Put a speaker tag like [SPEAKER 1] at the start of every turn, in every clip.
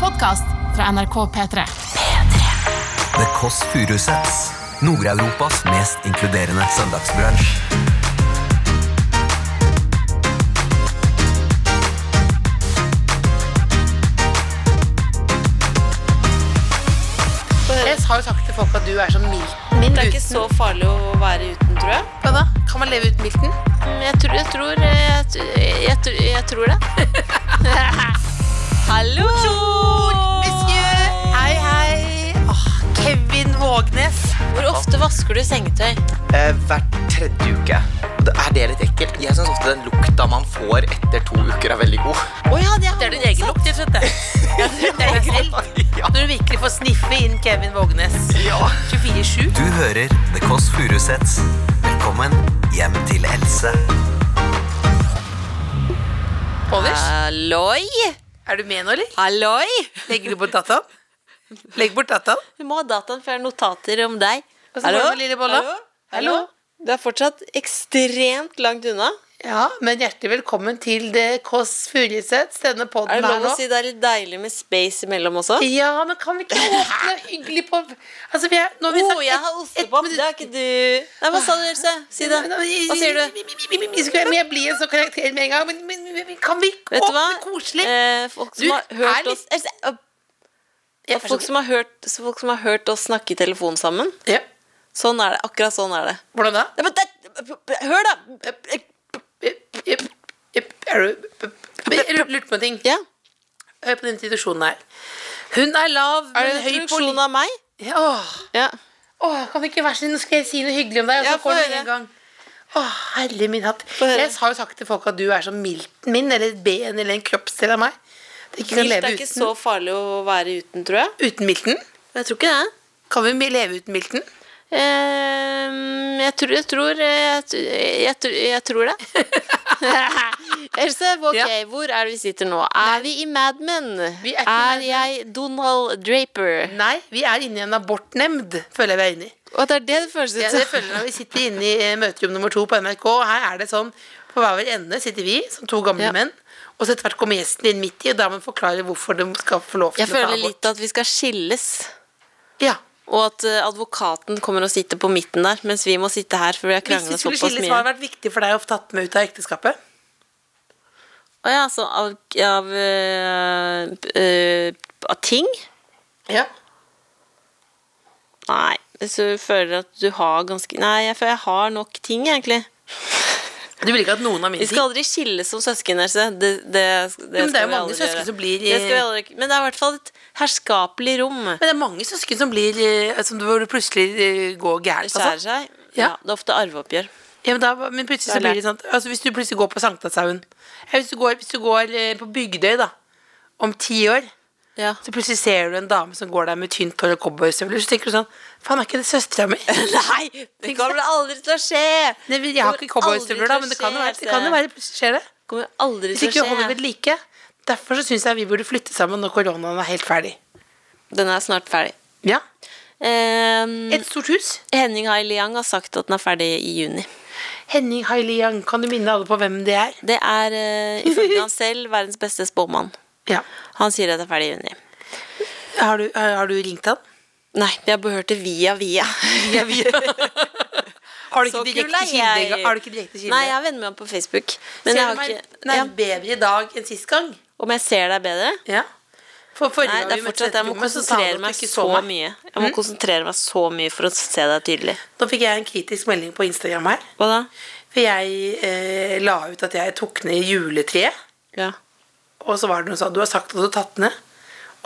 [SPEAKER 1] podkast fra NRK P3.
[SPEAKER 2] The Kåss Furuseths. Nord-Europas mest inkluderende søndagsbransj.
[SPEAKER 3] Jeg har jo sagt til folk at du er som Milton.
[SPEAKER 4] Det er ikke så farlig å være uten, tror jeg.
[SPEAKER 3] Hva da? Kan man leve uten Milton?
[SPEAKER 4] Mm, Jeg tror, jeg tror, jeg, tr- jeg, tr- jeg tror det. Hallo!
[SPEAKER 3] Monsieur! Hei, hei! Åh, Kevin Vågnes.
[SPEAKER 4] Hvor ofte vasker du sengetøy?
[SPEAKER 2] Eh, hver tredje uke. Og det- Er det litt ekkelt? Jeg syns ofte den lukta man får etter to uker, er veldig god.
[SPEAKER 4] Å ja, det
[SPEAKER 3] Det er din egen lukt, jeg skjønte. Det er helt
[SPEAKER 2] Ja.
[SPEAKER 3] Når du virkelig får sniffe inn Kevin Vågnes.
[SPEAKER 2] Ja.
[SPEAKER 3] 24-7.
[SPEAKER 2] Du hører The Kåss Furuseths. Velkommen hjem til Else.
[SPEAKER 3] Polish.
[SPEAKER 4] Halloi!
[SPEAKER 3] Er du med nå, eller?
[SPEAKER 4] Halloi!
[SPEAKER 3] Legger du bort dataen? Legg bort dataen.
[SPEAKER 4] Du må ha dataen for jeg har notater om deg.
[SPEAKER 3] Hvordan går det med lille bolla?
[SPEAKER 4] Hallo?
[SPEAKER 3] Hallo?
[SPEAKER 4] Hallo? Du er fortsatt ekstremt langt unna.
[SPEAKER 3] Ja, men hjertelig velkommen til det Kåss Furuseths, denne
[SPEAKER 4] Er
[SPEAKER 3] podden
[SPEAKER 4] det
[SPEAKER 3] her
[SPEAKER 4] lov
[SPEAKER 3] nå.
[SPEAKER 4] å si det er litt deilig med space imellom også?
[SPEAKER 3] Ja, men kan vi ikke åpne hyggelig på Altså, vi er Nå
[SPEAKER 4] Å,
[SPEAKER 3] har vi sagt
[SPEAKER 4] Oh, jeg har ostepop. Det har ikke du. Nei, hva sa du, Else? Si det. Hva sier du?
[SPEAKER 3] Skulle jeg bli en sånn karakter med en gang? Men, men, men men kan vi
[SPEAKER 4] Vet du hva?
[SPEAKER 3] åpne koselig?
[SPEAKER 4] Eh, folk som
[SPEAKER 3] Du
[SPEAKER 4] har
[SPEAKER 3] er
[SPEAKER 4] hørt
[SPEAKER 3] litt-
[SPEAKER 4] oss Else, øh,
[SPEAKER 3] Ja,
[SPEAKER 4] folk, som har hørt, så folk som har hørt oss snakke i telefon sammen.
[SPEAKER 3] ja.
[SPEAKER 4] Sånn er det. Akkurat sånn er det.
[SPEAKER 3] Hvordan da?
[SPEAKER 4] Ja, men det hør, da!
[SPEAKER 3] Jep, jep, jep. Er du Jeg lurte på en ting.
[SPEAKER 4] Ja.
[SPEAKER 3] Hør på den introduksjonen her. Hun er lav,
[SPEAKER 4] Er det
[SPEAKER 3] men
[SPEAKER 4] en
[SPEAKER 3] høy på
[SPEAKER 4] introduksjon av meg?
[SPEAKER 3] li- Åh,
[SPEAKER 4] Ja.
[SPEAKER 3] åh, Kan vi ikke være snill, nå skal jeg si noe hyggelig om deg, og
[SPEAKER 4] Ja,
[SPEAKER 3] så får
[SPEAKER 4] få
[SPEAKER 3] du
[SPEAKER 4] høre.
[SPEAKER 3] en gang. Åh, herre min hatt.
[SPEAKER 4] Få høre.
[SPEAKER 3] Jeg har jo sagt til folk at du er som milten min, eller et ben, eller en kroppsdel av meg. Det ikke kan
[SPEAKER 4] Mildt
[SPEAKER 3] leve
[SPEAKER 4] er ikke
[SPEAKER 3] uten.
[SPEAKER 4] så farlig å være uten, tror jeg.
[SPEAKER 3] Uten milten?
[SPEAKER 4] Jeg tror ikke det.
[SPEAKER 3] Kan vi leve uten milten?
[SPEAKER 4] Ehm, jeg tror Jeg tror, jeg, tr- jeg, tr- jeg tror det. Else, ok,
[SPEAKER 3] Ja.
[SPEAKER 4] hvor er det vi sitter nå? Er vi i Mad Men?
[SPEAKER 3] Vi
[SPEAKER 4] er
[SPEAKER 3] er ikke i Mad Men.
[SPEAKER 4] jeg Donald Draper?
[SPEAKER 3] Nei, vi er inne i en abortnemnd, føler jeg vi er inne i.
[SPEAKER 4] Og det er det det føles ut
[SPEAKER 3] Ja,
[SPEAKER 4] som.
[SPEAKER 3] det føler jeg når vi sitter inne i eh, møterom nummer to på NRK, og her er det sånn, på hver vår ende sitter vi, som to gamle
[SPEAKER 4] Ja.
[SPEAKER 3] menn, og så etter hvert kommer gjesten inn midt i, og da må man forklare hvorfor de skal få lov til
[SPEAKER 4] Jeg føler
[SPEAKER 3] abort.
[SPEAKER 4] litt at vi skal skilles.
[SPEAKER 3] Ja.
[SPEAKER 4] Og at eh, advokaten kommer og sitter på midten der, mens vi må sitte her. For vi har
[SPEAKER 3] Hvis vi
[SPEAKER 4] krangla
[SPEAKER 3] skulle
[SPEAKER 4] såpass
[SPEAKER 3] skilles,
[SPEAKER 4] mye.
[SPEAKER 3] hva hadde vært viktig for deg å få tatt med ut av ekteskapet?
[SPEAKER 4] Å ja, så av, av, eh, eh, av ting?
[SPEAKER 3] Ja.
[SPEAKER 4] Nei. Hvis du føler at du har ganske Nei, jeg føler jeg har nok ting, egentlig.
[SPEAKER 3] Du vil ikke at noen av mine
[SPEAKER 4] Vi skal aldri skilles som søsken. Else. Det, det, det
[SPEAKER 3] Men det
[SPEAKER 4] skal
[SPEAKER 3] er jo
[SPEAKER 4] vi
[SPEAKER 3] mange
[SPEAKER 4] aldri
[SPEAKER 3] søsken
[SPEAKER 4] gjøre.
[SPEAKER 3] som blir,
[SPEAKER 4] det skal vi
[SPEAKER 3] eh,
[SPEAKER 4] aldri, Men det er i hvert fall et herskapelig rom.
[SPEAKER 3] Men det er mange søsken som blir, eh, som hvor det plutselig eh, går
[SPEAKER 4] Det
[SPEAKER 3] gærent,
[SPEAKER 4] skjærer
[SPEAKER 3] altså.
[SPEAKER 4] seg.
[SPEAKER 3] Ja.
[SPEAKER 4] Ja, det er ofte arveoppgjør.
[SPEAKER 3] Ja, men, da, men plutselig så
[SPEAKER 4] Det er
[SPEAKER 3] blir det sånn altså Hvis du plutselig går på Sankthanshaugen ja, hvis, du går- hvis du går eh, på Bygdøy da om ti år,
[SPEAKER 4] Ja.
[SPEAKER 3] så plutselig ser du en dame som går der med tynt hår og cowboystøvler, så tenker du sånn Faen, er ikke det søstera mi?
[SPEAKER 4] Nei! Det kommer aldri til å skje!
[SPEAKER 3] Nei, men Jeg har ikke cowboystøvler, da, men det kan jo være, det kan jo være plutselig skjer det.
[SPEAKER 4] kommer aldri
[SPEAKER 3] Hvis
[SPEAKER 4] til
[SPEAKER 3] ikke vi
[SPEAKER 4] å
[SPEAKER 3] holder
[SPEAKER 4] skje.
[SPEAKER 3] ved like. Derfor så syns jeg vi burde flytte sammen når koronaen er helt ferdig.
[SPEAKER 4] Den er snart ferdig.
[SPEAKER 3] Ja.
[SPEAKER 4] Ehm,
[SPEAKER 3] Et stort hus.
[SPEAKER 4] Henning Hai Liang har sagt at den er ferdig i juni.
[SPEAKER 3] Henning Hailiang, kan du minne alle på hvem det er?
[SPEAKER 4] Det er eh, ifølge han selv verdens beste spåmann.
[SPEAKER 3] Ja.
[SPEAKER 4] Han sier at det er ferdig i juni.
[SPEAKER 3] Har du, har har du ringt han?
[SPEAKER 4] Nei, jeg har hørt det via via.
[SPEAKER 3] Har du
[SPEAKER 4] Så
[SPEAKER 3] ikke direkte
[SPEAKER 4] kul er
[SPEAKER 3] kilde?
[SPEAKER 4] jeg.
[SPEAKER 3] engang? Har du ikke direkte kilde?
[SPEAKER 4] Nei, jeg er venner med ham på Facebook. Men
[SPEAKER 3] Ser
[SPEAKER 4] jeg
[SPEAKER 3] du
[SPEAKER 4] har
[SPEAKER 3] meg
[SPEAKER 4] ikke
[SPEAKER 3] nei,
[SPEAKER 4] ja,
[SPEAKER 3] bedre i dag enn sist gang?
[SPEAKER 4] Om jeg ser deg bedre?
[SPEAKER 3] Ja. For forrige
[SPEAKER 4] Nei,
[SPEAKER 3] gang
[SPEAKER 4] det er
[SPEAKER 3] vi møttes
[SPEAKER 4] fortsatt jeg må
[SPEAKER 3] etterpå, så sa du at
[SPEAKER 4] konsentrere
[SPEAKER 3] du
[SPEAKER 4] meg
[SPEAKER 3] ikke
[SPEAKER 4] så
[SPEAKER 3] så meg. Mm.
[SPEAKER 4] mye. Jeg må konsentrere meg så mye for å se deg tydelig.
[SPEAKER 3] Nå fikk jeg en kritisk melding på Instagram her.
[SPEAKER 4] Hva da?
[SPEAKER 3] For jeg eh, la ut at jeg tok ned juletreet.
[SPEAKER 4] Ja.
[SPEAKER 3] Og så var det noen som sa du har sagt at du har tatt ned.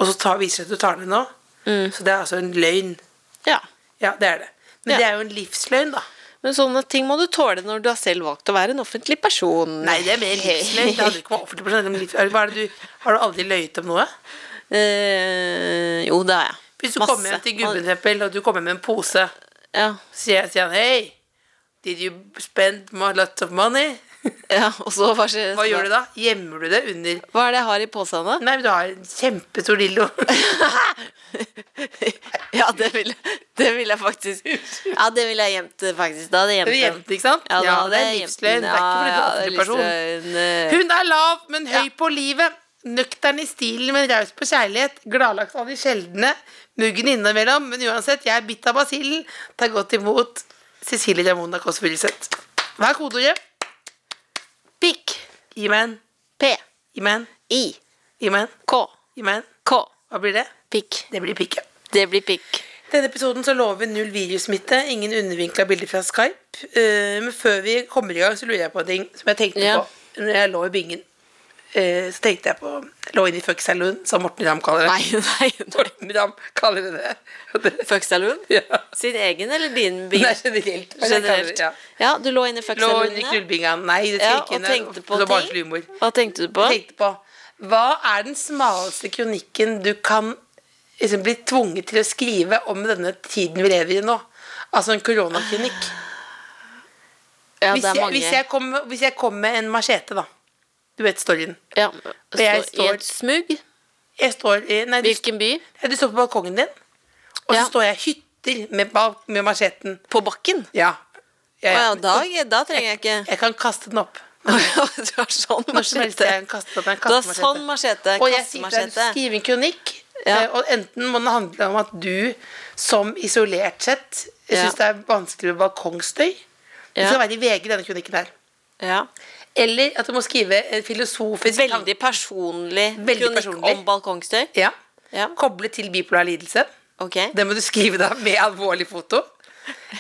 [SPEAKER 3] Og så tar, viser det seg at du tar ned nå.
[SPEAKER 4] Mm.
[SPEAKER 3] Så det er altså en løgn.
[SPEAKER 4] ja.
[SPEAKER 3] Ja, det er det. Men
[SPEAKER 4] Ja.
[SPEAKER 3] det er jo en livsløgn, da.
[SPEAKER 4] Men sånne ting må du tåle når du har selv valgt å være en offentlig person.
[SPEAKER 3] Nei, det er mer livsløgn. Det hadde ikke vært offentlig om livs- Hva er det du, Har du aldri løyet om noe?
[SPEAKER 4] Eh, jo, det har jeg.
[SPEAKER 3] Hvis du kommer hjem til gubben for eksempel, og du kommer med en pose,
[SPEAKER 4] Ja,
[SPEAKER 3] sier, sier han hei, did you spend mo- lots of money?
[SPEAKER 4] ja, og så hva skjer?
[SPEAKER 3] Hva gjør du da? Gjemmer du det under
[SPEAKER 4] Hva er det jeg har i posen da?
[SPEAKER 3] Nei, men du har en kjempestor dildo.
[SPEAKER 4] ja, det vil, det vil jeg faktisk Ja, det vil jeg gjemt faktisk. Da hadde jeg
[SPEAKER 3] Du har
[SPEAKER 4] gjemt
[SPEAKER 3] gjemt, ikke sant?
[SPEAKER 4] da
[SPEAKER 3] Ja,
[SPEAKER 4] hadde
[SPEAKER 3] det er
[SPEAKER 4] jeg gjemt
[SPEAKER 3] livsløgn.
[SPEAKER 4] den.
[SPEAKER 3] Det er
[SPEAKER 4] Ja,
[SPEAKER 3] ikke fordi du er offentlig
[SPEAKER 4] ja,
[SPEAKER 3] person.
[SPEAKER 4] livsløgn, eh.
[SPEAKER 3] Hun er lav, men høy
[SPEAKER 4] Ja.
[SPEAKER 3] på livet. Nøktern i stilen, men raus på kjærlighet. Gladlagt av de sjeldne. Muggen innimellom, men uansett, jeg er bitt av basillen. Ta godt imot Cecilie Ramona Kåss Furuseth. Hva er kodeordet?
[SPEAKER 4] Pikk.
[SPEAKER 3] Gi meg en.
[SPEAKER 4] P.
[SPEAKER 3] Gi meg en.
[SPEAKER 4] I.
[SPEAKER 3] Gi meg en.
[SPEAKER 4] K.
[SPEAKER 3] Gi meg en.
[SPEAKER 4] K.
[SPEAKER 3] Hva blir det?
[SPEAKER 4] Pikk.
[SPEAKER 3] Det blir pikke.
[SPEAKER 4] Det blir pikk.
[SPEAKER 3] Denne episoden så lover vi null virussmitte, ingen undervinkla bilder fra Skype. Eh, men før vi kommer i gang, så lurer jeg på en ting som jeg tenkte
[SPEAKER 4] Ja.
[SPEAKER 3] på når jeg lå i bingen. Eh, så tenkte jeg på Lå inne i fuck saloon, som Morten Ramm kaller det.
[SPEAKER 4] Nei, nei. nei.
[SPEAKER 3] Morten Ramm kaller det det. Og det.
[SPEAKER 4] Fuck saloon?
[SPEAKER 3] Ja.
[SPEAKER 4] Sin egen eller din bil?
[SPEAKER 3] Nei, generelt. men jeg kaller det,
[SPEAKER 4] Generelt.
[SPEAKER 3] ja.
[SPEAKER 4] Ja, du lå inne i fuck
[SPEAKER 3] Lå inne i
[SPEAKER 4] saloonen?
[SPEAKER 3] knullbinga. Nei, det
[SPEAKER 4] Ja,
[SPEAKER 3] tenker
[SPEAKER 4] og
[SPEAKER 3] jeg
[SPEAKER 4] tenkte på
[SPEAKER 3] det var barnslig
[SPEAKER 4] ting.
[SPEAKER 3] humor.
[SPEAKER 4] Hva tenkte du på?
[SPEAKER 3] Jeg tenkte på Hva er den smaleste kronikken du kan liksom, bli tvunget til å skrive om denne tiden vi lever i nå? Altså en koronakronikk.
[SPEAKER 4] Ja,
[SPEAKER 3] hvis,
[SPEAKER 4] det er
[SPEAKER 3] jeg,
[SPEAKER 4] mange.
[SPEAKER 3] hvis, jeg kom, hvis jeg kom med en machete, da. Du vet storyen.
[SPEAKER 4] ja,
[SPEAKER 3] jeg
[SPEAKER 4] står i
[SPEAKER 3] står-
[SPEAKER 4] et smug.
[SPEAKER 3] Jeg står i Nei, du,
[SPEAKER 4] Hvilken by?
[SPEAKER 3] ja, du står på balkongen din, og
[SPEAKER 4] Ja.
[SPEAKER 3] så står jeg og hytter med, bal- med macheten.
[SPEAKER 4] På bakken?
[SPEAKER 3] Ja.
[SPEAKER 4] Å
[SPEAKER 3] Jeg,
[SPEAKER 4] ja, da, da trenger jeg ikke
[SPEAKER 3] jeg kan kaste den opp.
[SPEAKER 4] Å ja, Du har sånn
[SPEAKER 3] Når som helst
[SPEAKER 4] machete.
[SPEAKER 3] jeg kan kaste opp en
[SPEAKER 4] Du har
[SPEAKER 3] kastemachete.
[SPEAKER 4] sånn machete.
[SPEAKER 3] Og jeg sitter der og
[SPEAKER 4] Kastemachete.
[SPEAKER 3] skriver en kronikk,
[SPEAKER 4] Ja.
[SPEAKER 3] eh, og enten må den handle om at du som isolert sett
[SPEAKER 4] Ja.
[SPEAKER 3] syns det er vanskelig med balkongstøy. Det
[SPEAKER 4] Ja.
[SPEAKER 3] skal være i VG, denne kronikken her.
[SPEAKER 4] Ja.
[SPEAKER 3] Eller at du må skrive en filosofisk
[SPEAKER 4] Veldig personlig
[SPEAKER 3] Veldig
[SPEAKER 4] kronikk
[SPEAKER 3] personlig.
[SPEAKER 4] om balkongstøy.
[SPEAKER 3] tanke- Ja.
[SPEAKER 4] Ja,
[SPEAKER 3] Koble til bipolar lidelse.
[SPEAKER 4] ok.
[SPEAKER 3] Det må du skrive da med alvorlig foto.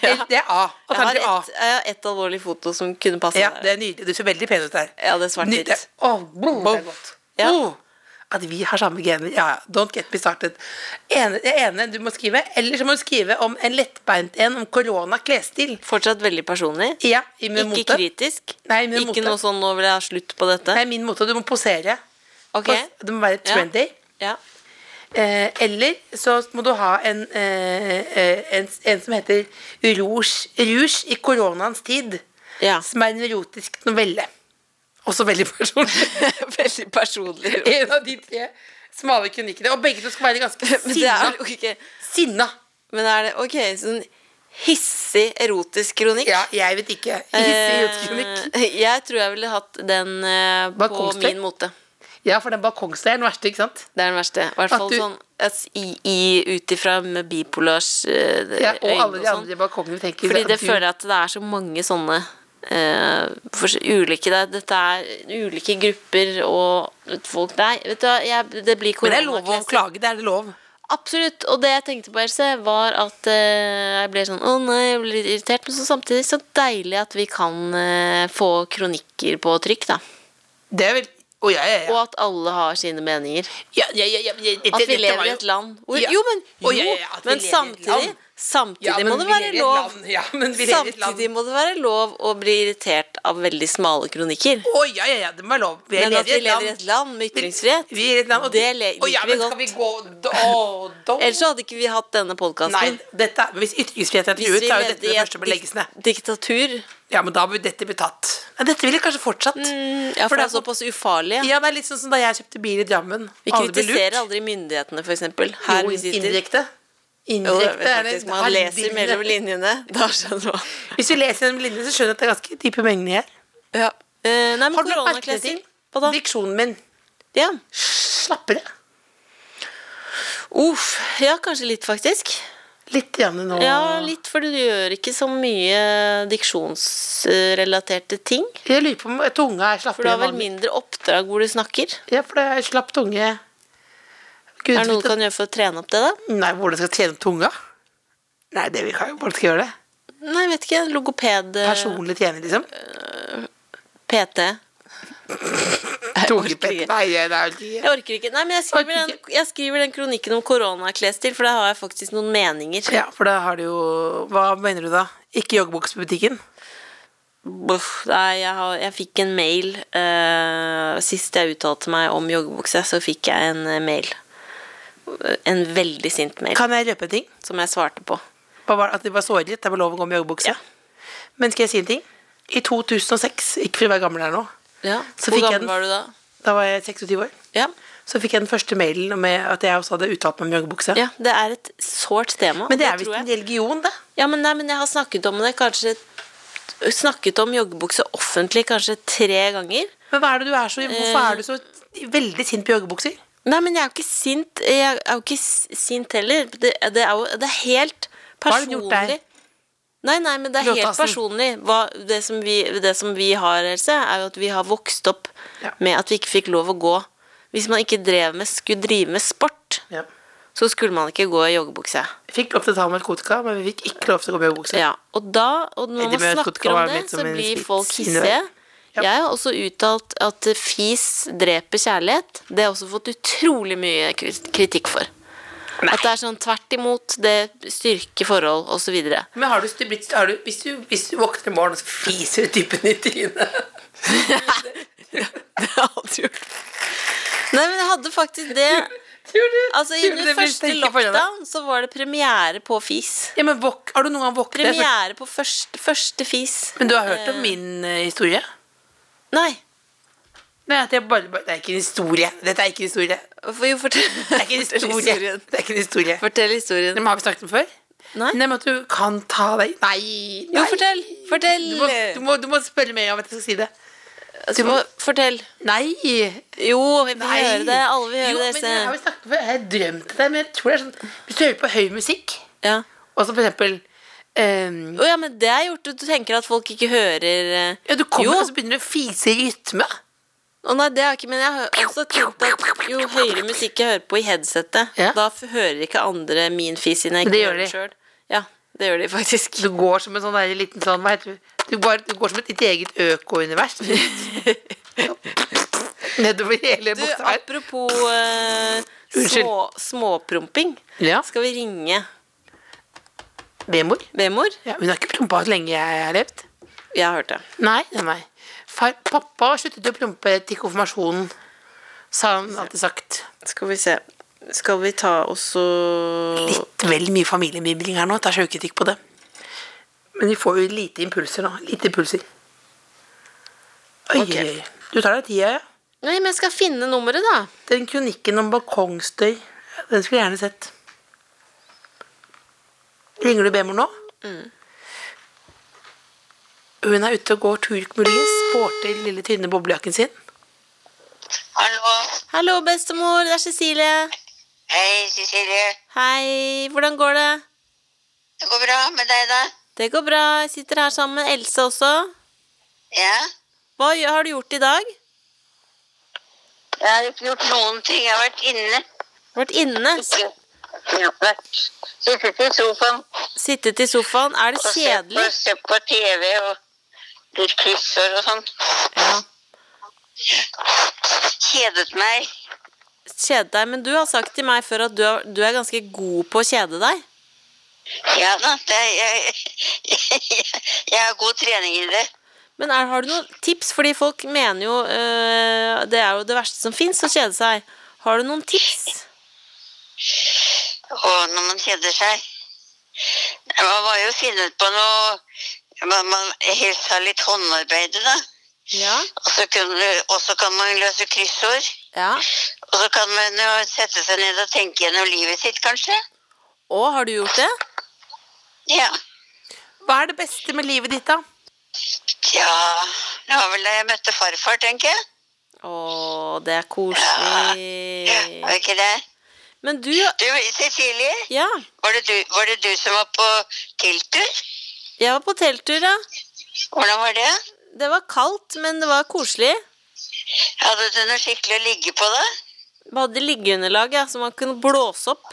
[SPEAKER 3] Eller- Det er
[SPEAKER 4] Jeg
[SPEAKER 3] A.
[SPEAKER 4] har
[SPEAKER 3] Alternativ A.
[SPEAKER 4] ett et alvorlig foto som kunne passe
[SPEAKER 3] Ja,
[SPEAKER 4] der.
[SPEAKER 3] det er nydelig. Du ser veldig pen ut der.
[SPEAKER 4] Ja, det er svart-hvitt.
[SPEAKER 3] Nydelig. Åh, blom, det er godt.
[SPEAKER 4] Ja.
[SPEAKER 3] Åh, at vi har samme gener. Ja, ja. Don't get me started. Ene, det ene du må skrive, eller så må du skrive om en lettbeint en om korona klesstil.
[SPEAKER 4] Fortsatt veldig personlig.
[SPEAKER 3] Ja, i min
[SPEAKER 4] Ikke
[SPEAKER 3] mote.
[SPEAKER 4] kritisk.
[SPEAKER 3] Nei, men
[SPEAKER 4] ikke
[SPEAKER 3] mote.
[SPEAKER 4] noe sånn 'nå vil jeg ha slutt på dette'.
[SPEAKER 3] Nei, min mote. Du må posere.
[SPEAKER 4] Ok.
[SPEAKER 3] Pos- Det må være trendy.
[SPEAKER 4] Ja.
[SPEAKER 3] Eh, eller så må du ha en, eh, eh, en, en som heter Rouge, Rouge i koronaens tid.
[SPEAKER 4] Ja.
[SPEAKER 3] Som er en erotisk novelle. Også veldig personlig.
[SPEAKER 4] Veldig personlig.
[SPEAKER 3] en av de tre smale kronikkene. Og begge to skal være ganske
[SPEAKER 4] Men det
[SPEAKER 3] sinna.
[SPEAKER 4] er jo ikke
[SPEAKER 3] Sinna!
[SPEAKER 4] Men er det ok, sånn hissig erotisk kronikk?
[SPEAKER 3] Ja, jeg vet ikke. Idiotskronikk.
[SPEAKER 4] Eh, jeg tror jeg ville hatt den eh, på
[SPEAKER 3] Balkongstøy?
[SPEAKER 4] min mote.
[SPEAKER 3] Ja, for den balkongstøy er den verste, ikke sant?
[SPEAKER 4] Det er den verste. I hvert
[SPEAKER 3] At
[SPEAKER 4] fall
[SPEAKER 3] du-
[SPEAKER 4] sånn altså, i, i, ut ifra med bipolars eh,
[SPEAKER 3] Ja, og
[SPEAKER 4] øyne
[SPEAKER 3] alle de
[SPEAKER 4] sånn.
[SPEAKER 3] andre balkongene tenker
[SPEAKER 4] Fordi
[SPEAKER 3] at
[SPEAKER 4] det
[SPEAKER 3] du-
[SPEAKER 4] føler jeg at det er så mange sånne eh, fors- ulike det, Dette er ulike grupper og folk Nei, vet du hva, jeg, det blir
[SPEAKER 3] Men det er lov å
[SPEAKER 4] koronaklesser.
[SPEAKER 3] klage, det er det lov.
[SPEAKER 4] Absolutt. Og det jeg tenkte på, Else, var at eh, jeg ble sånn Å nei, jeg ble litt irritert. Men så samtidig så deilig at vi kan eh, få kronikker på trykk, da.
[SPEAKER 3] Det er vel Å, ja, ja,
[SPEAKER 4] Og
[SPEAKER 3] ja.
[SPEAKER 4] at alle har sine meninger.
[SPEAKER 3] ja, ja, ja, ja, ja dette-
[SPEAKER 4] At vi
[SPEAKER 3] dette
[SPEAKER 4] lever i
[SPEAKER 3] var jo-
[SPEAKER 4] et land hvor
[SPEAKER 3] Ja.
[SPEAKER 4] Jo, men, jo,
[SPEAKER 3] Å, ja, ja, ja, at vi
[SPEAKER 4] men
[SPEAKER 3] lever i et
[SPEAKER 4] samtidig
[SPEAKER 3] land.
[SPEAKER 4] Samtidig
[SPEAKER 3] Ja, men
[SPEAKER 4] må det
[SPEAKER 3] vi
[SPEAKER 4] være
[SPEAKER 3] lever i et
[SPEAKER 4] lov
[SPEAKER 3] land. Ja, men vi lever i et land.
[SPEAKER 4] Samtidig må det være lov å bli irritert av veldig smale kronikker.
[SPEAKER 3] Å, ja, ja, ja, det må være lov. Vi
[SPEAKER 4] Men
[SPEAKER 3] lever
[SPEAKER 4] at vi
[SPEAKER 3] i et
[SPEAKER 4] lever i
[SPEAKER 3] land.
[SPEAKER 4] et land med ytringsfrihet
[SPEAKER 3] Vi er i et land og
[SPEAKER 4] Det le-
[SPEAKER 3] Å, ja,
[SPEAKER 4] liker vi
[SPEAKER 3] men skal vi gå Å, da
[SPEAKER 4] Ellers så hadde ikke vi hatt denne
[SPEAKER 3] Nei,
[SPEAKER 4] podkasten.
[SPEAKER 3] dette er Hvis ytringsfrihet er truet, så er jo dette det første som bør legges ned.
[SPEAKER 4] diktatur
[SPEAKER 3] Ja, men da bør dette bli tatt. Nei, dette ville kanskje fortsatt.
[SPEAKER 4] Ja, for
[SPEAKER 3] Mm, For
[SPEAKER 4] det
[SPEAKER 3] det
[SPEAKER 4] er såpass ufarlige.
[SPEAKER 3] Ja, det er litt sånn som da jeg kjøpte bil i Drammen.
[SPEAKER 4] Vi
[SPEAKER 3] Alle ble lurt.
[SPEAKER 4] kritiserer aldri myndighetene, for eksempel. Her
[SPEAKER 3] jo,
[SPEAKER 4] vi sitter.
[SPEAKER 3] Indirekte.
[SPEAKER 4] Jo, det
[SPEAKER 3] Indirekte
[SPEAKER 4] er vel
[SPEAKER 3] er det
[SPEAKER 4] faktisk, man leser
[SPEAKER 3] halvdelen.
[SPEAKER 4] mellom linjene. Da skjønner man.
[SPEAKER 3] Hvis du leser gjennom linjene, så skjønner du at det er ganske dype mengder her.
[SPEAKER 4] Ja. Eh, nei, men
[SPEAKER 3] Har du lagt merke til
[SPEAKER 4] koronaklessing. Hva da?
[SPEAKER 3] diksjonen min?
[SPEAKER 4] Ja.
[SPEAKER 3] Slappere.
[SPEAKER 4] Uff. Ja, kanskje litt, faktisk.
[SPEAKER 3] Litt grann nå.
[SPEAKER 4] Ja, litt, for du gjør ikke så mye diksjonsrelaterte ting.
[SPEAKER 3] Jeg lurer på om tunga er
[SPEAKER 4] For du
[SPEAKER 3] slappere.
[SPEAKER 4] har vel
[SPEAKER 3] enn vanlig.
[SPEAKER 4] mindre oppdrag hvor du snakker.
[SPEAKER 3] Ja, for det er slapp tunge. Gud,
[SPEAKER 4] Er det noe
[SPEAKER 3] vet
[SPEAKER 4] du kan gjøre for å trene opp det, da?
[SPEAKER 3] Nei, hvordan skal jeg trene opp tunga? Nei, det vil jeg ikke. Hvordan skal jeg gjøre det?
[SPEAKER 4] Nei, jeg vet ikke. Logoped eh,
[SPEAKER 3] Personlig trening, liksom?
[SPEAKER 4] PT.
[SPEAKER 3] Tungepett.
[SPEAKER 4] ikke.
[SPEAKER 3] Nei, det er ikke
[SPEAKER 4] Jeg orker ikke. Nei, men jeg skriver,
[SPEAKER 3] Orker
[SPEAKER 4] den, jeg skriver den kronikken om koronaklesstil, for der har jeg faktisk noen meninger.
[SPEAKER 3] Ja, for da har du jo Hva mener du da? Ikke joggebukse på butikken?
[SPEAKER 4] Uff, nei, jeg, har, jeg fikk en mail eh, Sist jeg uttalte meg om joggebukse, så fikk jeg en eh, mail. Eh, En veldig sint mail
[SPEAKER 3] Kan jeg røpe en ting?
[SPEAKER 4] som jeg svarte på.
[SPEAKER 3] Hva var, det? at de var såret litt? Det var lov å gå med joggebukse?
[SPEAKER 4] Ja.
[SPEAKER 3] Men skal jeg si en ting? I 2006, ikke for å være gammel her nå, Så
[SPEAKER 4] Hvor
[SPEAKER 3] fikk
[SPEAKER 4] gammel
[SPEAKER 3] jeg den.
[SPEAKER 4] var du da?
[SPEAKER 3] da var jeg 26 år,
[SPEAKER 4] Ja.
[SPEAKER 3] så fikk jeg den første mailen med at jeg også hadde uttalt meg om joggebukse.
[SPEAKER 4] ja, Det er et sårt tema.
[SPEAKER 3] Men det er
[SPEAKER 4] tror
[SPEAKER 3] visst
[SPEAKER 4] jeg.
[SPEAKER 3] en religion, det.
[SPEAKER 4] Ja, men, nei, men jeg har snakket om det kanskje Snakket om joggebukse offentlig kanskje tre ganger.
[SPEAKER 3] Men hva er det du er så, hvorfor er du så Eh, veldig sint på joggebukser.
[SPEAKER 4] Nei, men jeg er jo ikke sint. Jeg er jo ikke s- sint heller. Det, det er jo det er helt
[SPEAKER 3] Hva har den gjort
[SPEAKER 4] personlig.
[SPEAKER 3] deg?
[SPEAKER 4] Nei, nei, men det er helt
[SPEAKER 3] Bjørtassen.
[SPEAKER 4] personlig. Hva, det, som vi, det som vi har, Else, er jo at vi har vokst opp
[SPEAKER 3] Ja.
[SPEAKER 4] med at vi ikke fikk lov å gå. Hvis man ikke drev med, skulle drive med sport,
[SPEAKER 3] Ja.
[SPEAKER 4] så skulle man ikke gå i joggebukse.
[SPEAKER 3] Jeg fikk lov til å ta narkotika, men vi fikk ikke lov til å gå med joggebukser.
[SPEAKER 4] Ja, og da, og når
[SPEAKER 3] Eddie
[SPEAKER 4] man
[SPEAKER 3] Murphy
[SPEAKER 4] snakker
[SPEAKER 3] kan
[SPEAKER 4] om
[SPEAKER 3] være
[SPEAKER 4] det,
[SPEAKER 3] litt som
[SPEAKER 4] så
[SPEAKER 3] en
[SPEAKER 4] blir
[SPEAKER 3] spits
[SPEAKER 4] folk
[SPEAKER 3] inni
[SPEAKER 4] hissige.
[SPEAKER 3] der. Ja.
[SPEAKER 4] Jeg har også uttalt at fis dreper kjærlighet. Det har jeg også fått utrolig mye kri- kritikk for. At det er sånn tvert imot, det styrker forhold, osv.
[SPEAKER 3] Men har du, stu- blitt, har du, hvis, du, hvis du våkner i morgen, og så fiser du typen i trynet
[SPEAKER 4] Det hadde jo Nei, men jeg hadde faktisk det.
[SPEAKER 3] Tror du?
[SPEAKER 4] Altså, I
[SPEAKER 3] tror du
[SPEAKER 4] den
[SPEAKER 3] det blir
[SPEAKER 4] første
[SPEAKER 3] stengt på deg?
[SPEAKER 4] lockdown så var det premiere på fis.
[SPEAKER 3] Ja, men våk, Har du noen gang våknet?
[SPEAKER 4] Premiere på første, første fis.
[SPEAKER 3] Men du har hørt om min eh, historie?
[SPEAKER 4] Nei.
[SPEAKER 3] Nei, at jeg bare, bare, det er ikke en historie. Dette er ikke en historie. Det
[SPEAKER 4] for- Jo, fortell,
[SPEAKER 3] er ikke en
[SPEAKER 4] fortell
[SPEAKER 3] historie.
[SPEAKER 4] historien.
[SPEAKER 3] Det er ikke en historie.
[SPEAKER 4] Fortell historien.
[SPEAKER 3] Dere har ikke snakket om før?
[SPEAKER 4] Nei.
[SPEAKER 3] Nei, men at du kan ta deg Nei! nei.
[SPEAKER 4] Jo, fortell! Fortell!
[SPEAKER 3] Du må, du, må, du må spørre mer om at jeg skal si det.
[SPEAKER 4] Altså, må- fortell.
[SPEAKER 3] Nei!
[SPEAKER 4] Jo, vi vil
[SPEAKER 3] nei.
[SPEAKER 4] høre det. Alle vil høre
[SPEAKER 3] jo,
[SPEAKER 4] det.
[SPEAKER 3] Men
[SPEAKER 4] se.
[SPEAKER 3] jeg har jo snakket om før. Jeg har drømt det, men jeg tror det er sånn Hvis du hører på høy musikk,
[SPEAKER 4] Ja.
[SPEAKER 3] og så for eksempel ehm,
[SPEAKER 4] Å ja, men det er gjort. Du tenker at folk ikke hører eh,
[SPEAKER 3] ja, Du kommer,
[SPEAKER 4] Jo.
[SPEAKER 3] og så begynner du å fise i rytme.
[SPEAKER 4] Å nei, det er ikke Men jeg har også tenkt at jo høyere musikk jeg hører på i headsetet,
[SPEAKER 3] Ja.
[SPEAKER 4] da f- hører ikke andre min fis siden jeg
[SPEAKER 3] Det
[SPEAKER 4] ikke
[SPEAKER 3] gjør
[SPEAKER 4] hører den
[SPEAKER 3] de.
[SPEAKER 4] sjøl. Ja, det gjør de faktisk.
[SPEAKER 3] Du går som en sånn der, liten sånn Hva heter du? Du, bare, du går som et ditt eget øko-univers. Nedover hele
[SPEAKER 4] Du,
[SPEAKER 3] buksa her.
[SPEAKER 4] apropos eh,
[SPEAKER 3] Unnskyld.
[SPEAKER 4] små, småpromping.
[SPEAKER 3] Ja.
[SPEAKER 4] Skal vi ringe
[SPEAKER 3] Bemor.
[SPEAKER 4] bemor?
[SPEAKER 3] Ja, hun har ikke prompa så lenge jeg har levd.
[SPEAKER 4] Jeg har hørt det.
[SPEAKER 3] Nei, nei, nei. Far, pappa sluttet å prompe til konfirmasjonen, sa han alltid sagt.
[SPEAKER 4] Skal vi se. Skal vi ta også
[SPEAKER 3] Litt vel mye familiemimring her nå, tar sjøkritikk på det. Men vi får jo lite impulser nå. Lite impulser. Oi,
[SPEAKER 4] Ok.
[SPEAKER 3] oi, oi. Du tar deg tida, ja.
[SPEAKER 4] Nei, men jeg skal finne nummeret, da.
[SPEAKER 3] Den kronikken om balkongstøy, den skulle jeg gjerne sett. Ringer du Bemor nå? Mm. Hun er ute og går tur, muligens. Sporter lille, tynne boblejakken sin.
[SPEAKER 5] Hallo.
[SPEAKER 4] Hallo, bestemor. Det er Cecilie.
[SPEAKER 5] Hei, Cecilie.
[SPEAKER 4] Hei. Hvordan går det?
[SPEAKER 5] Det går bra med deg, da?
[SPEAKER 4] Det går bra. Jeg sitter her sammen med Else også.
[SPEAKER 5] Ja.
[SPEAKER 4] Hva gjø- har du gjort i dag?
[SPEAKER 5] Jeg har ikke gjort noen ting. Jeg har vært inne.
[SPEAKER 4] Vært inne. s-
[SPEAKER 5] Ja, vært. Sittet i sofaen
[SPEAKER 4] Sittet i sofaen. Er det
[SPEAKER 5] og sett på,
[SPEAKER 4] kjedelig?
[SPEAKER 5] sett på TV og litt kryssord og sånn.
[SPEAKER 4] Ja.
[SPEAKER 5] Kjedet meg.
[SPEAKER 4] Kjede deg. Men du har sagt til meg før at du er, du er ganske god på å kjede deg.
[SPEAKER 5] Ja da, det, jeg, jeg har god trening i det.
[SPEAKER 4] Men er, har du noen tips? Fordi folk mener jo øh, Det er jo det verste som fins, å kjede seg. Har du noen tips?
[SPEAKER 5] Og når man kjeder seg Man må jo finne ut på noe Man må helst ha litt håndarbeid, da.
[SPEAKER 4] Ja.
[SPEAKER 5] Og så kan, du- og så kan man løse kryssord.
[SPEAKER 4] ja.
[SPEAKER 5] Og så kan man jo sette seg ned og tenke gjennom livet sitt, kanskje.
[SPEAKER 4] Og har du gjort det?
[SPEAKER 5] Ja.
[SPEAKER 3] Hva er det beste med livet ditt, da?
[SPEAKER 5] ja. Det var vel da jeg møtte farfar, tenker jeg.
[SPEAKER 4] Å, det er
[SPEAKER 5] Ja,
[SPEAKER 4] koselig.
[SPEAKER 5] Var ikke det?
[SPEAKER 4] Men du
[SPEAKER 5] Du, Cecilie,
[SPEAKER 4] Ja,
[SPEAKER 5] var det, du, var det du som var på telttur?
[SPEAKER 4] jeg var på telttur, ja.
[SPEAKER 5] Hvordan var det?
[SPEAKER 4] Det var kaldt, men det var koselig.
[SPEAKER 5] Hadde du noe skikkelig å ligge på da?
[SPEAKER 4] Vi hadde liggeunderlag, ja, så man kunne blåse opp.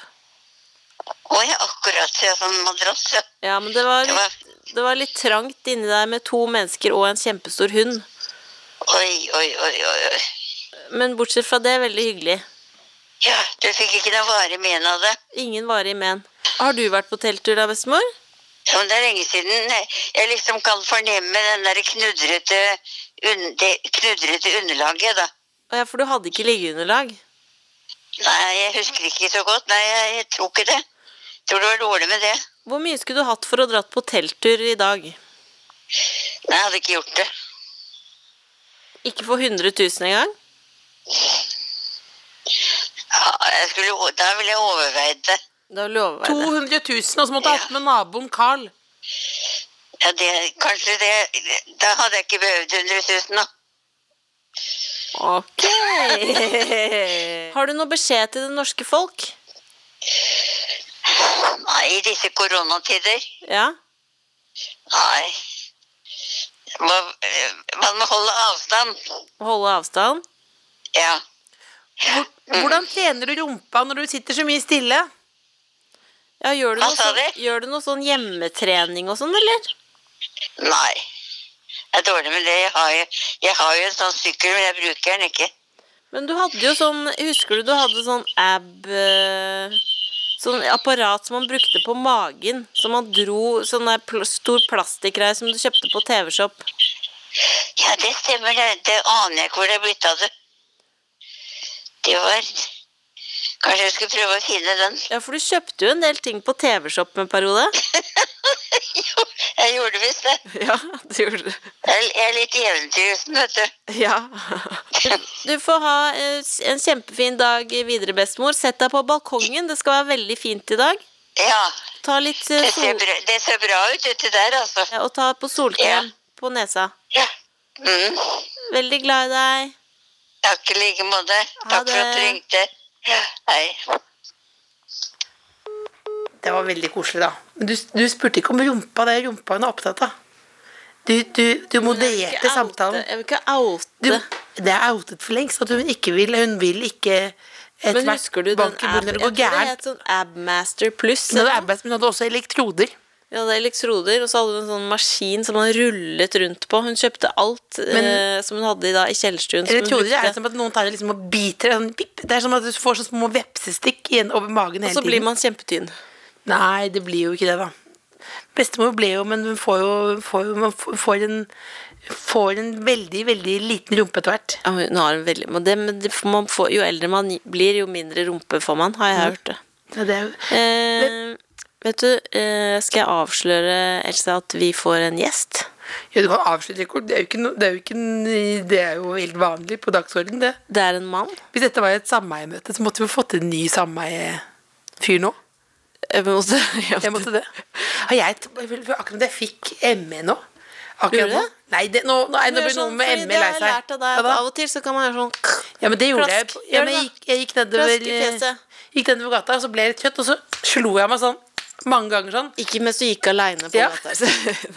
[SPEAKER 5] Å ja, akkurat. Ja, sånn madrass. ja.
[SPEAKER 4] Ja, men det var
[SPEAKER 5] Det var-
[SPEAKER 4] litt, det var litt trangt inni der med to mennesker og en kjempestor hund.
[SPEAKER 5] Oi, oi, oi, oi. oi.
[SPEAKER 4] Men bortsett fra det, veldig hyggelig.
[SPEAKER 5] Ja, du fikk ikke noe varig men av det.
[SPEAKER 4] Ingen varig men. Har du vært på telttur da, bestemor?
[SPEAKER 5] Ja, men det er lenge siden jeg liksom kan fornemme den der knudrete, un det knudrete underlaget, da.
[SPEAKER 4] Å Ja, for du hadde ikke liggeunderlag.
[SPEAKER 5] Nei, jeg husker ikke så godt. Nei, jeg, jeg tror ikke det. Jeg tror det var dårlig med det.
[SPEAKER 4] Hvor mye skulle du hatt for å dratt på telttur i dag?
[SPEAKER 5] Nei, jeg hadde ikke gjort det.
[SPEAKER 4] Ikke for 100 000 engang?
[SPEAKER 5] Ja, jeg skulle, o- da ville jeg overveid det.
[SPEAKER 4] Da lover jeg det.
[SPEAKER 3] 200 000, og så måtte jeg ha hatt med naboen Carl.
[SPEAKER 5] Ja, det. Kanskje det Da hadde jeg ikke behøvd 100 000, da.
[SPEAKER 4] Ok. Har du noe beskjed til det norske folk?
[SPEAKER 5] Nei, i disse koronatider.
[SPEAKER 4] Ja?
[SPEAKER 5] Nei. Må, eh, man må holde avstand.
[SPEAKER 4] Holde avstand?
[SPEAKER 5] Ja.
[SPEAKER 3] Hvor,
[SPEAKER 4] Mm.
[SPEAKER 3] hvordan trener du rumpa når du sitter så mye stille?
[SPEAKER 4] Ja, gjør du,
[SPEAKER 5] Hva
[SPEAKER 4] noe
[SPEAKER 5] sa
[SPEAKER 4] sånn,
[SPEAKER 5] du?
[SPEAKER 4] gjør du noe sånn hjemmetrening og sånn, eller?
[SPEAKER 5] Nei. Det er dårlig med det. Jeg har jo, jeg har jo en sånn sykkel, men jeg bruker den ikke.
[SPEAKER 4] Men du hadde jo sånn Husker du du hadde sånn ab eh, Sånn apparat som man brukte på magen. Som man dro Sånn der pl stor plastikkgreie som du kjøpte på TV-shop.
[SPEAKER 5] Ja, det stemmer. Det, det aner jeg ikke hvor det er blitt av det. Det var Kanskje jeg skulle prøve å finne den.
[SPEAKER 4] Ja, for du kjøpte jo en del ting på TV-shop en periode.
[SPEAKER 5] Jo, jeg gjorde visst det.
[SPEAKER 4] Ja, det gjorde du.
[SPEAKER 5] Jeg, jeg er litt eventyrlysten, vet du.
[SPEAKER 4] Ja. Du får ha eh, s- en kjempefin dag eh, videre, bestemor. Sett deg på balkongen, det skal være veldig fint i dag.
[SPEAKER 5] Ja.
[SPEAKER 4] Ta litt eh,
[SPEAKER 5] Det ser
[SPEAKER 4] sol...
[SPEAKER 5] bra, det ser bra ut uti der, altså.
[SPEAKER 4] Ja, Og ta på solkrem på nesa.
[SPEAKER 5] Ja. Mm.
[SPEAKER 4] Veldig glad i deg.
[SPEAKER 5] Takk i like måte.
[SPEAKER 4] Ha
[SPEAKER 5] Takk for at du
[SPEAKER 4] det.
[SPEAKER 5] ringte. Ja, Hei.
[SPEAKER 3] Det var veldig koselig, da. Men du, du spurte ikke om rumpa. Det er rumpa hun er opptatt av. Du, du, du
[SPEAKER 4] Jeg
[SPEAKER 3] modererte
[SPEAKER 4] vil ikke oute-
[SPEAKER 3] samtalen.
[SPEAKER 4] Jeg vil ikke
[SPEAKER 3] Du,
[SPEAKER 4] oute.
[SPEAKER 3] det er outet for lengst at hun ikke vil Hun vil ikke etter
[SPEAKER 4] Men
[SPEAKER 3] hvert
[SPEAKER 4] husker du den
[SPEAKER 3] bank i bordet når det
[SPEAKER 4] Jeg
[SPEAKER 3] går
[SPEAKER 4] tror det
[SPEAKER 3] gærent.
[SPEAKER 4] het sånn Abmaster Plus.
[SPEAKER 3] Hun hadde
[SPEAKER 4] eller noe.
[SPEAKER 3] arbeids, men hun hadde også elektroder.
[SPEAKER 4] Vi hadde elektroder, og så hadde hun en sånn maskin som man rullet rundt på. Hun kjøpte alt eh, som hun hadde i, da, i kjellerstuen. som hun
[SPEAKER 3] Elektroder er
[SPEAKER 4] brukte.
[SPEAKER 3] som at noen tar det liksom og biter sånn, pip. Det er som at du får sånne små vepsestikk igjen over magen
[SPEAKER 4] Og
[SPEAKER 3] hele
[SPEAKER 4] så blir
[SPEAKER 3] tiden.
[SPEAKER 4] man kjempetynn.
[SPEAKER 3] Nei, det blir jo ikke det, da. Bestemor ble jo, men hun får jo, får jo man får- får en, får en veldig, veldig liten rumpe etter hvert.
[SPEAKER 4] Ja, hun har en veldig, men det, men det, får- man får, jo eldre man blir, jo mindre rumpe får man, har jeg hørt det.
[SPEAKER 3] Ja, det er jo
[SPEAKER 4] Eh, vet du, eh, skal jeg avsløre, Elsa, at vi får en gjest?
[SPEAKER 3] Ja, du kan avslutte rekord. Det er jo, ikke no, det, er jo ikke, en- det er jo helt vanlig på dagsordenen, det.
[SPEAKER 4] Det er en mann.
[SPEAKER 3] Hvis dette var et sameiemøte, så måtte vi fått en ny sameiefyr nå.
[SPEAKER 4] Jeg måtte, jeg
[SPEAKER 3] Jeg måtte det. Har jeg, t- jeg vil- for akkurat det jeg fikk ME nå. Akkurat
[SPEAKER 4] Gjorde du
[SPEAKER 3] nå.
[SPEAKER 4] det?
[SPEAKER 3] Nei, det, nå, nå er det
[SPEAKER 4] Gjør
[SPEAKER 3] blir noe
[SPEAKER 4] sånn,
[SPEAKER 3] med
[SPEAKER 4] fordi
[SPEAKER 3] ME lei
[SPEAKER 4] Det har jeg
[SPEAKER 3] seg.
[SPEAKER 4] lært av deg,
[SPEAKER 3] Ja,
[SPEAKER 4] at
[SPEAKER 3] da.
[SPEAKER 4] av og til så kan man gjøre sånn
[SPEAKER 3] Ja, men det gjorde
[SPEAKER 4] Flask.
[SPEAKER 3] jeg. Ja,
[SPEAKER 4] Gjør
[SPEAKER 3] men jeg,
[SPEAKER 4] det,
[SPEAKER 3] gikk, jeg gikk nedover
[SPEAKER 4] Flask i fjeset.
[SPEAKER 3] eh, Gikk nedover gata, og så ble jeg litt kjøtt, og så slo jeg meg sånn mange ganger sånn.
[SPEAKER 4] Ikke mens du gikk aleine på
[SPEAKER 3] Ja.
[SPEAKER 4] gata. altså.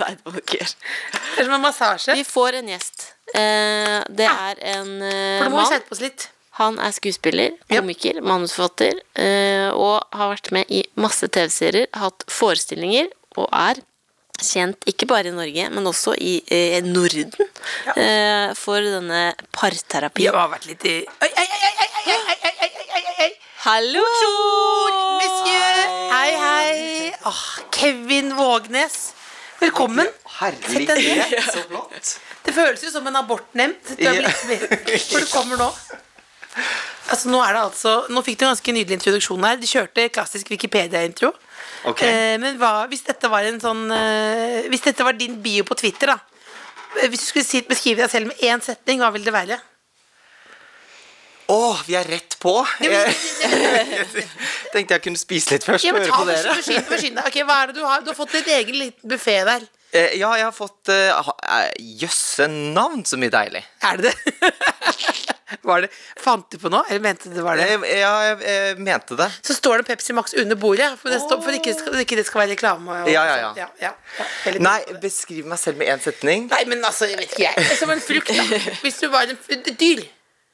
[SPEAKER 4] Nei, det må du ikke gjøre.
[SPEAKER 3] Det er som en massasje.
[SPEAKER 4] Vi får en gjest. Eh, det er en eh,
[SPEAKER 3] For det må vi
[SPEAKER 4] mann.
[SPEAKER 3] skjerpe oss litt.
[SPEAKER 4] Han er skuespiller,
[SPEAKER 3] Ja.
[SPEAKER 4] komiker, manusforfatter eh, og har vært med i masse TV-serier, hatt forestillinger og er kjent ikke bare i Norge, men også i eh, Norden eh, for denne parterapi.
[SPEAKER 3] Jeg har vært litt i Oi, ei, ei, ei, ei, ei, ei, ei, ei, ei, ei, ei.
[SPEAKER 4] Hallo!
[SPEAKER 3] Monsieur! Hei, hei! Åh, Kevin Vågnes. Velkommen. Sett deg ned.
[SPEAKER 2] Herlighet, så flott.
[SPEAKER 3] Det føles jo som en abortnemnd. Du er
[SPEAKER 2] Ja.
[SPEAKER 3] blitt med. For du kommer nå. Altså, nå, er det altså, nå fikk du en ganske nydelig introduksjon her. Du kjørte klassisk Wikipedia-intro.
[SPEAKER 2] Ok.
[SPEAKER 3] Eh, men hva, hvis dette var en sånn eh, Hvis dette var din bio på Twitter, da. Eh, Hvis du skulle si, beskrive deg selv med én setning, hva ville det være?
[SPEAKER 2] Å, vi er rett på. Jeg tenkte jeg kunne spise litt først
[SPEAKER 3] Ja,
[SPEAKER 2] og
[SPEAKER 3] men
[SPEAKER 2] høre
[SPEAKER 3] ta
[SPEAKER 2] på dere.
[SPEAKER 3] forsyn, forsyn deg. Ok, hva er det du har? Du har fått din egen liten buffé der.
[SPEAKER 2] Eh, Ja, jeg har fått eh, ha- eh, Jøsse navn, så mye deilig.
[SPEAKER 3] Er det det? var det? Fant du på noe, eller mente du det var det?
[SPEAKER 2] Jeg, ja, jeg, eh, mente det.
[SPEAKER 3] Så står det Pepsi Max under bordet, for, det står, for ikke, det skal, ikke det skal være reklame. Og,
[SPEAKER 2] Ja, ja, ja.
[SPEAKER 3] ja, ja, ja. Veldig
[SPEAKER 2] Nei,
[SPEAKER 3] bra.
[SPEAKER 2] beskriv meg selv med én setning.
[SPEAKER 3] Nei, men altså, jeg vet ikke jeg. Som en frukt, da. Hvis du var en f- et dyr.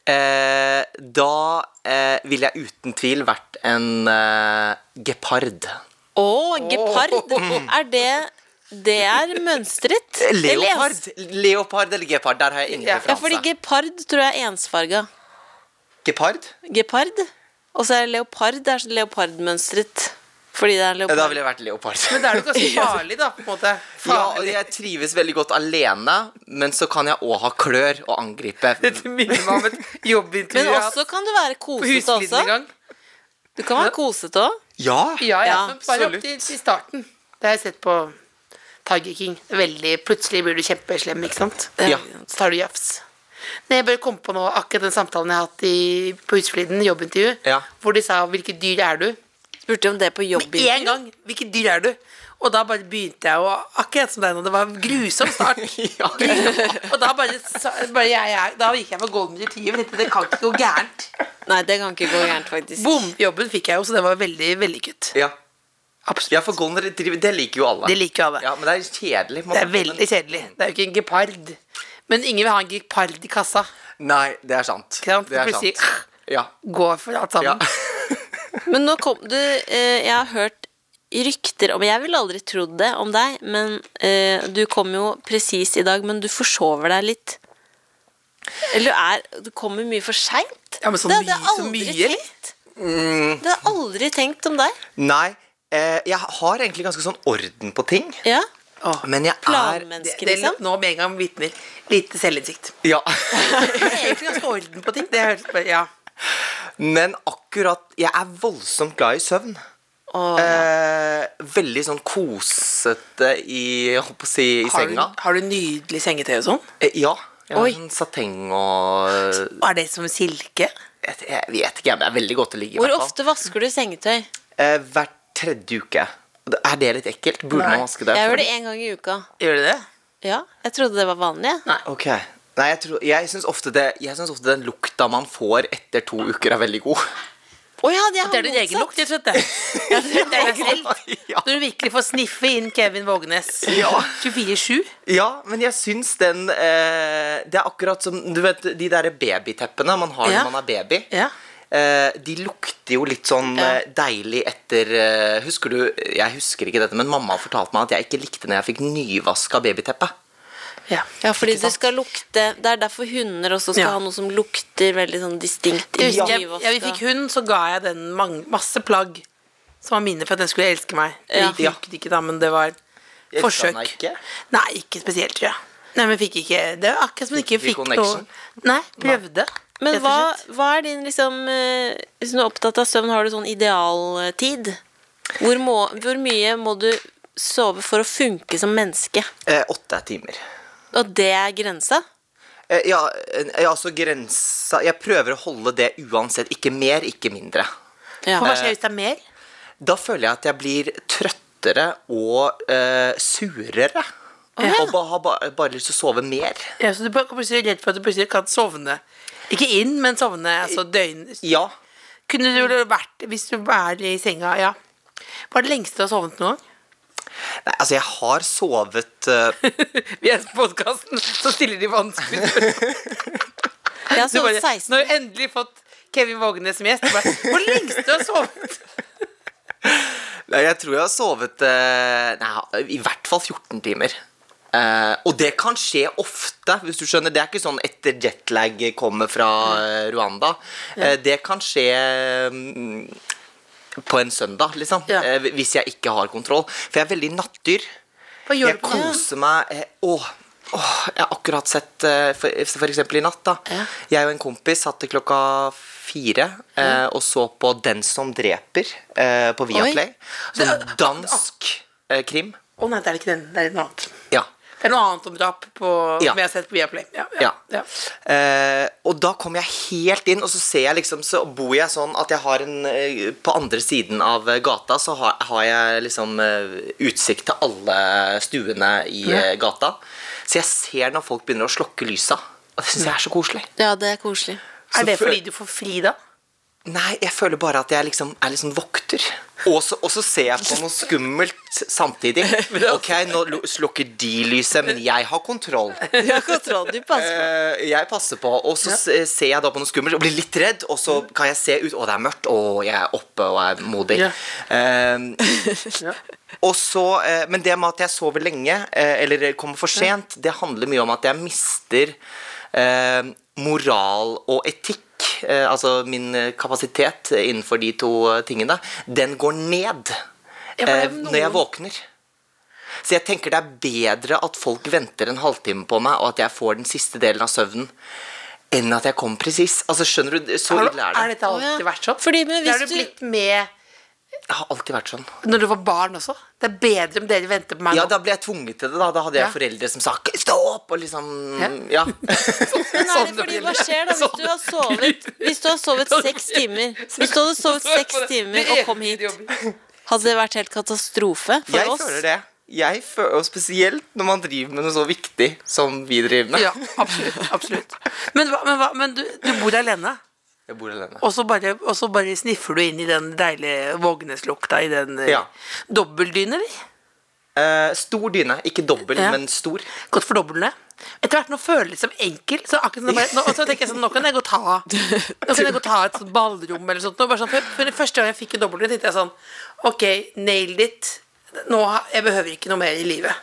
[SPEAKER 2] Eh, da eh, ville jeg uten tvil vært en eh, gepard.
[SPEAKER 4] Å, gepard! Er det Det er mønstret?
[SPEAKER 2] Eh,
[SPEAKER 4] Eller ens-
[SPEAKER 2] Leopard. Leopard eller gepard. Der har jeg ingen
[SPEAKER 3] Ja.
[SPEAKER 4] Ja, fordi
[SPEAKER 2] referanse.
[SPEAKER 4] gepard tror jeg er ensfarga.
[SPEAKER 2] Gepard?
[SPEAKER 4] Gepard. Og så er leopard det er sånn leopardmønstret. Fordi det er
[SPEAKER 2] Eh, Da
[SPEAKER 4] leopard.
[SPEAKER 2] ville jeg vært leopard.
[SPEAKER 3] Men da er du ganske farlig, da, på en måte.
[SPEAKER 2] Ja, og
[SPEAKER 3] Farlig.
[SPEAKER 2] jeg trives veldig godt alene, men så kan jeg òg ha klør og angripe.
[SPEAKER 3] Dette minner meg om et
[SPEAKER 4] Men
[SPEAKER 3] jobbintervju jeg har hatt
[SPEAKER 4] også kan du være
[SPEAKER 3] på
[SPEAKER 4] kosete
[SPEAKER 3] Husfliden en
[SPEAKER 4] også.
[SPEAKER 3] gang.
[SPEAKER 4] Du kan være kosete òg.
[SPEAKER 2] Ja!
[SPEAKER 3] Ja, ja,
[SPEAKER 4] Ja,
[SPEAKER 3] men bare opp
[SPEAKER 2] absolutt.
[SPEAKER 3] til, til starten. Det har jeg sett på Tiger King. Veldig, plutselig blir du kjempeslem, ikke sant?
[SPEAKER 2] Ja.
[SPEAKER 3] Så tar du jafs. Nei, jeg bare kom på nå akkurat den samtalen jeg har hatt i, på Husfliden, jobbintervju,
[SPEAKER 2] Ja.
[SPEAKER 3] hvor de sa 'hvilket dyr er du?'
[SPEAKER 4] Spurte om det på
[SPEAKER 3] Med
[SPEAKER 4] jobbintervju.
[SPEAKER 3] en gang! 'Hvilket dyr er du?' Og da bare begynte jeg å Akkurat som deg nå, det var en grusom start.
[SPEAKER 2] Ja.
[SPEAKER 3] og da bare, sa- bare jeg, jeg, Da gikk jeg for golden retriever. tenkte, Det kan ikke gå gærent.
[SPEAKER 4] Nei, det kan ikke gå gærent, faktisk.
[SPEAKER 3] Bomjobben fikk jeg jo, så det var veldig vellykket.
[SPEAKER 2] Ja.
[SPEAKER 3] Absolutt.
[SPEAKER 2] ja, for golden retriever, det liker jo alle.
[SPEAKER 3] Det liker jo alle.
[SPEAKER 2] Ja, Men det er kjedelig. på en
[SPEAKER 3] Det er
[SPEAKER 2] måte.
[SPEAKER 3] veldig kjedelig. Det er jo ikke en gepard. Men ingen vil ha en gepard i kassa.
[SPEAKER 2] Nei, det er sant.
[SPEAKER 3] Ikke sant?
[SPEAKER 2] Det er
[SPEAKER 3] Plutselig- "Ah,
[SPEAKER 2] sant. Ja.
[SPEAKER 3] Gå for alt
[SPEAKER 2] ja.
[SPEAKER 3] sammen.
[SPEAKER 4] Men nå kom du eh, Jeg har hørt rykter om Jeg ville aldri trodd det om deg, men eh, du kom jo presis i dag, men du forsover deg litt. Eller du er Du kommer mye for seint.
[SPEAKER 3] Ja, men så
[SPEAKER 4] det hadde
[SPEAKER 3] mye-
[SPEAKER 4] jeg
[SPEAKER 3] så
[SPEAKER 4] aldri
[SPEAKER 3] mye, Mm. eller?
[SPEAKER 4] tenkt. Det har jeg aldri tenkt om deg.
[SPEAKER 2] Nei, eh, jeg har egentlig ganske sånn orden på ting.
[SPEAKER 4] Ja.
[SPEAKER 2] Men jeg er
[SPEAKER 3] Det,
[SPEAKER 4] Planmenneske,
[SPEAKER 3] det
[SPEAKER 4] liksom.
[SPEAKER 3] nå med en gang vitner lite selvinnsikt.
[SPEAKER 2] Ja.
[SPEAKER 3] Jeg er egentlig ganske orden på ting. Det høres bare, ja.
[SPEAKER 2] Men akkurat Jeg er voldsomt glad i søvn.
[SPEAKER 4] Åh,
[SPEAKER 2] Eh, veldig sånn kosete i, jeg holdt på å si, i
[SPEAKER 3] Har du,
[SPEAKER 2] senga.
[SPEAKER 3] har du nydelig sengetøy og sånn?
[SPEAKER 2] Eh, ja. Jeg har
[SPEAKER 4] Oi.
[SPEAKER 2] sånn sateng og jeg,
[SPEAKER 3] Og er det som silke?
[SPEAKER 2] jeg vet ikke, men det er veldig godt å ligge i.
[SPEAKER 4] Hvor
[SPEAKER 2] hvert fall.
[SPEAKER 4] ofte vasker du sengetøy?
[SPEAKER 2] Eh, hver tredje uke. Er det litt ekkelt? Burde
[SPEAKER 3] Nei.
[SPEAKER 2] man vaske det?
[SPEAKER 4] Jeg gjør det én gang i uka.
[SPEAKER 3] Gjør du det?
[SPEAKER 4] Ja, Jeg trodde det var vanlig. jeg.
[SPEAKER 2] Ok. Nei, jeg, tror, jeg syns ofte, det- jeg syns ofte den lukta man får etter to uker, er veldig god.
[SPEAKER 4] Å ja, det,
[SPEAKER 3] Det er din egen lukt, rett og slett. det. Det er deg selv.
[SPEAKER 2] Ja.
[SPEAKER 3] Når du virkelig får sniffe inn Kevin Vågenes
[SPEAKER 2] Ja.
[SPEAKER 3] 24-7.
[SPEAKER 2] Ja, men jeg syns den eh, Det er akkurat som du vet, de derre babyteppene man har
[SPEAKER 3] Ja.
[SPEAKER 2] når man er baby.
[SPEAKER 3] Ja.
[SPEAKER 2] Eh, de lukter jo litt sånn
[SPEAKER 4] Ja.
[SPEAKER 2] eh, deilig etter eh, Husker du Jeg husker ikke dette, men mamma fortalte meg at jeg ikke likte når jeg fikk nyvaska babyteppe.
[SPEAKER 3] Ja.
[SPEAKER 4] Ja, fordi
[SPEAKER 2] Ikke
[SPEAKER 4] det
[SPEAKER 2] sant?
[SPEAKER 4] skal lukte Det er derfor hunder også skal
[SPEAKER 3] Ja.
[SPEAKER 4] ha noe som lukter veldig sånn distinkt. i
[SPEAKER 3] Jeg husker, jeg,
[SPEAKER 4] nyvaska.
[SPEAKER 3] ja, vi fikk hund, så ga jeg den mang- masse plagg som var mine for at den skulle elske meg. Det
[SPEAKER 4] Ja.
[SPEAKER 3] gikk gikk ikke da, men det var
[SPEAKER 2] Elsket
[SPEAKER 3] forsøk.
[SPEAKER 2] han deg ikke?
[SPEAKER 3] Nei, ikke spesielt, tror jeg. Nei, men fikk ikke, Det var akkurat som hun ikke
[SPEAKER 2] Fikk vi
[SPEAKER 3] fikk noe
[SPEAKER 2] connection?
[SPEAKER 3] Nei, prøvde.
[SPEAKER 4] Men
[SPEAKER 3] rett og
[SPEAKER 4] hva,
[SPEAKER 3] slett.
[SPEAKER 4] hva er din liksom eh, Hvis du er opptatt av søvn, har du sånn idealtid? Hvor, må, hvor mye må du sove for å funke som menneske?
[SPEAKER 2] Eh, åtte timer.
[SPEAKER 4] Og det er grensa?
[SPEAKER 2] Eh, ja, eh, ja, altså grensa Jeg prøver å holde det uansett. Ikke mer, ikke mindre.
[SPEAKER 4] Ja.
[SPEAKER 3] Og hva skjer hvis det er mer?
[SPEAKER 2] Da føler jeg at jeg blir trøttere og eh, surere.
[SPEAKER 4] ja.
[SPEAKER 2] Og ba, har ba, bare lyst til å sove mer.
[SPEAKER 3] Ja, så du blir plutselig redd for at du plutselig kan sovne. Ikke inn, men sovne altså døgn.
[SPEAKER 2] Ja.
[SPEAKER 3] Kunne du vel vært Hvis du er i senga, ja. Hva er det lengste du har sovnet noen gang?
[SPEAKER 2] Nei, altså, jeg har sovet eh,
[SPEAKER 3] Vi er på podkasten, så stiller de vanskelige spørsmål.
[SPEAKER 4] Jeg har
[SPEAKER 3] Du bare,
[SPEAKER 4] sovet 16
[SPEAKER 3] Nå har jeg endelig fått Kevin Vågenes som gjest. Du Bare, Hvor lengst du har sovet?
[SPEAKER 2] Nei, jeg tror jeg har sovet eh, Nei, i hvert fall 14 timer. Eh, og det kan skje ofte, hvis du skjønner. Det er ikke sånn etter jetlag kommer fra eh, Rwanda. Eh, det kan skje mm, på en søndag, liksom.
[SPEAKER 3] Ja.
[SPEAKER 2] eh, hvis jeg ikke har kontroll. For jeg er veldig nattdyr.
[SPEAKER 3] Hva gjør
[SPEAKER 2] Jeg
[SPEAKER 3] du på natten?
[SPEAKER 2] koser meg eh, Åh, åh, jeg har akkurat sett eh, for, for eksempel i natt da Jeg og en kompis satt til klokka fire eh, Og så på Den som dreper eh, På Viaplay Sånn dansk eh, krim
[SPEAKER 3] Å nei, det er ikke den. Det er noe annet.
[SPEAKER 2] Ja,
[SPEAKER 3] Det er noe annet om drap på,
[SPEAKER 2] Ja.
[SPEAKER 3] som jeg har sett på Viaplay. Ja,
[SPEAKER 2] ja,
[SPEAKER 3] ja, ja.
[SPEAKER 2] Eh, Og da kom jeg helt inn Og så ser jeg liksom, så bor jeg sånn At jeg har en, eh, på andre siden av eh, gata Så har, har jeg liksom eh, Utsikt til alle stuene I eh, gata Så jeg ser når folk begynner å slokke lysa Og det synes jeg er så koselig
[SPEAKER 4] Ja, det er koselig.
[SPEAKER 2] Så
[SPEAKER 3] Er det
[SPEAKER 2] før-
[SPEAKER 3] fordi du får fri da?
[SPEAKER 2] Nei, jeg føler bare at jeg liksom er litt sånn vokter. Og så, og så ser jeg på noe skummelt samtidig. Ok, nå lu- slukker de lyset, men jeg har kontroll.
[SPEAKER 4] Du har kontroll, du passer på.
[SPEAKER 2] Eh, jeg passer på, og så se- ser jeg da på noe skummelt og blir litt redd, og så kan jeg se ut Å, det er mørkt, og jeg er oppe og er modig.
[SPEAKER 3] Mm. Ja.
[SPEAKER 2] Eh, og så, eh, men det med at jeg sover lenge, eh, eller kommer for sent, det handler mye om at jeg mister eh, moral og etikk. Eh, altså min eh, kapasitet innenfor de to eh, tingene. Den går ned
[SPEAKER 3] Ja, men
[SPEAKER 2] eh,
[SPEAKER 3] noen-
[SPEAKER 2] når jeg våkner. Så jeg tenker det er bedre at folk venter en halvtime på meg, og at jeg får den siste delen av søvnen, enn at jeg kommer presis. Altså, skjønner du? Så
[SPEAKER 3] Har du,
[SPEAKER 2] ille
[SPEAKER 3] er
[SPEAKER 2] er det.
[SPEAKER 3] dette
[SPEAKER 4] Å, ja.
[SPEAKER 3] alltid vært sånn?
[SPEAKER 4] Fordi, men
[SPEAKER 3] Det har
[SPEAKER 4] hvis
[SPEAKER 3] du
[SPEAKER 4] du-
[SPEAKER 3] blitt med
[SPEAKER 2] Jeg har alltid vært sånn.
[SPEAKER 3] når du var barn også? Det er bedre om dere venter på meg
[SPEAKER 2] Ja,
[SPEAKER 3] nå.
[SPEAKER 2] da ble jeg tvunget til det, da. Da hadde jeg
[SPEAKER 3] Ja.
[SPEAKER 2] foreldre som sa "Ikke 'stå opp', og liksom Ja.
[SPEAKER 4] Men er det
[SPEAKER 2] Sånne
[SPEAKER 4] fordi,
[SPEAKER 2] foreldre.
[SPEAKER 4] hva skjer da hvis du har sovet Hvis du har sovet seks timer Hvis du hadde sovet seks timer og kom hit
[SPEAKER 3] Det
[SPEAKER 4] Hadde det vært helt katastrofe for
[SPEAKER 2] jeg
[SPEAKER 4] oss?
[SPEAKER 2] føler det. Jeg føler, og spesielt når man driver med noe så viktig som vi driver med.
[SPEAKER 3] Ja, absolutt. absolutt. Men, hva- men, hva- men du, du bor alene,
[SPEAKER 2] Jeg bor alene.
[SPEAKER 3] og så bare, og så bare sniffer du inn i den deilige Vågnes-lukta i den eh,
[SPEAKER 2] Ja.
[SPEAKER 3] dobbeldyne, eller?
[SPEAKER 2] Eh, stor dyne. Ikke dobbel,
[SPEAKER 3] Ja.
[SPEAKER 2] men stor.
[SPEAKER 3] Godt for doblene. Etter hvert nå føles det som enkel, så akkurat som det bare, nå, og så tenker jeg sånn, nå kan jeg gå ta Nå kan jeg gå ta et sånt ballrom eller sånt. Nå, bare sånn, for, for det første gang jeg fikk en dobbeltdyne, tenkte jeg sånn Ok, nailed it. Nå, har- jeg behøver ikke noe mer i livet.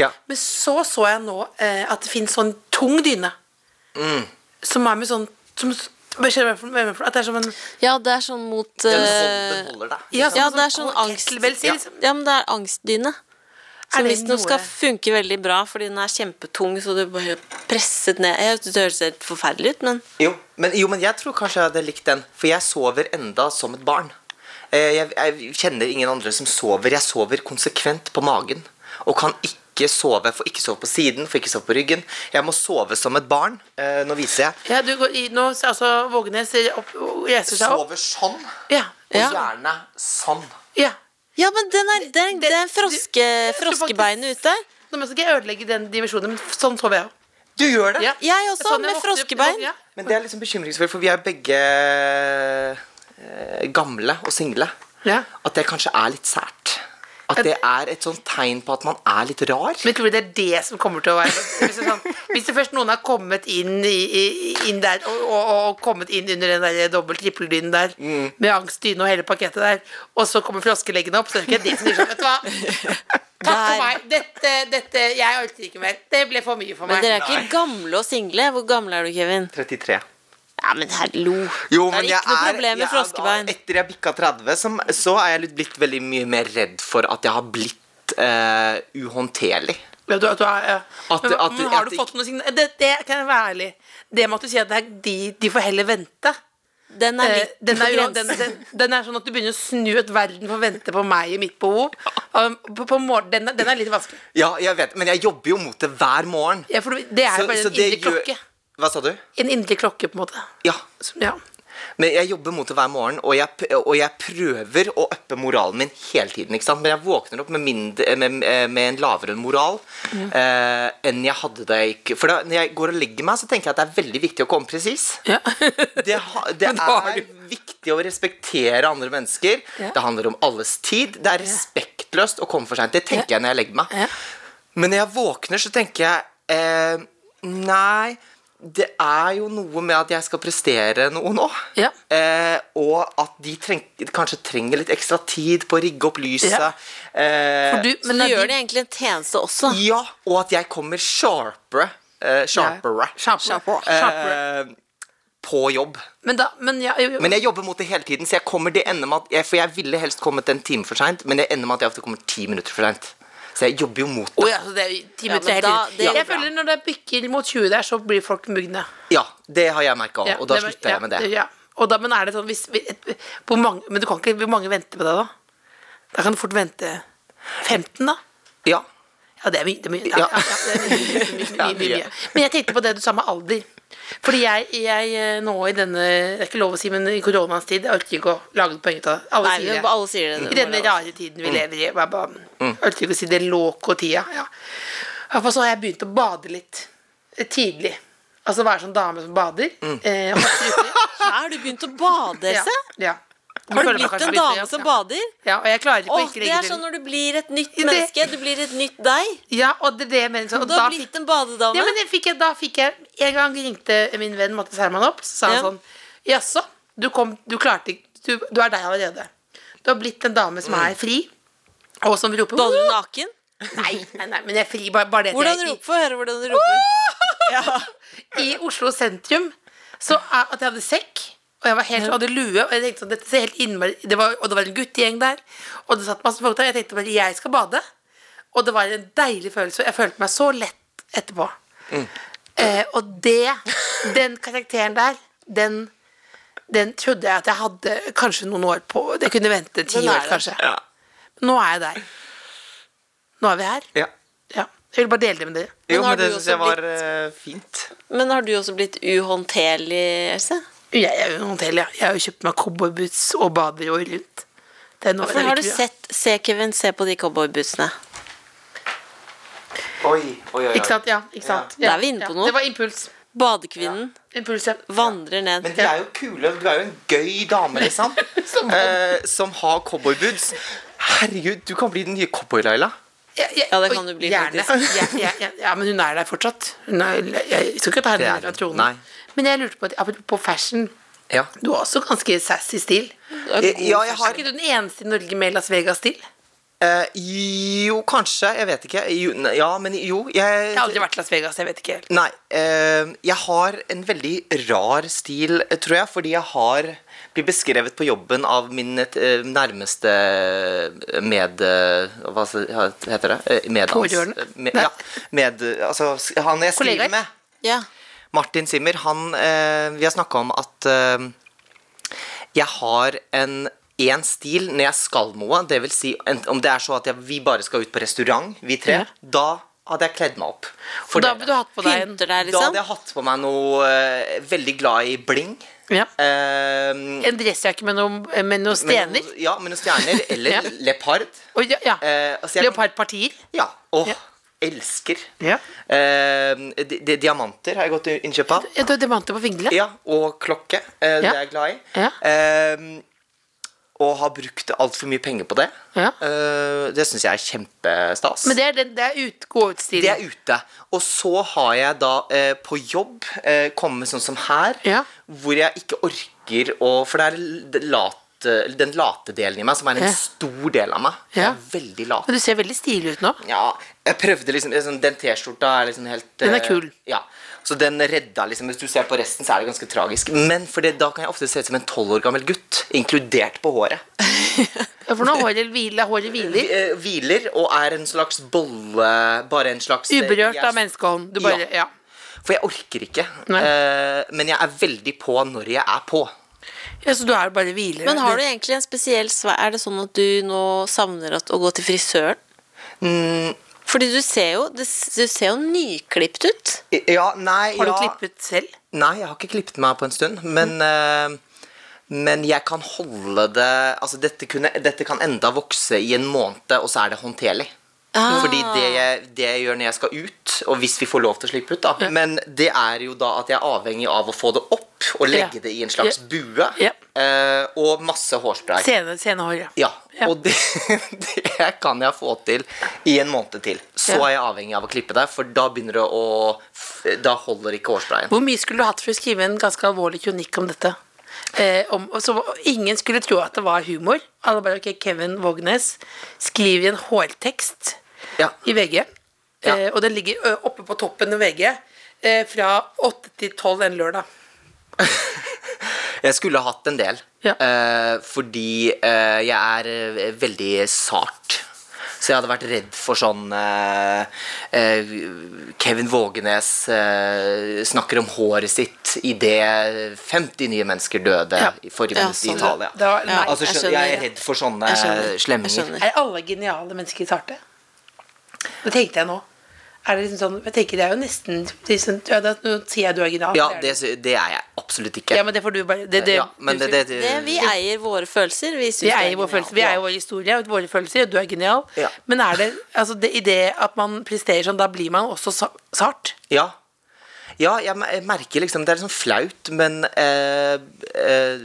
[SPEAKER 2] Ja.
[SPEAKER 3] Men så så jeg nå eh, at det finnes sånn tung dyne. Som er med sånn som, hva skjer med for- med- med for- At det er som en
[SPEAKER 4] Ja, det er sånn mot
[SPEAKER 2] Den
[SPEAKER 4] eh,
[SPEAKER 2] holder, den holder deg.
[SPEAKER 3] Ja,
[SPEAKER 4] Ja, det er sånn
[SPEAKER 3] og
[SPEAKER 4] angst...
[SPEAKER 3] kettlebell, sier
[SPEAKER 4] Ja.
[SPEAKER 3] liksom.
[SPEAKER 4] ja, men det er angstdyne. Som
[SPEAKER 3] det
[SPEAKER 4] visstnok
[SPEAKER 3] noe-
[SPEAKER 4] skal funke veldig bra, fordi den er kjempetung, så du bare presset ned Jeg vet, Det høres helt forferdelig ut, men
[SPEAKER 2] Jo men, jo, men jeg tror kanskje jeg hadde likt den. For jeg sover enda som et barn. Eh, Jeg, jeg kjenner ingen andre som sover. Jeg sover konsekvent på magen. Og kan ikke sove. Får ikke sove på siden, får ikke sove på ryggen. Jeg må sove som et barn. Eh, Nå viser jeg.
[SPEAKER 3] Ja, du går i Nå altså Vågenes opp, og reiser seg opp.
[SPEAKER 2] Sover sånn,
[SPEAKER 3] Ja.
[SPEAKER 2] og
[SPEAKER 4] Ja.
[SPEAKER 2] gjerne sånn.
[SPEAKER 3] ja.
[SPEAKER 4] Ja, men den er, det, er- det er froske,
[SPEAKER 3] jeg tror faktisk-
[SPEAKER 4] froskebeinet ute.
[SPEAKER 3] Nå men skal ikke jeg ødelegge den dimensjonen, men sånn sover jeg òg.
[SPEAKER 2] Du gjør det!
[SPEAKER 3] Ja.
[SPEAKER 4] Jeg også,
[SPEAKER 3] Sånn
[SPEAKER 4] med
[SPEAKER 3] jeg våkner-
[SPEAKER 4] froskebein.
[SPEAKER 3] Ja.
[SPEAKER 2] Men det er liksom bekymringsfullt, for vi er begge eh, gamle og single.
[SPEAKER 3] Ja.
[SPEAKER 2] At det kanskje er litt sært. At det er et sånt tegn på at man er litt rar.
[SPEAKER 3] Men tror du det er det som kommer til å være Hvis det, er sånn, hvis det først noen har kommet inn, i, i, inn der og, og, og kommet inn under den der dobbelt-trippeldynen der med angstdyne og hele pakketet der, og så kommer froskeleggen opp, så er det ikke det som sier sånn Vet du hva? Takk
[SPEAKER 4] Der.
[SPEAKER 3] for meg. Dette, dette Jeg orker ikke mer. Det ble for mye for
[SPEAKER 4] Men
[SPEAKER 3] meg.
[SPEAKER 4] dere er ikke gamle og single. Hvor gammel er du, Kevin?
[SPEAKER 2] 33.
[SPEAKER 4] Ja, men hallo. det
[SPEAKER 2] Jo,
[SPEAKER 4] er
[SPEAKER 2] men
[SPEAKER 4] ikke
[SPEAKER 2] jeg
[SPEAKER 4] noe
[SPEAKER 2] er-
[SPEAKER 4] problem med
[SPEAKER 2] jeg er-
[SPEAKER 4] froskebein.
[SPEAKER 2] Etter jeg bikka 30, som, så er jeg litt blitt veldig mye mer redd for at jeg har blitt eh, uhåndterlig.
[SPEAKER 3] Ja, du, du har- ja.
[SPEAKER 2] At-
[SPEAKER 3] men,
[SPEAKER 2] at-
[SPEAKER 3] men har
[SPEAKER 2] at-
[SPEAKER 3] du fått noen signaler? Det, det kan jeg være ærlig. Det med at du sier at det er de, de får heller vente.
[SPEAKER 4] Den er
[SPEAKER 3] Eh,
[SPEAKER 4] litt
[SPEAKER 3] Den
[SPEAKER 4] på
[SPEAKER 3] er, jo- den,
[SPEAKER 4] grensen.
[SPEAKER 3] den, den er sånn at du begynner å snu et verden for å vente på meg i mitt behov. Um, På, på morgen, den, er- den er litt vanskelig.
[SPEAKER 2] Ja, jeg vet, men jeg jobber jo mot det hver morgen.
[SPEAKER 3] Ja, for det er jo bare en indre
[SPEAKER 2] gjør-
[SPEAKER 3] klokke.
[SPEAKER 2] Hva sa du?
[SPEAKER 3] En indre klokke, på en måte.
[SPEAKER 2] Ja.
[SPEAKER 3] Som, ja.
[SPEAKER 2] Men jeg jobber mot det hver morgen, og jeg, p- og jeg prøver å uppe moralen min hele tiden. ikke sant? Men jeg våkner opp med, mindre, med, med en lavere moral eh, enn jeg hadde da jeg gikk For da, når jeg går og legger meg, så tenker jeg at det er veldig viktig å komme presis.
[SPEAKER 3] Ja.
[SPEAKER 2] Det, ha- det
[SPEAKER 3] Men da har
[SPEAKER 2] er
[SPEAKER 3] du-
[SPEAKER 2] viktig å respektere andre mennesker.
[SPEAKER 3] Ja.
[SPEAKER 2] Det handler om alles tid. Det er respektløst å komme for seint. Det tenker jeg når jeg legger meg.
[SPEAKER 3] Ja.
[SPEAKER 2] Men når jeg våkner, så tenker jeg eh, Nei, det er jo noe med at jeg skal prestere noe nå.
[SPEAKER 3] Ja.
[SPEAKER 2] Eh, og at de treng, kanskje trenger litt ekstra tid på å rigge opp lyset.
[SPEAKER 3] Ja.
[SPEAKER 2] Eh,
[SPEAKER 3] Du,
[SPEAKER 4] Men
[SPEAKER 3] men
[SPEAKER 4] du
[SPEAKER 3] det er
[SPEAKER 4] gjør
[SPEAKER 3] de-
[SPEAKER 4] det egentlig en tjeneste også.
[SPEAKER 2] ja, og at jeg kommer sharpere. Eh, sharpere.
[SPEAKER 3] Sharpere. Sharpere.
[SPEAKER 2] Eh, på jobb.
[SPEAKER 3] Men da men ja, jo, jo.
[SPEAKER 2] Men jeg jobber mot det hele tiden, så jeg kommer det ender med at jeg, For jeg ville helst kommet en time for seint, men det ender med at jeg ofte kommer ti minutter for seint. Så jeg jobber jo mot
[SPEAKER 3] Å
[SPEAKER 2] det.
[SPEAKER 3] ja, så det er jo ti
[SPEAKER 4] Ja,
[SPEAKER 3] minutter
[SPEAKER 4] men
[SPEAKER 3] hele
[SPEAKER 4] da-
[SPEAKER 3] tiden.
[SPEAKER 4] det er
[SPEAKER 3] Jeg
[SPEAKER 4] bra.
[SPEAKER 3] føler når det bikker mot 20 der, så blir folk mugne.
[SPEAKER 2] Ja, det har jeg merka òg,
[SPEAKER 3] Ja,
[SPEAKER 2] og da
[SPEAKER 3] det var-
[SPEAKER 2] slutter
[SPEAKER 3] ja,
[SPEAKER 2] jeg med det.
[SPEAKER 3] Ja. Og da, men er det sånn hvis, vi- et- hvor mange, Men du kan ikke Hvor mange venter på deg, da? Da kan du fort vente 15, da?
[SPEAKER 2] Ja.
[SPEAKER 3] Ja, det er mye. Det er mye, ja,
[SPEAKER 2] Ja.
[SPEAKER 3] ja, det er mye, mye, mye, mye, mye,
[SPEAKER 2] Ja, mye.
[SPEAKER 3] mye. Men jeg tenkte på det du sa med alder. Fordi jeg, jeg eh, nå i denne Det er ikke lov å si, men i koronaens tid Jeg orker ikke å lage noe poeng ut av det. Alle
[SPEAKER 4] Nei,
[SPEAKER 3] sier det.
[SPEAKER 4] men alle sier det.
[SPEAKER 3] I denne rare tiden vi lever i. Bare, bare, Orker ikke å si det loco-tida. Ja. Iallfall så har jeg begynt å bade litt. eh, Tidlig. Altså være sånn dame som bader.
[SPEAKER 4] Her
[SPEAKER 3] Eh, og
[SPEAKER 4] har du begynt å bade,
[SPEAKER 3] ja,
[SPEAKER 4] Else.
[SPEAKER 3] ja.
[SPEAKER 4] Har
[SPEAKER 3] Føler
[SPEAKER 4] du
[SPEAKER 3] meg
[SPEAKER 4] blitt
[SPEAKER 3] kanskje
[SPEAKER 4] en
[SPEAKER 3] litt- ja,
[SPEAKER 4] dame som bader?
[SPEAKER 3] Ja, og jeg klarer ikke å
[SPEAKER 4] Åh,
[SPEAKER 3] ikke
[SPEAKER 4] det
[SPEAKER 3] legge
[SPEAKER 4] er sånn
[SPEAKER 3] til.
[SPEAKER 4] når du blir et nytt
[SPEAKER 3] Det-
[SPEAKER 4] menneske. Du blir et nytt deg.
[SPEAKER 3] Ja, og det, er det jeg mener, sånn,
[SPEAKER 4] Og du har
[SPEAKER 3] da
[SPEAKER 4] blitt en
[SPEAKER 3] Ja,
[SPEAKER 4] badedame.
[SPEAKER 3] men jeg fikk, da fikk jeg En gang ringte min venn Mattis Herman opp, så sa han
[SPEAKER 4] Ja.
[SPEAKER 3] sånn Jaså, du kom Du klarte ikke du, du er deg allerede. Du har blitt en dame som er fri, og som roper
[SPEAKER 4] Bader Mm. du naken?
[SPEAKER 3] Nei, nei, nei, men jeg er fri, bare, bare det at
[SPEAKER 4] Hvordan
[SPEAKER 3] jeg-
[SPEAKER 4] roper Få høre hvordan du roper. Ja.
[SPEAKER 3] i Oslo sentrum så er, at jeg hadde sekk, og jeg var helt, hadde lue, og jeg tenkte sånn, dette ser helt innmari, det var, og det var en guttegjeng der, og det satt masse folk der, og jeg tenkte bare, jeg skal bade, og det var en deilig følelse, og jeg følte meg så lett etterpå. Eh, og det, den karakteren der, den, den trodde jeg at jeg hadde kanskje noen år på, det kunne vente ti
[SPEAKER 4] Den er
[SPEAKER 3] år
[SPEAKER 4] det.
[SPEAKER 3] kanskje.
[SPEAKER 2] Ja.
[SPEAKER 3] Nå er jeg der. Nå er vi her.
[SPEAKER 2] ja.
[SPEAKER 3] Ja. Jeg vil bare dele det med dere.
[SPEAKER 2] Jo,
[SPEAKER 4] har
[SPEAKER 2] men det
[SPEAKER 4] du
[SPEAKER 2] syns
[SPEAKER 4] også
[SPEAKER 2] jeg var eh, fint.
[SPEAKER 4] Men har du også blitt uhåndterlig, Else?
[SPEAKER 3] Jeg er jo en hotell, ja. Jeg har jo kjøpt meg cowboyboots og bader jo rundt. Den
[SPEAKER 4] For har du sett Se Kevin, se på de cowboybutsene.
[SPEAKER 2] Oi, oi, oi, oi.
[SPEAKER 3] Ikke sant? Ja. ikke sant?
[SPEAKER 4] Da
[SPEAKER 3] Ja.
[SPEAKER 4] er vi inne på
[SPEAKER 3] ja.
[SPEAKER 4] noe.
[SPEAKER 3] Det var impuls.
[SPEAKER 4] Badekvinnen
[SPEAKER 3] Impuls, ja.
[SPEAKER 4] vandrer ned.
[SPEAKER 2] Men de er jo kule. Du er jo en gøy dame, liksom.
[SPEAKER 3] Som-
[SPEAKER 2] eh, som har cowboyboots. Herregud, du kan bli den nye cowboy-Laila.
[SPEAKER 3] Ja,
[SPEAKER 4] Ja, det kan
[SPEAKER 3] oi,
[SPEAKER 4] du bli,
[SPEAKER 3] gjerne.
[SPEAKER 4] faktisk.
[SPEAKER 3] Ja, ja, ja, ja, men hun er der fortsatt. Hun er, jeg skal ikke ta
[SPEAKER 2] Det
[SPEAKER 3] henne
[SPEAKER 2] er
[SPEAKER 3] ned fra
[SPEAKER 2] hun.
[SPEAKER 3] tronen.
[SPEAKER 2] Nei.
[SPEAKER 3] Men jeg lurte på, at- apropos fashion,
[SPEAKER 2] Ja.
[SPEAKER 3] du har også ganske sassy stil.
[SPEAKER 2] Eh, ja, jeg
[SPEAKER 3] Er
[SPEAKER 2] har
[SPEAKER 3] ikke du den eneste i Norge med Las Vegas-stil? Jeg
[SPEAKER 2] eh, Jo, kanskje. Jeg vet ikke. Jo, ne- ja, men jo. Jeg,
[SPEAKER 3] har aldri vært i Las Vegas, jeg vet ikke helt.
[SPEAKER 2] Nei. eh, jeg har en veldig rar stil, eh, tror jeg, fordi jeg har blitt beskrevet på jobben av min eh, nærmeste med... eh, Hva s- heter det? Eh, Medans...
[SPEAKER 3] Pårørende?
[SPEAKER 2] Med, ja, med... Altså, han jeg
[SPEAKER 3] Kollegaer?
[SPEAKER 2] skriver med.
[SPEAKER 4] Ja.
[SPEAKER 2] Martin Simmer, han eh, Vi har snakka om at eh, jeg har en én stil når jeg skal noe. Det vil si, en, om det er så at jeg, vi bare skal ut på restaurant, vi tre,
[SPEAKER 3] Ja.
[SPEAKER 2] da hadde jeg kledd meg opp. For
[SPEAKER 3] Da
[SPEAKER 2] dere.
[SPEAKER 3] burde du hatt på deg en
[SPEAKER 4] Pynter deg,
[SPEAKER 2] da hadde
[SPEAKER 4] liksom.
[SPEAKER 2] jeg hatt på meg noe eh, veldig glad i bling.
[SPEAKER 3] ja.
[SPEAKER 2] Eh,
[SPEAKER 3] En dressjakke med noen, med noen
[SPEAKER 2] med
[SPEAKER 3] stener.
[SPEAKER 2] noen- ja, med noen stjerner. Eller
[SPEAKER 3] Ja.
[SPEAKER 2] leopard.
[SPEAKER 3] Og ja, ja.
[SPEAKER 2] Eh, altså, jeg-
[SPEAKER 3] Leopardpartier.
[SPEAKER 2] Ja. Åh,
[SPEAKER 3] Ja.
[SPEAKER 2] elsker.
[SPEAKER 3] Ja.
[SPEAKER 2] Eh, di- di- diamanter har jeg gått i innkjøp av.
[SPEAKER 3] Ja, du har diamanter på fingrene.
[SPEAKER 2] Ja, og klokke. Eh, Det
[SPEAKER 3] Ja.
[SPEAKER 2] er jeg glad i.
[SPEAKER 3] Ja.
[SPEAKER 2] Eh, og har brukt altfor mye penger på det.
[SPEAKER 3] Ja.
[SPEAKER 2] Eh, det syns jeg er kjempestas.
[SPEAKER 3] Men det er, den- det er ut, gå ut-stil.
[SPEAKER 2] Det er ute. Og så har jeg da eh, på jobb eh, kommet sånn som her,
[SPEAKER 3] Ja.
[SPEAKER 2] hvor jeg ikke orker å For det er l- late, den late delen i meg som er en
[SPEAKER 3] Ja.
[SPEAKER 2] stor del av meg. Jeg
[SPEAKER 3] Ja.
[SPEAKER 2] er veldig lat.
[SPEAKER 3] Men du ser veldig stilig ut nå.
[SPEAKER 2] Ja, jeg prøvde liksom, liksom Den T-skjorta er liksom helt
[SPEAKER 3] Den er
[SPEAKER 2] eh,
[SPEAKER 3] kul.
[SPEAKER 2] Ja, Så den redda liksom Hvis du ser på resten, så er det ganske tragisk. Men for det, da kan jeg ofte se ut som en tolv år gammel gutt, inkludert på håret.
[SPEAKER 3] Ja, For nå har håret hvile, håret hviler.
[SPEAKER 2] Eh, Hviler og er en slags bolle Bare en slags eh,
[SPEAKER 3] Uberørt
[SPEAKER 2] jeg-
[SPEAKER 3] av menneskehånd. Du bare, ja.
[SPEAKER 2] Ja. For jeg orker ikke.
[SPEAKER 3] Nei.
[SPEAKER 2] Eh, men jeg er veldig på når jeg er på.
[SPEAKER 3] ja. Så du er bare hviler.
[SPEAKER 4] Men har du egentlig en spesiell svei? Er det sånn at du nå savner at, å gå til frisøren?
[SPEAKER 3] Mm.
[SPEAKER 4] Fordi du ser jo, det, s- du ser jo nyklipt ut.
[SPEAKER 2] I- Ja, nei
[SPEAKER 3] Har du
[SPEAKER 2] ja.
[SPEAKER 3] klippet Mm. selv?
[SPEAKER 2] Nei, jeg har ikke klippet meg på en stund. Men, eh, men jeg kan holde det Altså, dette, kunne, dette kan enda vokse i en måned, og så er det håndterlig.
[SPEAKER 4] Ah.
[SPEAKER 2] Fordi det jeg, det jeg gjør når jeg skal ut, og hvis vi får lov til å slippe ut, da Men det er jo da at jeg er avhengig av å få det opp og legge
[SPEAKER 3] Ja.
[SPEAKER 2] det i en slags
[SPEAKER 3] Ja.
[SPEAKER 2] bue.
[SPEAKER 3] Ja.
[SPEAKER 2] eh, og masse hårspray.
[SPEAKER 3] Sene, senehår, ja.
[SPEAKER 2] Ja,
[SPEAKER 3] Ja.
[SPEAKER 2] og det, det kan jeg få til i en måned til. Så
[SPEAKER 3] Ja.
[SPEAKER 2] er jeg avhengig av å klippe deg, for da begynner det å Da holder ikke hårsprayen.
[SPEAKER 3] Hvor mye skulle du hatt for å skrive en ganske alvorlig kronikk om dette? Eh, om, og så, ingen skulle tro at det var humor. Alle bare, ok, Kevin Vågnes skriver en hårtekst
[SPEAKER 2] Ja.
[SPEAKER 3] i VG.
[SPEAKER 2] Ja.
[SPEAKER 3] Eh, og den ligger ø, oppe på toppen av VG eh, fra 8 til 12 en lørdag.
[SPEAKER 2] Jeg skulle hatt en del,
[SPEAKER 3] Ja.
[SPEAKER 2] eh, fordi eh, jeg er eh, veldig sart. Så jeg hadde vært redd for sånn eh, eh, Kevin Vågenes eh, snakker om håret sitt idet 50 nye mennesker døde
[SPEAKER 3] Ja.
[SPEAKER 2] i forrige
[SPEAKER 4] Ja,
[SPEAKER 2] måned i
[SPEAKER 4] sånn.
[SPEAKER 2] Italia.
[SPEAKER 3] Det var- nei,
[SPEAKER 2] altså,
[SPEAKER 4] jeg
[SPEAKER 2] skjønner, jeg
[SPEAKER 4] skjønner.
[SPEAKER 2] er redd for sånne
[SPEAKER 4] Jeg skjønner.
[SPEAKER 2] slemminger.
[SPEAKER 4] Jeg skjønner.
[SPEAKER 3] Er alle geniale mennesker sarte? Det tenkte jeg nå. Er det liksom sånn, jeg tenker det er jo nesten liksom, ja, da, Nå sier jeg du er genial.
[SPEAKER 2] Ja,
[SPEAKER 3] er
[SPEAKER 2] det,
[SPEAKER 3] du.
[SPEAKER 2] det er jeg absolutt ikke.
[SPEAKER 3] ja, men det får du bare det, det,
[SPEAKER 2] Ja, men det, det,
[SPEAKER 4] Det, vi eier våre følelser. Vi,
[SPEAKER 3] Vi eier vår følelse, vi eier vår historie og våre følelser, og du er genial.
[SPEAKER 2] Ja.
[SPEAKER 3] Men er det, altså det i det at man presterer sånn, da blir man også sa- sart?
[SPEAKER 2] Ja. Ja, jeg me- jeg merker liksom Det er liksom flaut, men eh, eh,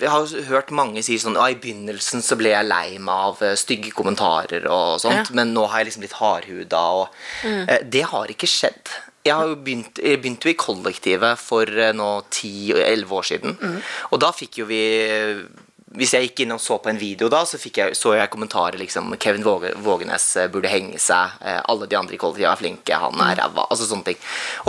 [SPEAKER 2] Jeg har jo hørt mange si sånn «Å, I begynnelsen så ble jeg lei meg av eh, stygge kommentarer og sånt,
[SPEAKER 3] Ja.
[SPEAKER 2] men nå har jeg liksom blitt hardhuda og eh, Det har ikke skjedd. Jeg, har jo begynt, jeg begynte jo i kollektivet for eh, nå ti-elleve år siden. Og da fikk jo vi Hvis jeg gikk inn og så på en video da, så fikk jeg, så jeg kommentarer liksom Kevin Våge, Vågenes eh, burde henge seg. eh, Alle de andre i kollektivet er flinke,
[SPEAKER 3] Mm.
[SPEAKER 2] han er ræva. Altså sånne ting.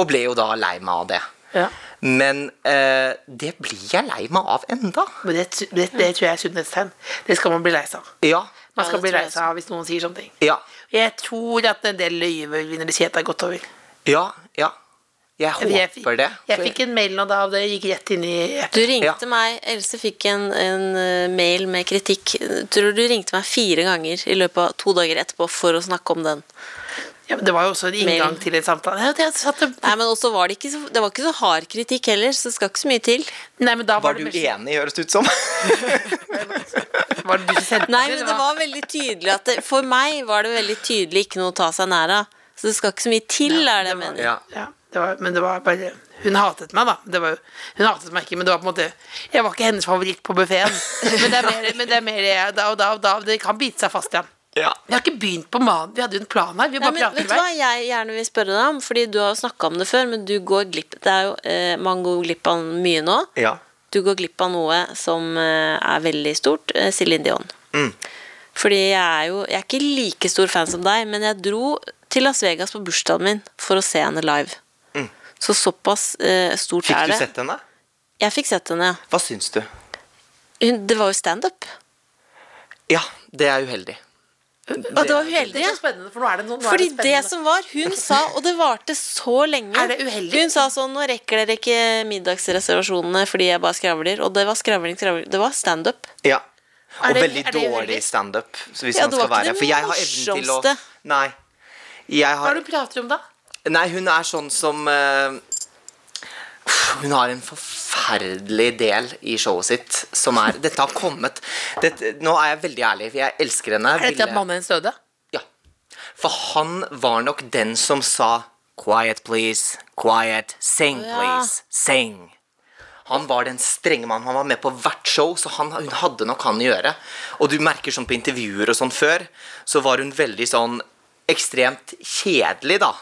[SPEAKER 2] Og ble jo da lei meg av det.
[SPEAKER 3] Ja.
[SPEAKER 2] Men eh, det blir jeg lei meg av enda.
[SPEAKER 3] Men det, det, det tror jeg er sunnhetstegn. Det skal man bli lei seg av.
[SPEAKER 2] Ja.
[SPEAKER 3] Man skal
[SPEAKER 4] det
[SPEAKER 3] bli
[SPEAKER 4] tror
[SPEAKER 3] lei
[SPEAKER 4] jeg
[SPEAKER 3] seg av hvis noen sier sånne ting.
[SPEAKER 2] Ja.
[SPEAKER 3] Jeg tror at en del løyvevinnerlighet er gått over.
[SPEAKER 2] Ja. ja. Jeg
[SPEAKER 3] Jeg, jeg,
[SPEAKER 2] håper det.
[SPEAKER 3] jeg fikk en mail nå da, og det gikk rett inn i
[SPEAKER 4] Du ringte
[SPEAKER 2] Ja.
[SPEAKER 4] meg, Else fikk en, en eh, mail med kritikk. Tror du ringte meg fire ganger i løpet av to dager etterpå for å snakke om den.
[SPEAKER 3] ja, men Det var jo også en inngang
[SPEAKER 4] Mailen.
[SPEAKER 3] til en samtale. Ja, det satt,
[SPEAKER 4] Nei, men også var det, ikke så, det var ikke så hard kritikk heller, så det skal ikke så mye til.
[SPEAKER 3] nei, men da var,
[SPEAKER 2] Var du
[SPEAKER 3] det mer-
[SPEAKER 2] enig, høres det ut som?
[SPEAKER 3] sånn- Var var det du som sendte
[SPEAKER 4] Nei, men
[SPEAKER 3] det, eller
[SPEAKER 4] det
[SPEAKER 3] hva?
[SPEAKER 4] var veldig tydelig at det, For meg var det veldig tydelig ikke noe å ta seg nær av. Så det skal ikke så mye til, er det jeg mener.
[SPEAKER 2] Ja.
[SPEAKER 3] ja, det var, Men det var bare Hun hatet meg, da. Det var, jo- hun hatet meg ikke, men det var på en måte Jeg var ikke hennes favoritt på buffeen. Men det er mer, men det er mer jeg, da og da og da. Det kan bite seg fast igjen.
[SPEAKER 2] Ja.
[SPEAKER 3] Vi har ikke begynt på manen. Vi hadde jo en plan her. Vi
[SPEAKER 4] Nei,
[SPEAKER 3] bare
[SPEAKER 4] men Vet
[SPEAKER 3] prater i
[SPEAKER 4] du
[SPEAKER 3] vei.
[SPEAKER 4] hva jeg gjerne vil spørre deg om? Fordi du har jo snakka om det før, men du går glipp Det er jo eh, man går glipp av mye nå.
[SPEAKER 2] ja.
[SPEAKER 4] Du går glipp av noe som eh, er veldig stort. Eh, Céline Dion.
[SPEAKER 2] Mm.
[SPEAKER 4] Fordi jeg er jo Jeg er ikke like stor fan som deg, men jeg dro til Las Vegas på bursdagen min for å se henne live. Så såpass eh, stort
[SPEAKER 2] Mm. Fikk
[SPEAKER 4] er
[SPEAKER 2] du
[SPEAKER 4] det.
[SPEAKER 2] sett henne?
[SPEAKER 4] Jeg fikk sett henne, ja.
[SPEAKER 2] Hva syns du?
[SPEAKER 4] Hun, det var jo standup.
[SPEAKER 2] Ja, det er uheldig.
[SPEAKER 4] Og det var uheldig.
[SPEAKER 3] Det er så spennende, for nå er det noe nå
[SPEAKER 4] Fordi
[SPEAKER 3] er det
[SPEAKER 4] det
[SPEAKER 3] spennende.
[SPEAKER 4] som var, hun sa, og det varte så lenge
[SPEAKER 3] Er det uheldig?
[SPEAKER 4] Hun sa sånn, nå rekker dere ikke middagsreservasjonene fordi jeg bare skravler. Og det var skravling, skravling. Det var standup.
[SPEAKER 2] Ja.
[SPEAKER 3] Er
[SPEAKER 2] Og
[SPEAKER 3] det-
[SPEAKER 2] veldig
[SPEAKER 3] er det
[SPEAKER 2] dårlig
[SPEAKER 3] uheldig?
[SPEAKER 2] standup. så Hvis
[SPEAKER 4] Ja,
[SPEAKER 2] man
[SPEAKER 4] det var
[SPEAKER 2] skal
[SPEAKER 4] ikke det
[SPEAKER 2] være For jeg har evnen til å
[SPEAKER 4] morsomste.
[SPEAKER 2] Nei. Jeg
[SPEAKER 3] Hva
[SPEAKER 2] har
[SPEAKER 3] er det du prater om, da?
[SPEAKER 2] Nei, hun er sånn som eh, Hun har en forferdelig del i showet sitt som er Dette har kommet dette, Nå er jeg veldig ærlig, for jeg elsker henne.
[SPEAKER 3] Er dette
[SPEAKER 2] ville-
[SPEAKER 3] at mannen hennes døde?
[SPEAKER 2] ja. For han var nok den som sa Quiet, please. Quiet. Sing,
[SPEAKER 4] Ja.
[SPEAKER 2] please. Sing. Han var den strenge mannen. Han var med på hvert show, så han, hun hadde nok han å gjøre. Og du merker sånn på intervjuer og sånn før, så var hun veldig sånn ekstremt kjedelig, da.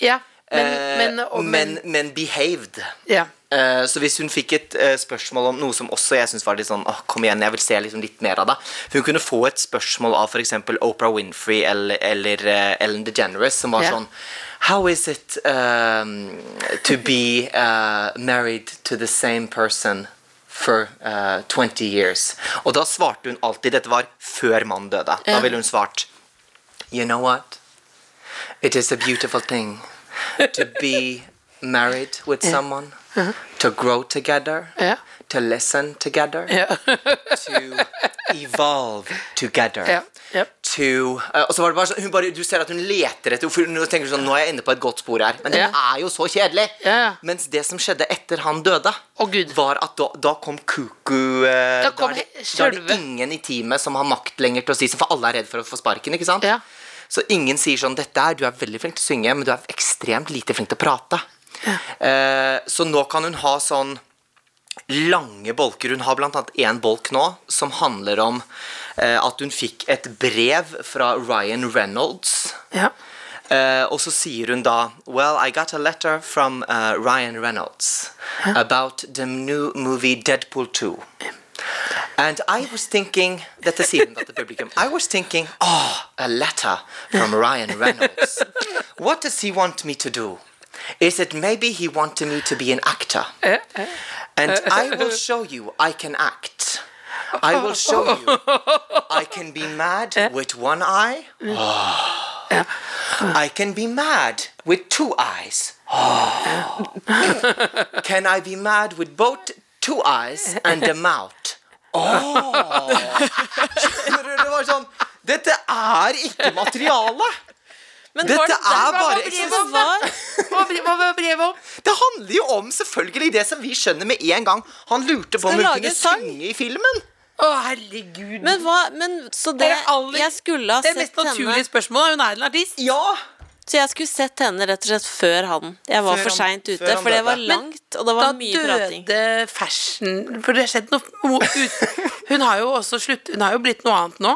[SPEAKER 3] Ja. Men,
[SPEAKER 2] Eh,
[SPEAKER 3] men, og, men,
[SPEAKER 2] men, men behaved.
[SPEAKER 3] ja.
[SPEAKER 2] Eh, Så hvis hun fikk et eh, spørsmål om noe som også jeg synes var litt sånn Åh, kom igjen, jeg vil se liksom litt mer av det. For hun kunne få et spørsmål av f.eks. Oprah Winfrey eller, eller eh, Ellen DeGeneres, som var
[SPEAKER 3] Ja.
[SPEAKER 2] sånn How is it um, to be uh, married to the same person for uh, 20 years? Og da svarte hun alltid Dette var før mannen døde. Da ville hun svart You know what? It is a beautiful thing to be married with someone,
[SPEAKER 3] Uh-huh.
[SPEAKER 2] to grow together,
[SPEAKER 3] Ja.
[SPEAKER 2] to listen together, to evolve together.
[SPEAKER 3] Ja, ja.
[SPEAKER 2] To, eh, og så var det bare sånn, hun bare, Du ser at hun leter etter for Nå tenker du sånn, nå er jeg inne på et godt spor her. Men det
[SPEAKER 3] Ja.
[SPEAKER 2] er jo så kjedelig!
[SPEAKER 3] Ja.
[SPEAKER 2] Mens det som skjedde etter han døde,
[SPEAKER 3] Å, Gud.
[SPEAKER 2] var at da, da kom kuku eh,
[SPEAKER 3] Da kom
[SPEAKER 2] er det,
[SPEAKER 3] he-
[SPEAKER 2] da er det
[SPEAKER 3] sjølve-
[SPEAKER 2] ingen i teamet som har makt lenger til å si sånn, for alle er redd for å få sparken, ikke sant?
[SPEAKER 3] Ja.
[SPEAKER 2] Så ingen sier sånn, dette her, du er veldig flink til å synge, men du er ekstremt lite flink til å prate. Eh, så nå kan hun ha sånn lange bolker. Hun har blant annet en bolk nå som handler om eh, at hun fikk et brev fra Ryan Reynolds.
[SPEAKER 3] ja.
[SPEAKER 2] Eh, og så sier hun da Well, I got a letter from eh, Ryan Reynolds about the new movie Deadpool 2. And I was thinking Dette sier hun da til publikum. I was thinking Oh, a letter from Ryan Reynolds. What does he want me to do? Is it maybe he wanted me to be an actor? And I will show you I can act. I will show you I can be mad with one eye. I can be mad with two eyes. can I be mad with both two eyes and a mouth?
[SPEAKER 3] Oh.
[SPEAKER 2] Skjønner du, det var sånn Dette er ikke materiale!
[SPEAKER 4] Men
[SPEAKER 2] Dette
[SPEAKER 4] var det der-
[SPEAKER 2] er bare
[SPEAKER 4] det som var?
[SPEAKER 3] Hva bre- hva var brevet om?
[SPEAKER 2] Det handler jo om selvfølgelig det som vi skjønner med en gang. Han lurte på om
[SPEAKER 4] Skal
[SPEAKER 2] hun
[SPEAKER 4] lage
[SPEAKER 2] kunne
[SPEAKER 4] en sang?
[SPEAKER 2] synge i filmen.
[SPEAKER 3] Å, herregud.
[SPEAKER 4] Men hva men, Så det,
[SPEAKER 3] Det er aller-
[SPEAKER 4] Jeg skulle ha
[SPEAKER 3] det er
[SPEAKER 4] sett
[SPEAKER 3] mest naturlige
[SPEAKER 4] henne
[SPEAKER 3] spørsmålet. Hun er en artist.
[SPEAKER 2] Ja!
[SPEAKER 4] Så jeg skulle sett henne rett og slett før han. Jeg var
[SPEAKER 2] Før
[SPEAKER 4] for
[SPEAKER 2] han-
[SPEAKER 4] seint
[SPEAKER 2] før
[SPEAKER 4] ute,
[SPEAKER 2] han
[SPEAKER 4] for det var
[SPEAKER 2] døde.
[SPEAKER 4] langt, og det
[SPEAKER 3] Da
[SPEAKER 4] var mye prating.
[SPEAKER 3] døde fashion For det har skjedd noe mo- ut. Hun har jo også slutt Hun har jo blitt noe annet nå.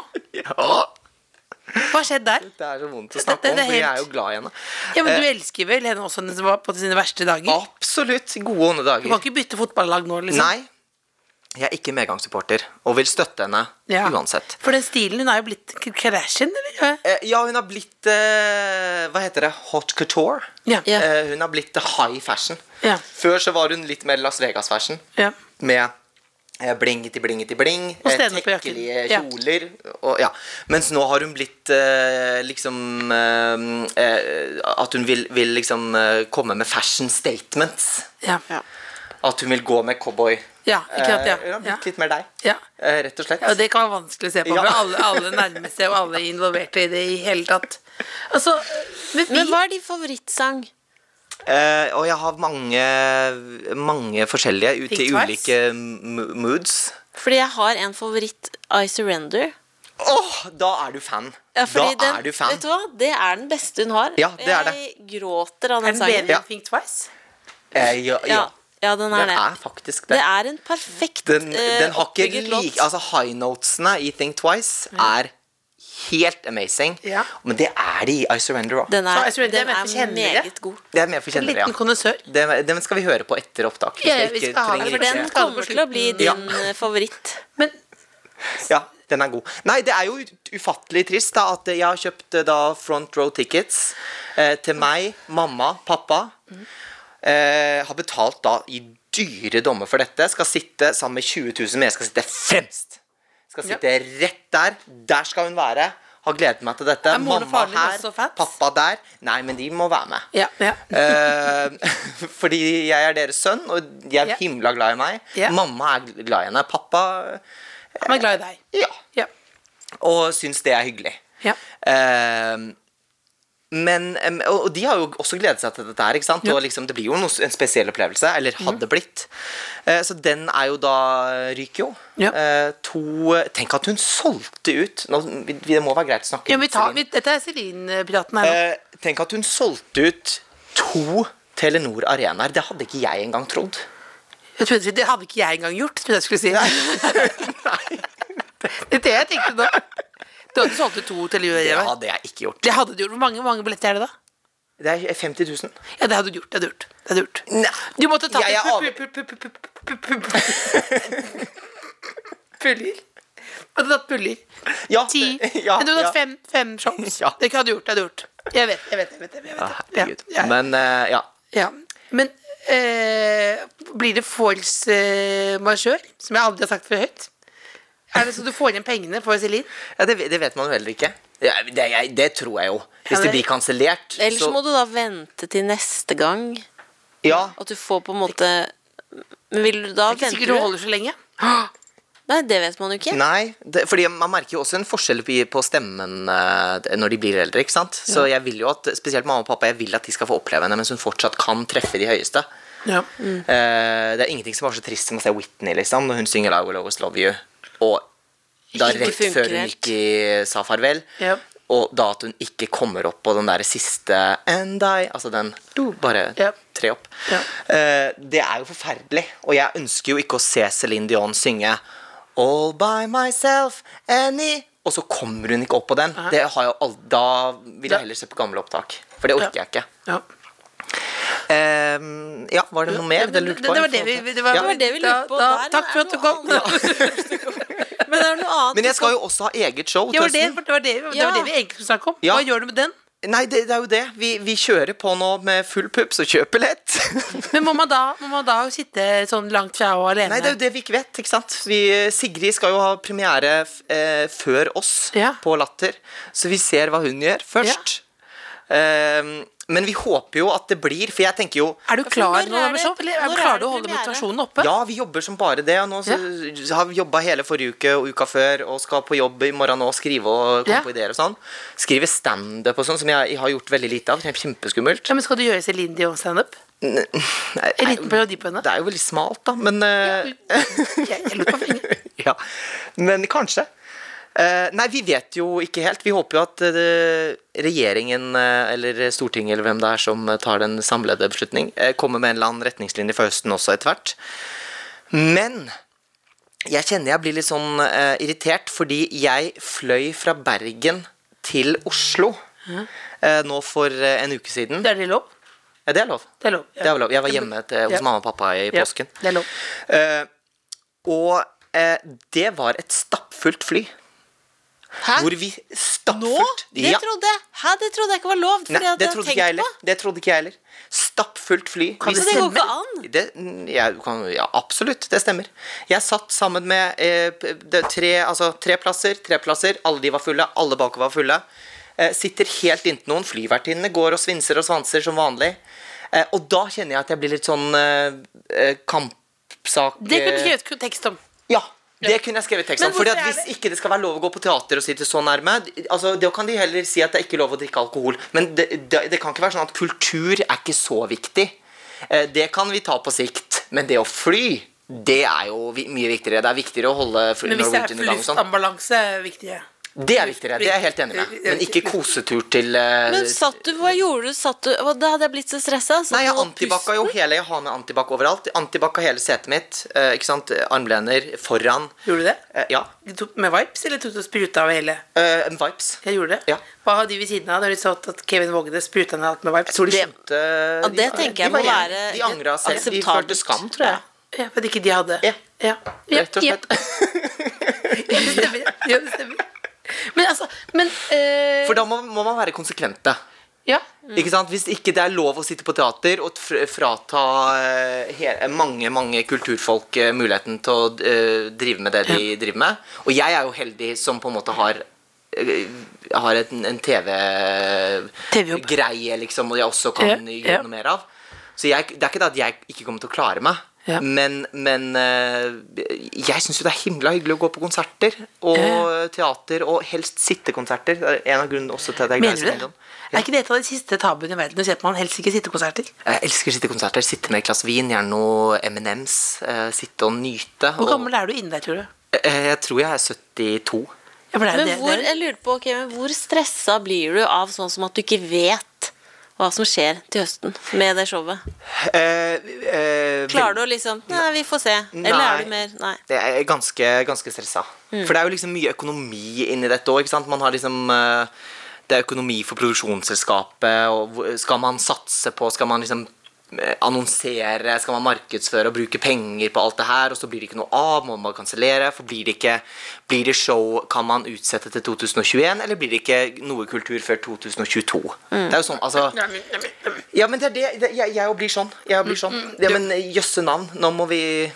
[SPEAKER 3] Hva har skjedd der?
[SPEAKER 2] Det er så vondt å
[SPEAKER 3] snakke
[SPEAKER 2] snakke
[SPEAKER 3] Det- det er om,
[SPEAKER 2] om, for
[SPEAKER 3] for jeg
[SPEAKER 2] jeg
[SPEAKER 3] helt-
[SPEAKER 2] er
[SPEAKER 3] er
[SPEAKER 2] jo glad i henne.
[SPEAKER 3] Ja, men Du
[SPEAKER 2] Eh.
[SPEAKER 3] elsker vel henne også når hun var på sine verste dager?
[SPEAKER 2] Absolutt gode onde
[SPEAKER 3] Du kan
[SPEAKER 2] dager.
[SPEAKER 3] ikke bytte fotballag nå, liksom.
[SPEAKER 2] Nei, jeg er ikke medgangssupporter og vil støtte henne
[SPEAKER 3] Ja.
[SPEAKER 2] uansett.
[SPEAKER 3] For den stilen, hun er jo blitt k- Kardashian, eller?
[SPEAKER 2] Eh, Ja, hun har blitt eh, Hva heter det? Hot couture.
[SPEAKER 3] Ja.
[SPEAKER 4] Ja.
[SPEAKER 2] Eh, hun har blitt high fashion.
[SPEAKER 3] Ja.
[SPEAKER 2] Før så var hun litt mer Las Vegas-fashion.
[SPEAKER 3] Ja.
[SPEAKER 2] Med eh, bling til bling til bling.
[SPEAKER 3] Og
[SPEAKER 2] eh,
[SPEAKER 3] stener på jakken.
[SPEAKER 2] Tekkelige
[SPEAKER 3] Ja.
[SPEAKER 2] kjoler. Og, ja. Mens nå har hun blitt eh, liksom eh, eh, At hun vil, vil liksom eh, komme med fashion statements.
[SPEAKER 3] Ja.
[SPEAKER 4] Ja.
[SPEAKER 2] At hun vil gå med cowboy.
[SPEAKER 3] Ja, ikke sant, ja.
[SPEAKER 2] Eh, hun har
[SPEAKER 3] Ja.
[SPEAKER 2] blitt litt mer deg.
[SPEAKER 3] Ja.
[SPEAKER 2] Eh, rett og slett.
[SPEAKER 3] Ja, det kan være vanskelig å se på,
[SPEAKER 2] Ja.
[SPEAKER 3] for alle, alle nærmeste og alle involverte i det i hele tatt. Altså, men vi
[SPEAKER 4] Men hva er din favorittsang?
[SPEAKER 2] Eh, og jeg har mange, mange forskjellige ut i
[SPEAKER 3] Think twice.
[SPEAKER 2] ulike m- moods.
[SPEAKER 4] Fordi jeg har en favoritt, I Surrender.
[SPEAKER 2] Åh, da er du fan.
[SPEAKER 4] Ja,
[SPEAKER 2] da
[SPEAKER 4] fordi den,
[SPEAKER 2] er du fan.
[SPEAKER 4] Vet du hva? Det er den beste hun har.
[SPEAKER 2] Ja, det er det.
[SPEAKER 4] Jeg gråter av
[SPEAKER 3] Er
[SPEAKER 4] den
[SPEAKER 3] den
[SPEAKER 4] sangen.
[SPEAKER 3] bedre
[SPEAKER 2] Ja.
[SPEAKER 3] enn Think Twice?
[SPEAKER 2] Eh, ja, ja.
[SPEAKER 4] Ja, ja, den er
[SPEAKER 2] Den
[SPEAKER 4] det.
[SPEAKER 2] er
[SPEAKER 4] Det
[SPEAKER 2] faktisk det.
[SPEAKER 4] er en perfekt
[SPEAKER 2] Den,
[SPEAKER 4] eh,
[SPEAKER 2] den har ikke
[SPEAKER 4] oppbygget låt.
[SPEAKER 2] like Altså, high notesene i Think Twice er helt amazing.
[SPEAKER 3] Ja.
[SPEAKER 2] Men det er de i I Surrender òg.
[SPEAKER 4] Den
[SPEAKER 3] Så
[SPEAKER 4] er,
[SPEAKER 3] jeg tror det er
[SPEAKER 4] den
[SPEAKER 3] ment for
[SPEAKER 4] er
[SPEAKER 3] kjennere.
[SPEAKER 4] meget god.
[SPEAKER 2] Det er mer for
[SPEAKER 3] En liten
[SPEAKER 2] kjennere, ja.
[SPEAKER 3] kondensør.
[SPEAKER 2] Dem, dem skal vi høre på etter opptak. Vi
[SPEAKER 3] Ja,
[SPEAKER 2] skal
[SPEAKER 3] ja, vi
[SPEAKER 2] ikke,
[SPEAKER 3] skal ha den,
[SPEAKER 2] trenger
[SPEAKER 4] For den
[SPEAKER 3] Ikke-
[SPEAKER 2] ikke-
[SPEAKER 3] Skal det på
[SPEAKER 4] kommer til å bli
[SPEAKER 2] Ja.
[SPEAKER 4] din eh, favoritt.
[SPEAKER 3] Men
[SPEAKER 2] Ja, den er god. Nei, det er jo ut- ufattelig trist da, at jeg har kjøpt eh, da front row tickets eh,
[SPEAKER 3] Mm.
[SPEAKER 2] til meg, mamma, pappa. Eh, har betalt da i dyre dommer for dette. Skal sitte sammen med 20 000, men jeg skal sitte fremst. Skal
[SPEAKER 3] Ja.
[SPEAKER 2] sitte rett der. Der skal hun være. Har gledet meg til dette.
[SPEAKER 3] Er moren og
[SPEAKER 2] mamma
[SPEAKER 3] faren din
[SPEAKER 2] her,
[SPEAKER 3] også fans?
[SPEAKER 2] pappa der. Nei, men de må være med.
[SPEAKER 3] ja, ja.
[SPEAKER 2] Eh, fordi jeg er deres sønn, og de er
[SPEAKER 3] Ja.
[SPEAKER 2] himla glad i meg.
[SPEAKER 3] Ja.
[SPEAKER 2] Mamma er glad i henne. Pappa
[SPEAKER 3] Han er glad i deg.
[SPEAKER 2] ja
[SPEAKER 3] Ja.
[SPEAKER 2] og syns det er hyggelig.
[SPEAKER 3] Ja.
[SPEAKER 2] Ehm, men, em, og og de har jo også gledet seg til dette her. ikke sant? Og liksom, Det blir jo noe, s- en spesiell opplevelse. Eller hadde blitt. Eh, så den er jo da ryker jo.
[SPEAKER 3] Ja.
[SPEAKER 2] Eh, to Tenk at hun solgte ut Nå, vi- vi- Det må være greit å snakke
[SPEAKER 3] Ja, men vi
[SPEAKER 2] litt,
[SPEAKER 3] tar,
[SPEAKER 2] Celine.
[SPEAKER 3] vi, dette er Celine-piraten her nå.
[SPEAKER 2] Eh, Tenk at hun solgte ut to Telenor Arenaer. Det hadde ikke jeg engang trodd.
[SPEAKER 3] Jeg trodde, det hadde ikke jeg engang gjort, trodde jeg skulle si. det er det jeg tenkte nå. Du hadde solgt ut to til
[SPEAKER 2] Det
[SPEAKER 3] Julia.
[SPEAKER 2] hadde jeg ikke gjort.
[SPEAKER 3] Det hadde du gjort. Hvor mange, hvor mange billetter er det, da?
[SPEAKER 2] Det er 50 000.
[SPEAKER 3] Ja, det hadde du gjort. Det hadde du gjort. Det hadde du gjort.
[SPEAKER 2] Nei,
[SPEAKER 3] Du måtte ta
[SPEAKER 2] jeg er av-
[SPEAKER 3] til pu- pu- pu- pu- pu- pu- pu- pu- pu- Puller. Du hadde tatt puller.
[SPEAKER 2] Ja,
[SPEAKER 3] Ti.
[SPEAKER 2] det- ja,
[SPEAKER 3] Men du hadde
[SPEAKER 2] ja.
[SPEAKER 3] hatt fem, fem shows.
[SPEAKER 2] Ja.
[SPEAKER 3] Det hadde du gjort. Det hadde du gjort. Jeg vet, jeg vet, jeg vet. Jeg vet, jeg vet.
[SPEAKER 2] Ja, herregud.
[SPEAKER 3] Ja, ja.
[SPEAKER 2] Men eh, ja.
[SPEAKER 3] Ja, men eh, blir det force eh, majeure, som jeg aldri har sagt for høyt? Er det så du får igjen pengene for Celine?
[SPEAKER 2] Ja, det, det vet man jo heller ikke. Ja, det, jeg, det tror jeg jo. Hvis
[SPEAKER 3] Ja,
[SPEAKER 2] det
[SPEAKER 3] det-
[SPEAKER 2] blir kansellert,
[SPEAKER 4] Ellers
[SPEAKER 2] så
[SPEAKER 4] må du da vente til neste gang.
[SPEAKER 2] Ja.
[SPEAKER 4] At du får på en måte Men vil du da
[SPEAKER 3] Ikke
[SPEAKER 4] vente
[SPEAKER 3] sikkert du holder så lenge.
[SPEAKER 4] Nei, det vet man jo ikke.
[SPEAKER 2] Nei, det, fordi man merker jo også en forskjell på- på stemmen eh, når de blir eldre. ikke sant? Så jeg vil jo at, spesielt mamma og pappa, jeg vil at de skal få oppleve henne mens hun fortsatt kan treffe de høyeste.
[SPEAKER 3] Ja.
[SPEAKER 2] Eh, det er ingenting som er så trist som å se Whitney liksom, når hun synger 'I Will Always Love You', og da
[SPEAKER 4] Ikke
[SPEAKER 2] rett
[SPEAKER 4] funker
[SPEAKER 2] før hun
[SPEAKER 4] helt.
[SPEAKER 2] ikke sa farvel,
[SPEAKER 3] Ja.
[SPEAKER 2] og da at hun ikke kommer opp på den der siste 'And I', altså den bare
[SPEAKER 3] Ja.
[SPEAKER 2] tre opp.
[SPEAKER 3] Ja.
[SPEAKER 2] Eh, det er jo forferdelig, og jeg ønsker jo ikke å se Céline Dion synge 'All by myself, Annie' og så kommer hun ikke opp på den. Det har jeg aldri, da vil
[SPEAKER 3] Ja.
[SPEAKER 2] jeg heller se på gamle opptak, for det orker
[SPEAKER 3] Ja.
[SPEAKER 2] jeg ikke.
[SPEAKER 3] Ja.
[SPEAKER 2] Ehm, ja, var det noe
[SPEAKER 3] Ja,
[SPEAKER 2] mer?
[SPEAKER 3] men
[SPEAKER 2] Det, lurte
[SPEAKER 3] det,
[SPEAKER 2] på
[SPEAKER 3] det
[SPEAKER 2] i
[SPEAKER 3] var det vi,
[SPEAKER 2] forhold til-
[SPEAKER 3] det var,
[SPEAKER 2] Ja.
[SPEAKER 4] Det var det vi lurte på.
[SPEAKER 3] Da,
[SPEAKER 4] Der
[SPEAKER 3] da, takk for
[SPEAKER 4] er
[SPEAKER 3] at du
[SPEAKER 4] noe
[SPEAKER 3] kom.
[SPEAKER 4] annet. Men det er noe annet.
[SPEAKER 2] Men jeg
[SPEAKER 4] du
[SPEAKER 2] skal jo også ha eget show
[SPEAKER 3] Det
[SPEAKER 2] til
[SPEAKER 3] var det,
[SPEAKER 2] høsten.
[SPEAKER 3] det, var det, det, var det vi egentlig skulle snakke om.
[SPEAKER 2] Ja.
[SPEAKER 3] Hva gjør du med den?
[SPEAKER 2] Nei, det, det er jo det. Vi, vi kjører på nå med full pups og kjøper lett.
[SPEAKER 3] Men må man da, må man da sitte sånn langt fra og alene?
[SPEAKER 2] Nei, det er jo det vi ikke vet, ikke sant? Vi, Sigrid skal jo ha premiere f- eh, før oss
[SPEAKER 3] Ja.
[SPEAKER 2] på Latter, så vi ser hva hun gjør først. Ehm, men vi håper jo at det blir, for jeg tenker jo
[SPEAKER 3] Er du
[SPEAKER 4] for
[SPEAKER 3] klar
[SPEAKER 4] når
[SPEAKER 3] nå,
[SPEAKER 4] er
[SPEAKER 3] Anders?
[SPEAKER 4] det-
[SPEAKER 3] Hoff, Eller er
[SPEAKER 4] når
[SPEAKER 3] du
[SPEAKER 4] er
[SPEAKER 3] klarer
[SPEAKER 4] det
[SPEAKER 3] du å holde
[SPEAKER 4] premiere?
[SPEAKER 3] motivasjonen oppe?
[SPEAKER 2] Ja, vi jobber som bare det. Og nå så, har vi jobba hele forrige uke og uka før og skal på jobb i morgen og skrive og komme
[SPEAKER 3] Ja.
[SPEAKER 2] på ideer og sånn. Skrive standup og sånn, som jeg, jeg har gjort veldig lite av. Det er Kjempeskummelt.
[SPEAKER 3] Ja, men skal du gjøre Celine Dion standup?
[SPEAKER 2] Nei,
[SPEAKER 3] En liten parodi på henne?
[SPEAKER 2] Det er jo veldig smalt, da, men eh,
[SPEAKER 3] Jeg, jeg lurer på fingeren.
[SPEAKER 2] ja. Men kanskje. Eh, nei, vi vet jo ikke helt. Vi håper jo at eh, regjeringen eh, eller Stortinget eller hvem det er som tar den samlede beslutning, eh, kommer med en eller annen retningslinje for høsten også etter hvert. Men jeg kjenner jeg blir litt sånn eh, irritert, fordi jeg fløy fra Bergen til Oslo eh, nå for eh, en uke siden.
[SPEAKER 3] Det er det lov?
[SPEAKER 2] Ja, det er lov.
[SPEAKER 3] Det er lov. ja.
[SPEAKER 2] Det er vel lov. Jeg var hjemme til, hos
[SPEAKER 3] Ja.
[SPEAKER 2] mamma og pappa i
[SPEAKER 3] Ja,
[SPEAKER 2] påsken.
[SPEAKER 3] Det er lov.
[SPEAKER 2] Eh, og eh, det var et stappfullt fly.
[SPEAKER 4] Hæ?
[SPEAKER 2] Hvor vi stappfullt
[SPEAKER 4] Nå? Det
[SPEAKER 2] Ja.
[SPEAKER 4] trodde jeg Hæ, det trodde jeg ikke var lov. For
[SPEAKER 2] Nei,
[SPEAKER 4] det hadde
[SPEAKER 2] det
[SPEAKER 4] jeg
[SPEAKER 2] trodde
[SPEAKER 4] tenkt
[SPEAKER 2] ikke jeg
[SPEAKER 4] på.
[SPEAKER 2] heller. Det trodde ikke jeg heller. Stappfullt fly.
[SPEAKER 3] Kan
[SPEAKER 2] Vi
[SPEAKER 4] Så det går
[SPEAKER 3] stemmer.
[SPEAKER 4] ikke an.
[SPEAKER 2] det, jeg kan, ja, absolutt, det stemmer. Jeg satt sammen med eh, p- det, tre, altså, tre plasser, tre plasser. Alle de var fulle, alle bakover var fulle. Eh, sitter helt inntil noen. Flyvertinnene går og svinser og svanser som vanlig. Eh, og da kjenner jeg at jeg blir litt sånn eh, eh, kampsak...
[SPEAKER 3] Det kunne du
[SPEAKER 2] eh,
[SPEAKER 3] skrevet tekst om.
[SPEAKER 2] Ja. Det kunne jeg skrevet tekst om.
[SPEAKER 3] Men hvorfor
[SPEAKER 2] Fordi at
[SPEAKER 3] er
[SPEAKER 2] Hvis
[SPEAKER 3] det-
[SPEAKER 2] ikke det skal være lov å gå på teater og sitte så nærme, altså, da kan de heller si at det er ikke lov å drikke alkohol. Men det, det, det kan ikke være sånn at kultur er ikke så viktig. Eh, Det kan vi ta på sikt. Men det å fly, det er jo vi- mye viktigere. Det er viktigere å holde fly-
[SPEAKER 3] Men hvis det er
[SPEAKER 2] Norwegian i gang og sånn.
[SPEAKER 3] luftambulanse, er viktig.
[SPEAKER 2] Det er viktigere. Det er jeg helt enig med. Men ikke kosetur til eh,
[SPEAKER 4] Men satt du, hva gjorde du? Satt du, og da hadde jeg blitt så stressa.
[SPEAKER 2] Nei, jeg antibakka jo hele Jeg har med antibac overalt. Antibakka hele setet mitt. eh, Ikke sant? Armlener foran.
[SPEAKER 3] Gjorde du det?
[SPEAKER 2] Eh, Ja.
[SPEAKER 3] Du tok med vipes, eller tok du og spruta av hele?
[SPEAKER 2] Eh, Vipes.
[SPEAKER 3] Jeg gjorde det.
[SPEAKER 2] Ja.
[SPEAKER 3] Hva hadde de ved siden av når de så at Kevin Vågene spruta ned alt med vipes?
[SPEAKER 2] Jeg tror de
[SPEAKER 4] Det-
[SPEAKER 2] skjønte
[SPEAKER 4] Ja, det
[SPEAKER 2] de-
[SPEAKER 4] tenker jeg
[SPEAKER 2] de
[SPEAKER 4] må
[SPEAKER 2] var enige.
[SPEAKER 4] være
[SPEAKER 2] De angra seg. De
[SPEAKER 4] akseptabelt.
[SPEAKER 2] følte skam, tror jeg.
[SPEAKER 3] Ja, for at ikke de hadde.
[SPEAKER 2] Ja.
[SPEAKER 3] ja.
[SPEAKER 2] Rett og slett.
[SPEAKER 3] Ja, det stemmer. Ja, det stemmer. Men altså, men eh,
[SPEAKER 2] For da må, må man være konsekvente.
[SPEAKER 3] Ja.
[SPEAKER 2] Ikke sant? Hvis ikke det er lov å sitte på teater og fr- frata eh, he- mange mange kulturfolk eh, muligheten til å eh, drive med det de driver med Og jeg er jo heldig som på en måte har eh, har en, en
[SPEAKER 3] TV-jobb.
[SPEAKER 2] TV-greie, liksom, og jeg også kan
[SPEAKER 3] Ja,
[SPEAKER 2] gjøre
[SPEAKER 3] ja.
[SPEAKER 2] noe mer av. Så jeg, det er ikke det at jeg ikke kommer til å klare meg,
[SPEAKER 3] Ja.
[SPEAKER 2] men, men eh, jeg syns jo det er himla hyggelig å gå på konserter og
[SPEAKER 3] Ja.
[SPEAKER 2] teater, og helst sittekonserter. Det er en av grunnene også til at jeg er glad
[SPEAKER 3] Mener
[SPEAKER 2] i
[SPEAKER 3] du det?
[SPEAKER 2] ungdom.
[SPEAKER 3] Er ikke det et av de siste tabuene i verden? Du ser på man helst ikke sittekonserter.
[SPEAKER 2] Jeg elsker å sitte i konserter. Sitte med et glass vin, gjerne noe M&M's. eh, sitte og nyte. eh,
[SPEAKER 3] Hvor gammel er du inni deg, tror du?
[SPEAKER 2] Jeg tror jeg er 72.
[SPEAKER 3] Ja, for det er
[SPEAKER 4] Men
[SPEAKER 3] det-
[SPEAKER 4] hvor,
[SPEAKER 3] det er-
[SPEAKER 4] jeg lurer på, ok, men hvor stressa blir du av sånn som at du ikke vet hva som skjer til høsten med det showet?
[SPEAKER 2] Eh,
[SPEAKER 4] Klarer du å liksom Nei, vi får se. Eller er du
[SPEAKER 2] Nei.
[SPEAKER 4] mer Nei.
[SPEAKER 2] Det er ganske, ganske stressa. For det er jo liksom mye økonomi inni dette òg. Man har liksom eh, Det er økonomi for produksjonsselskapet, og hvor- skal man satse på Skal man liksom eh, annonsere, skal man markedsføre og bruke penger på alt det her, og så blir det ikke noe av, må man kansellere, for blir det ikke Blir det show, kan man utsette til 2021, eller blir det ikke noe kultur før 2022? Det er jo sånn, altså
[SPEAKER 3] Nei, men- nei, men- Mm, nei, men-
[SPEAKER 2] ja, men det er det. det jeg, jeg blir sånn. Jeg blir sånn. Ja, men jøsse navn, nå må vi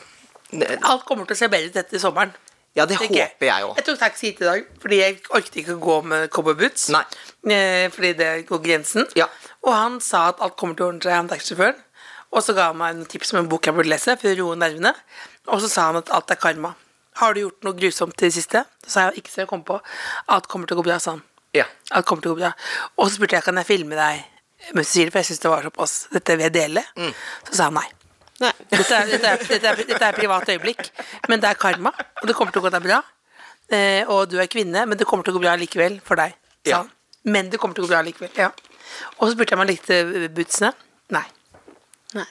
[SPEAKER 2] Ja,
[SPEAKER 3] Alt kommer til å se bedre ut etter sommeren.
[SPEAKER 2] det
[SPEAKER 3] tenker jeg.
[SPEAKER 2] håper jeg òg.
[SPEAKER 3] Jeg tok taxi hit i dag, fordi jeg orket ikke å gå med cowboyboots.
[SPEAKER 2] Nei.
[SPEAKER 3] Eh, Fordi det går grensen.
[SPEAKER 2] Ja.
[SPEAKER 3] Og han sa at alt kommer til å ordne seg, han taxisjåføren. Og så ga han meg noen tips om en bok jeg burde lese for å roe nervene. Og så sa han at alt er karma. Har du gjort noe grusomt til det siste? Så sa jeg ikke så jeg kom på. Alt kommer til å gå bra, sa han.
[SPEAKER 2] Ja.
[SPEAKER 3] Alt kommer til å gå bra. Og så spurte jeg kan jeg filme deg mens du sier det, for jeg syns det var såpass. Dette vil jeg dele.
[SPEAKER 2] Mm.
[SPEAKER 3] Så sa han nei.
[SPEAKER 4] nei.
[SPEAKER 3] Dette er, dette, er, dette, er, dette er privat øyeblikk, men det er karma, og det kommer til å gå deg bra. Eh, og du er kvinne, men det kommer til å gå bra likevel for deg. sa
[SPEAKER 2] Ja.
[SPEAKER 3] han. Men det kommer til å gå bra likevel. Ja. Og så spurte jeg om han likte eh, bootsene. Nei.
[SPEAKER 4] nei.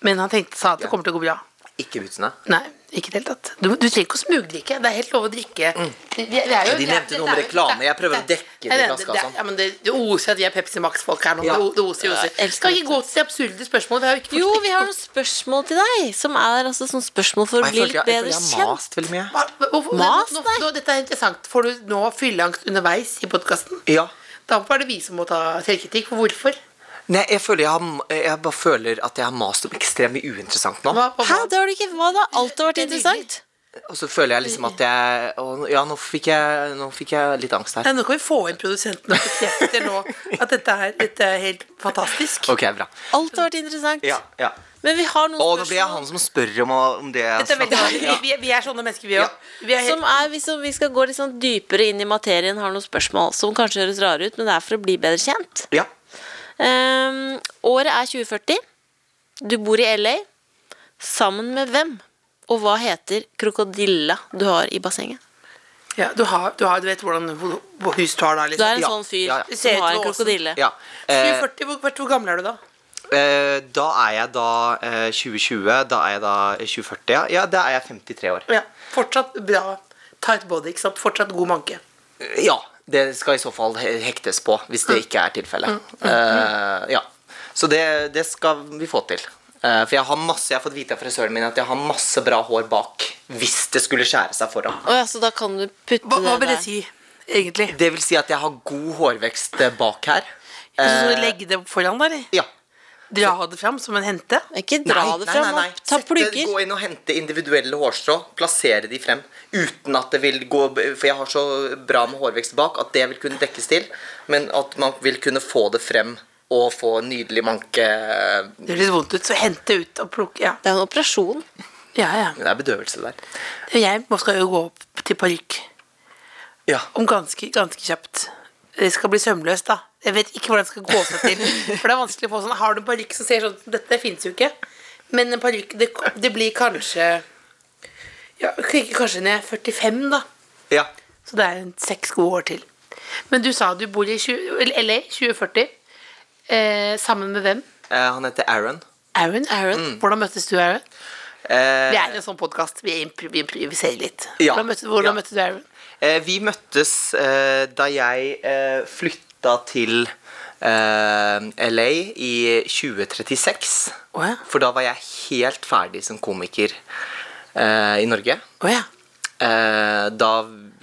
[SPEAKER 3] Men han tenkte, sa at det kommer til å gå bra.
[SPEAKER 2] Ikke bootsene.
[SPEAKER 3] Nei, ikke i det hele tatt. Du, du trenger ikke å smugdrikke. Det er helt lov å drikke. Det- det- det er jo-
[SPEAKER 2] Ja, Mm. de nevnte
[SPEAKER 3] det-
[SPEAKER 2] noe om
[SPEAKER 3] det er jo-
[SPEAKER 2] reklame. Jeg prøver
[SPEAKER 3] det-
[SPEAKER 2] å dekke
[SPEAKER 3] Nei,
[SPEAKER 2] det
[SPEAKER 3] nei,
[SPEAKER 2] flaska,
[SPEAKER 3] det-
[SPEAKER 2] sånn.
[SPEAKER 3] Ja, men det, det oser at de er Pepsi Max-folk her nå.
[SPEAKER 2] Ja.
[SPEAKER 3] Det, det oser, oser.
[SPEAKER 4] Ja, elsker
[SPEAKER 3] Skal vi
[SPEAKER 4] dette.
[SPEAKER 3] ikke gå til absurde spørsmål? Vi har jo ikke
[SPEAKER 4] Jo,
[SPEAKER 3] fått-
[SPEAKER 4] vi har noen spørsmål til deg, som er altså sånne spørsmål for å bli litt bedre kjent.
[SPEAKER 2] mast veldig mye.
[SPEAKER 3] Hva- hva- hvorfor-
[SPEAKER 4] Mas
[SPEAKER 3] nå, nå,
[SPEAKER 4] deg.
[SPEAKER 3] nå, dette er interessant. Får du nå fylleangst underveis i podkasten?
[SPEAKER 2] Ja.
[SPEAKER 3] Da er det vi som må ta selvkritikk. For hvorfor?
[SPEAKER 2] Nei, jeg føler jeg, har, jeg bare føler at jeg har mast om ekstremt mye uinteressant nå.
[SPEAKER 3] Hva, hva,
[SPEAKER 4] Hæ, det har du ikke Hva da? Alt har vært
[SPEAKER 3] Det er
[SPEAKER 4] interessant?
[SPEAKER 2] Og så føler jeg liksom at jeg å, Ja, nå fikk jeg, nå fikk jeg litt angst her.
[SPEAKER 3] Nei, nå kan vi få inn produsenten og bekrefter nå at dette er, dette er helt fantastisk.
[SPEAKER 2] Ok, bra.
[SPEAKER 4] Alt har vært interessant.
[SPEAKER 2] Ja, ja.
[SPEAKER 4] Men vi har noen
[SPEAKER 2] Å, nå blir jeg
[SPEAKER 4] spørsmål
[SPEAKER 2] han som spør om, om det jeg
[SPEAKER 3] Dette er veldig,
[SPEAKER 2] snakker om.
[SPEAKER 3] vi, vi, vi er sånne mennesker, vi
[SPEAKER 2] Ja.
[SPEAKER 3] òg. Vi er
[SPEAKER 4] som
[SPEAKER 3] helt
[SPEAKER 4] er, hvis vi skal gå litt sånn dypere inn i materien, har noen spørsmål som kanskje høres rare ut, men det er for å bli bedre kjent.
[SPEAKER 2] Ja.
[SPEAKER 4] Ehm, året er 2040. Du bor i LA. Sammen med hvem? Og hva heter krokodilla du har i bassenget?
[SPEAKER 3] ja, du, har, du, har, du vet hvordan ho- hvor hus du har da?
[SPEAKER 4] Du er
[SPEAKER 3] Liksom.
[SPEAKER 4] en
[SPEAKER 2] Ja,
[SPEAKER 4] sånn fyr
[SPEAKER 2] ja, ja.
[SPEAKER 3] Ser ut
[SPEAKER 4] som har en
[SPEAKER 3] som Åsen.
[SPEAKER 4] krokodille.
[SPEAKER 2] ja. Eh,
[SPEAKER 3] 40, hvor, hvor gammel er du da?
[SPEAKER 2] Eh, da er jeg da eh, 2020, da er jeg da 2040, ja. ja da er jeg 53 år.
[SPEAKER 3] Ja, Fortsatt bra tight body. ikke sant? Fortsatt god manke.
[SPEAKER 2] Ja, det skal i så fall he- hektes på, hvis
[SPEAKER 4] Mm.
[SPEAKER 2] det ikke er tilfellet. Eh, ja. Så det, det skal vi få til. Eh, for jeg har masse, jeg har fått vite av frisøren min at jeg har masse bra hår bak hvis det skulle skjære seg foran.
[SPEAKER 4] Å ja, så da kan du putte
[SPEAKER 3] Hva, hva vil
[SPEAKER 4] det
[SPEAKER 3] det
[SPEAKER 4] der.
[SPEAKER 3] si, egentlig?
[SPEAKER 2] Det vil si at jeg har god hårvekst eh, bak her.
[SPEAKER 3] Jeg synes du
[SPEAKER 2] Eh,
[SPEAKER 3] legge det foran der? eller?
[SPEAKER 2] ja.
[SPEAKER 3] Dra det fram som en hente?
[SPEAKER 4] Ikke dra
[SPEAKER 2] Nei,
[SPEAKER 4] det
[SPEAKER 2] nei,
[SPEAKER 4] fram.
[SPEAKER 2] nei, nei.
[SPEAKER 4] da. Ta
[SPEAKER 2] Sette-
[SPEAKER 4] plugger.
[SPEAKER 2] Gå inn og hente individuelle hårstrå, plassere de frem uten at det vil gå For jeg har så bra med hårvekst bak at det vil kunne dekkes til, men at man vil kunne få det frem og få en nydelig manke
[SPEAKER 3] Det høres vondt ut, så hente ut og plukke. Ja.
[SPEAKER 4] Det er en operasjon.
[SPEAKER 3] Ja, ja.
[SPEAKER 2] Det er bedøvelse der.
[SPEAKER 3] Jeg må skal jo gå opp til parykk
[SPEAKER 2] Ja.
[SPEAKER 3] om ganske, ganske kjapt. Det skal bli sømløst, da. Jeg vet ikke hvordan det skal gå seg til. For det er vanskelig å få sånn Har du en parykk som ser sånn ut som dette? Det fins jo ikke. Men en parykk det, det blir kanskje Ja, klikker kanskje ned 45, da.
[SPEAKER 2] ja.
[SPEAKER 3] Så det er en seks gode år til. Men du sa du bor i 20, eller LA 2040. Eh, sammen med hvem?
[SPEAKER 2] Eh, han heter Aaron.
[SPEAKER 3] Aaron? Aaron? Hvordan møttes du, Aaron?
[SPEAKER 2] Mm. Eh,
[SPEAKER 3] Vi er en sånn podkast. Vi, impro vi improviserer litt.
[SPEAKER 2] Ja.
[SPEAKER 3] Hvordan, møtte, hvordan
[SPEAKER 2] Ja.
[SPEAKER 3] møtte du Aaron?
[SPEAKER 2] Eh, vi møttes eh, da jeg eh, flytta til eh, LA i 2036.
[SPEAKER 3] Å ja.
[SPEAKER 2] For da var jeg helt ferdig som komiker eh, i Norge.
[SPEAKER 3] Å ja.
[SPEAKER 2] Eh, da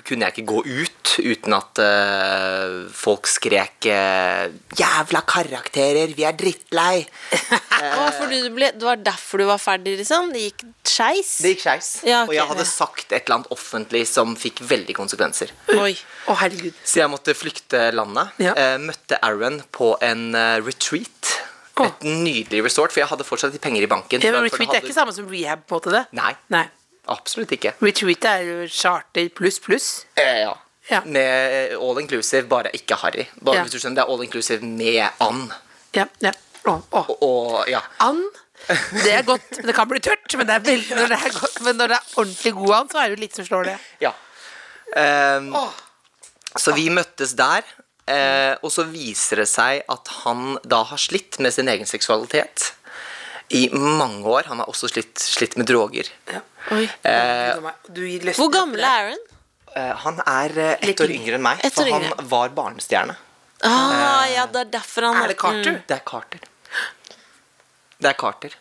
[SPEAKER 2] kunne jeg ikke gå ut uten at eh, folk skrek eh, 'Jævla karakterer, vi er drittlei'.
[SPEAKER 4] Å, for du ble, det var derfor du var ferdig, liksom? Det gikk skeis?
[SPEAKER 2] Det gikk skeis.
[SPEAKER 4] Ja, ok,
[SPEAKER 2] og jeg hadde
[SPEAKER 4] ja.
[SPEAKER 2] sagt et eller annet offentlig som fikk veldig konsekvenser.
[SPEAKER 4] Oi.
[SPEAKER 3] Å, herregud.
[SPEAKER 2] Så jeg måtte flykte landet.
[SPEAKER 3] Ja.
[SPEAKER 2] Eh, møtte Aaron på en eh, retreat.
[SPEAKER 3] Å.
[SPEAKER 2] Et nydelig resort, for jeg hadde fortsatt litt penger i banken.
[SPEAKER 3] Det,
[SPEAKER 2] for- for
[SPEAKER 3] retreat
[SPEAKER 2] det
[SPEAKER 3] er ikke samme som rehab, på en måte? det?
[SPEAKER 2] Nei.
[SPEAKER 3] Nei.
[SPEAKER 2] Absolutt ikke.
[SPEAKER 3] Retreat er jo charter pluss pluss.
[SPEAKER 2] Eh, ja.
[SPEAKER 3] Ja.
[SPEAKER 2] Med all inclusive, bare ikke harry. Bare
[SPEAKER 3] Ja.
[SPEAKER 2] hvis du skjønner, Det er all inclusive med and.
[SPEAKER 3] Ja, ja. Å, å.
[SPEAKER 2] Og ja.
[SPEAKER 3] And. Det er godt, men det kan bli tørt. Men, det er veldig, når det er godt, men når det er ordentlig god and, så er det jo litt som slår det.
[SPEAKER 2] ja. Ehm,
[SPEAKER 3] Åh.
[SPEAKER 2] Så vi møttes der. Eh, og så viser det seg at han da har slitt med sin egen seksualitet i mange år. Han har også slitt, slitt med droger.
[SPEAKER 4] Oi. Hvor gammel er Aaron?
[SPEAKER 2] Eh, han er eh, ett
[SPEAKER 3] Litt
[SPEAKER 2] år
[SPEAKER 3] yngre.
[SPEAKER 2] yngre enn meg,
[SPEAKER 4] Ett
[SPEAKER 2] for
[SPEAKER 4] år
[SPEAKER 2] han
[SPEAKER 4] yngre.
[SPEAKER 2] var barnestjerne. Mm,
[SPEAKER 4] Ah, ja, det er derfor han Mm.
[SPEAKER 3] Er det Carter?
[SPEAKER 2] Det er Carter. Det er Carter.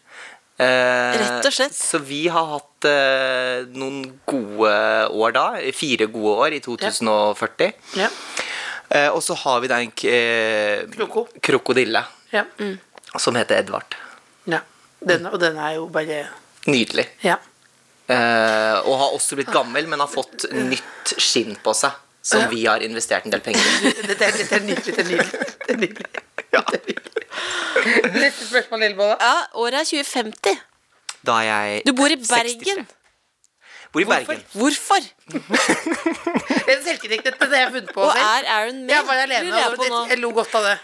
[SPEAKER 2] Eh,
[SPEAKER 4] Rett og slett.
[SPEAKER 2] Så vi har hatt eh, noen gode år da. Fire gode år i 2040.
[SPEAKER 3] Ja.
[SPEAKER 2] Eh, og så har vi da en k- eh,
[SPEAKER 3] Kroko.
[SPEAKER 2] krokodille
[SPEAKER 3] Ja. Mm.
[SPEAKER 2] som heter Edvard.
[SPEAKER 3] ja. Den, og den er jo bare
[SPEAKER 2] Nydelig.
[SPEAKER 3] Ja.
[SPEAKER 2] Eh, og har også blitt gammel, men har fått nytt skinn på seg. Som vi har investert en del penger i.
[SPEAKER 3] Dette er, dette er nydelig. Dette er nydelig. Dette er nydelig. Dette er nydelig. Neste spørsmål, Ellebolla.
[SPEAKER 4] Ja, Året er 2050.
[SPEAKER 2] Da er jeg
[SPEAKER 4] Du bor i
[SPEAKER 2] 63.
[SPEAKER 4] Bergen.
[SPEAKER 2] Bor i Bergen.
[SPEAKER 4] Hvorfor?
[SPEAKER 3] Det er selvkritikk. Dette har jeg funnet på
[SPEAKER 4] Og
[SPEAKER 3] selv.
[SPEAKER 4] er Aaron med?
[SPEAKER 3] Jeg var alene,
[SPEAKER 4] Lurer jeg
[SPEAKER 3] og
[SPEAKER 4] på
[SPEAKER 3] det-
[SPEAKER 4] nå.
[SPEAKER 3] jeg lo godt av det.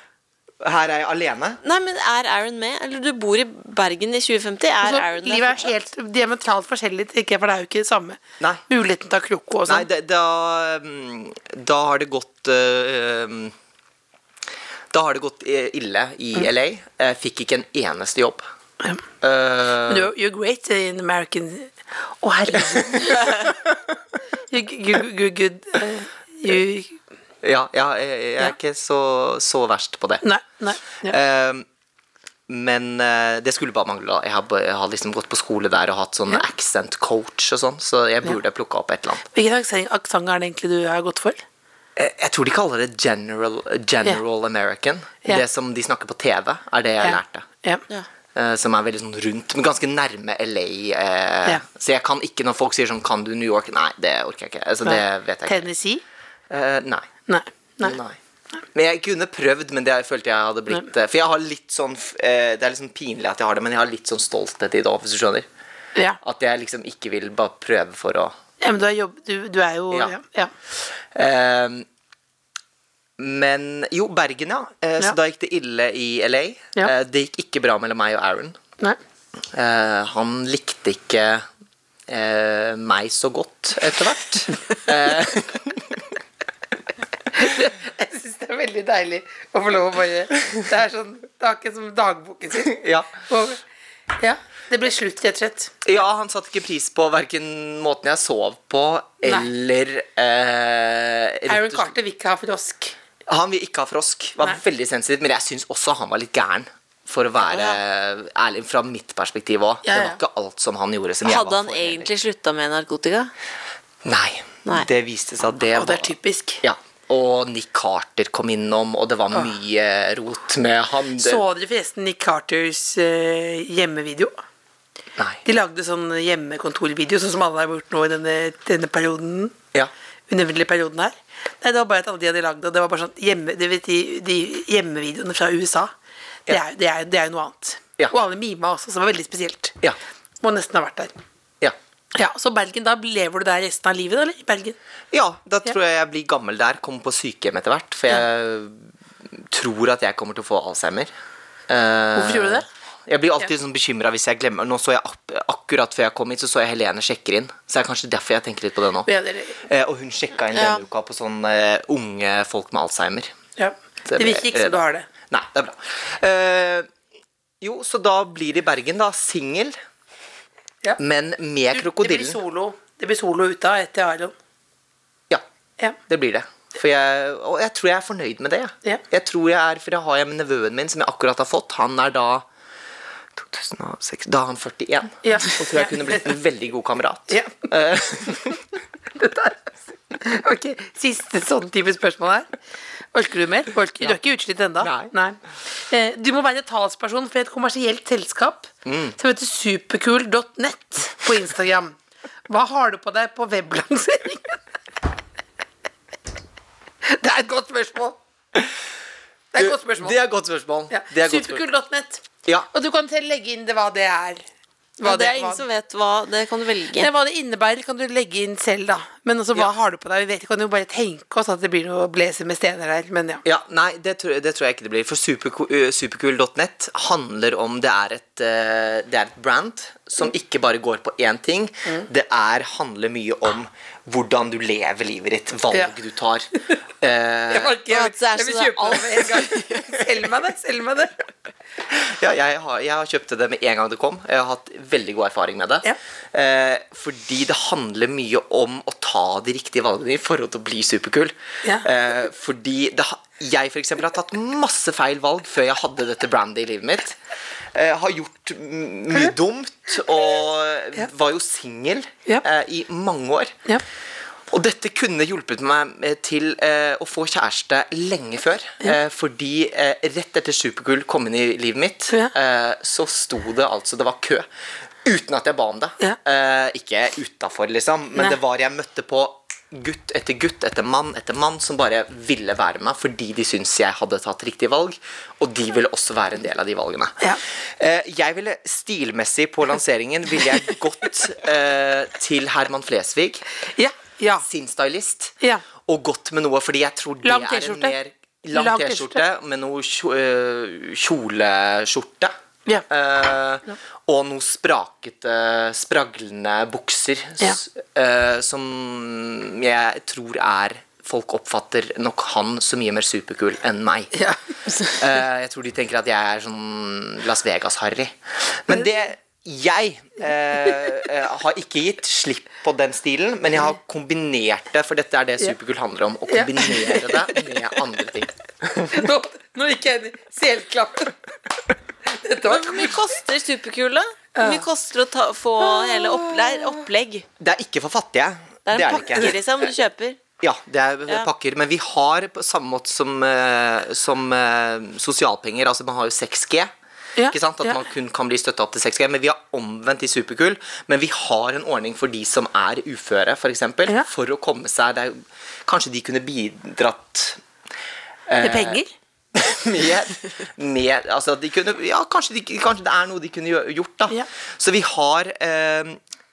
[SPEAKER 2] Her er jeg alene.
[SPEAKER 4] Nei, men er Aaron med? Eller du bor i Bergen i 2050. Er
[SPEAKER 3] Så
[SPEAKER 4] Aaron der
[SPEAKER 3] Altså, livet er
[SPEAKER 4] fortsatt?
[SPEAKER 3] helt diametralt forskjellig, tenker jeg, for det er jo ikke det samme.
[SPEAKER 2] Nei.
[SPEAKER 3] Muligheten til å ha kroko og
[SPEAKER 2] Nei,
[SPEAKER 3] sånn.
[SPEAKER 2] det, da mm, Da har det gått øh, mm, Da har det gått eh, ille i LA. Jeg fikk ikke en eneste jobb. Eh,
[SPEAKER 3] You're, you're great in American Å, herregud. you, you, you, good, eh, you,
[SPEAKER 2] ja, ja, jeg, jeg er
[SPEAKER 3] Ja.
[SPEAKER 2] ikke så, så verst på det.
[SPEAKER 3] Nei. nei ja.
[SPEAKER 2] Eh, men eh, det skulle bare mangle. da. Jeg har, ba- jeg har liksom gått på skole der og hatt sånn accent coach og sånn, så jeg burde plukka opp et eller annet.
[SPEAKER 3] Hvilken aksent- aksent er det egentlig du har gått for?
[SPEAKER 2] Jeg, jeg tror de kaller det general, general American.
[SPEAKER 3] Ja.
[SPEAKER 2] Det som de snakker på TV, er det jeg
[SPEAKER 3] Ja.
[SPEAKER 2] lærte.
[SPEAKER 3] Ja.
[SPEAKER 4] Ja.
[SPEAKER 2] Eh, som er veldig sånn rundt, men ganske nærme LA. Eh,
[SPEAKER 3] Ja.
[SPEAKER 2] Så jeg kan ikke når folk sier sånn Kan du New York? Nei, det orker jeg ikke. Altså, det vet jeg ikke.
[SPEAKER 3] Tennessee?
[SPEAKER 2] Eh, nei.
[SPEAKER 3] Nei. nei.
[SPEAKER 2] Men jeg kunne prøvd, men det jeg følte jeg hadde blitt eh, For jeg har litt sånn f- eh, Det er litt sånn pinlig at jeg har det, men jeg har litt sånn stolthet i det òg, hvis du skjønner.
[SPEAKER 3] Ja.
[SPEAKER 2] At jeg liksom ikke vil bare prøve for å
[SPEAKER 3] ja, men du, har jobb, du, du er jo
[SPEAKER 2] Ja.
[SPEAKER 3] ja. Ja.
[SPEAKER 2] eh, Men jo, Bergen, ja. Eh,
[SPEAKER 3] Ja.
[SPEAKER 2] Så da gikk det ille i LA.
[SPEAKER 3] Ja.
[SPEAKER 2] Eh, det gikk ikke bra mellom meg og Aaron.
[SPEAKER 3] Nei.
[SPEAKER 2] Eh, han likte ikke eh, meg så godt etter hvert. Eh,
[SPEAKER 3] Jeg syns det er veldig deilig å få lov å bare Det er sånn Det er ikke som dagboken sin.
[SPEAKER 2] ja.
[SPEAKER 3] Og, ja, det ble slutt, rett og slett.
[SPEAKER 2] ja, han satte ikke pris på verken måten jeg sov på, eller eh, rett og
[SPEAKER 3] Aaron
[SPEAKER 2] slett-
[SPEAKER 3] Carter vil ikke ha frosk.
[SPEAKER 2] Han vil ikke ha frosk. Var
[SPEAKER 3] Nei.
[SPEAKER 2] veldig sensitiv, men jeg syns også han var litt gæren. For å være ærlig, fra mitt perspektiv òg.
[SPEAKER 3] Ja,
[SPEAKER 2] Det
[SPEAKER 3] ja.
[SPEAKER 2] var ikke alt som han gjorde. Som jeg var
[SPEAKER 4] Hadde han
[SPEAKER 2] for, heller.
[SPEAKER 4] egentlig slutta med narkotika?
[SPEAKER 2] Nei.
[SPEAKER 4] Nei.
[SPEAKER 2] Det viste seg at det
[SPEAKER 3] Og det er
[SPEAKER 2] var
[SPEAKER 3] typisk.
[SPEAKER 2] ja. Og Nick Carter kom innom, og det var mye rot med han. Det-
[SPEAKER 3] Så dere forresten Nick Carters eh, hjemmevideo?
[SPEAKER 2] Nei.
[SPEAKER 3] De lagde sånn hjemmekontorvideo, sånn som alle har gjort nå i denne, denne perioden.
[SPEAKER 2] Ja.
[SPEAKER 3] Unevnelige perioden her. Nei, det var bare at alle de hadde lagd det, og det var bare sånn hjemme, du vet, de, de hjemmevideoene fra USA. Det er, det, er, det er jo noe annet.
[SPEAKER 2] Ja.
[SPEAKER 3] Og alle mima også, som var veldig spesielt.
[SPEAKER 2] Ja.
[SPEAKER 3] Må nesten ha vært der. Ja, Så Bergen, da lever du der resten av livet, da? eller? I Bergen?
[SPEAKER 2] Ja, da tror jeg jeg blir gammel der. Kommer på sykehjem etter hvert. For jeg tror at jeg kommer til å få Alzheimer. Eh,
[SPEAKER 3] Hvorfor gjorde du det?
[SPEAKER 2] Jeg blir alltid sånn bekymra hvis jeg glemmer. Nå så jeg ak- Akkurat før jeg kom hit, så så jeg Helene sjekker inn. Så det er kanskje derfor jeg tenker litt på det nå.
[SPEAKER 3] Ja, det-
[SPEAKER 2] Eh, Og hun sjekka inn
[SPEAKER 4] Ja.
[SPEAKER 2] denne uka på sånn eh, unge folk med Alzheimer.
[SPEAKER 3] Ja.
[SPEAKER 2] Så jeg
[SPEAKER 3] Det virker
[SPEAKER 2] ble-
[SPEAKER 3] ikke som du har det.
[SPEAKER 2] Nei, det er bra. Eh, jo, så da blir det i Bergen, da. Singel,
[SPEAKER 3] Ja.
[SPEAKER 2] men med
[SPEAKER 3] Du, det blir
[SPEAKER 2] krokodillen.
[SPEAKER 3] solo Det blir solo ut av etter Aron.
[SPEAKER 2] Ja,
[SPEAKER 3] Ja.
[SPEAKER 2] det blir det. For jeg, og jeg tror jeg er fornøyd med det. jeg.
[SPEAKER 3] Ja.
[SPEAKER 2] Jeg tror jeg er, For jeg har jeg med nevøen min, som jeg akkurat har fått. Han er da 2006, Da er han 41.
[SPEAKER 3] Ja.
[SPEAKER 2] Og tror jeg kunne blitt en veldig god kamerat.
[SPEAKER 3] Ja.
[SPEAKER 2] Eh,
[SPEAKER 3] Ok, Siste sånn type spørsmål her. Orker du mer? Orker, Du er ikke utslitt ennå?
[SPEAKER 2] Nei.
[SPEAKER 3] Eh, Du må være talsperson for et kommersielt selskap
[SPEAKER 2] Mm.
[SPEAKER 3] som heter supercool.net på Instagram. Hva har du på deg på weblanseringen? Det er et godt spørsmål. Det er et godt spørsmål.
[SPEAKER 2] Det er et godt spørsmål.
[SPEAKER 3] Ja.
[SPEAKER 2] Det er et godt spørsmål.
[SPEAKER 3] Supercool.net.
[SPEAKER 2] Ja.
[SPEAKER 3] Og du kan selv legge inn det, hva det er. Hva
[SPEAKER 4] Ja, det er
[SPEAKER 3] hva-
[SPEAKER 4] ingen som vet hva Det kan du velge.
[SPEAKER 3] Nei, hva det innebærer, kan du legge inn selv, da. Men altså, hva har du på deg? Vi vet, kan jo bare tenke oss at det blir noe blazer med stener der. Men ja.
[SPEAKER 2] Ja, nei, det tror, det tror jeg ikke det blir. For eh, superco- ø, supercool.net handler om Det er et, eh, det er et brand som
[SPEAKER 3] Mm.
[SPEAKER 2] ikke bare går på én ting. Det er, handler mye om hvordan du lever livet ditt, valg
[SPEAKER 3] Ja.
[SPEAKER 2] du tar. Eh,
[SPEAKER 4] Ja, det sånn er så det er alt.
[SPEAKER 3] med en gang. Selg meg det, selg meg det.
[SPEAKER 2] ja, jeg, har, jeg har kjøpte det med en gang det kom. Jeg har hatt veldig god erfaring med det.
[SPEAKER 3] Ja.
[SPEAKER 2] Eh, fordi det handler mye om å ta de riktige valgene i forhold til å bli superkul.
[SPEAKER 3] Ja.
[SPEAKER 2] Eh, fordi det, ha- jeg for eksempel har tatt masse feil valg før jeg hadde dette brandet i livet mitt. Eh, har gjort m- mye dumt og
[SPEAKER 3] Ja.
[SPEAKER 2] var jo singel
[SPEAKER 3] Ja.
[SPEAKER 2] eh, i mange år.
[SPEAKER 3] Ja.
[SPEAKER 2] Og dette kunne hjulpet meg eh, til eh, å få kjæreste lenge før. Eh, fordi eh, rett etter Supergull kom inn i livet mitt,
[SPEAKER 3] Ja.
[SPEAKER 2] eh, så sto det altså Det var kø. Uten at jeg ba om det.
[SPEAKER 3] Ja.
[SPEAKER 2] Eh, ikke utafor, liksom, men
[SPEAKER 3] Nei.
[SPEAKER 2] det var jeg møtte på gutt etter gutt etter mann etter mann som bare ville være med meg fordi de syntes jeg hadde tatt riktig valg, og de ville også være en del av de valgene.
[SPEAKER 3] Ja.
[SPEAKER 2] Eh, jeg ville stilmessig på lanseringen ville jeg gått eh, til Herman Flesvig
[SPEAKER 3] Ja. ja.
[SPEAKER 2] sin stylist
[SPEAKER 3] Ja.
[SPEAKER 2] og gått med noe, fordi jeg tror det
[SPEAKER 3] Lang
[SPEAKER 2] er en
[SPEAKER 3] T-skjorte.
[SPEAKER 2] mer Lang
[SPEAKER 3] Lang
[SPEAKER 2] T-skjorte med noe kjo- øh, kjoleskjorte.
[SPEAKER 3] Ja.
[SPEAKER 2] Eh, og noen sprakete, spraglende bukser s- eh, som jeg tror er Folk oppfatter nok han så mye mer superkul enn meg.
[SPEAKER 3] Ja.
[SPEAKER 2] Eh, jeg tror de tenker at jeg er sånn Las Vegas-harry. Men det jeg eh, eh, har ikke gitt slipp på den stilen, men jeg har kombinert det, for dette er det Supergull handler om. Å
[SPEAKER 3] Ja.
[SPEAKER 2] kombinere det med andre ting.
[SPEAKER 3] Nå, nå gikk jeg inn i selklappen. Dette var
[SPEAKER 4] Hvor mye koster superkula? Hvor mye koster det å ta, få hele oppleir, opplegg?
[SPEAKER 2] Det er ikke for fattige.
[SPEAKER 4] Det er en
[SPEAKER 2] det
[SPEAKER 4] pakke, liksom, du kjøper.
[SPEAKER 2] Ja, det er
[SPEAKER 4] Ja.
[SPEAKER 2] pakker. Men vi har på samme måte som, eh, som eh, sosialpenger. Altså man har jo 6G.
[SPEAKER 3] Ja,
[SPEAKER 2] Ikke sant? At
[SPEAKER 3] ja.
[SPEAKER 2] man kun kan bli støtta opp til 6G. Men vi har omvendt i Superkull. Men vi har en ordning for de som er uføre, f.eks. For, eksempel,
[SPEAKER 3] Ja.
[SPEAKER 2] for å komme seg det er, jo- Kanskje de kunne bidratt
[SPEAKER 3] med penger.
[SPEAKER 2] med, med altså at de kunne, ja, kanskje, de, kanskje det er noe de kunne gjø- gjort, da.
[SPEAKER 3] Ja.
[SPEAKER 2] Så vi har eh,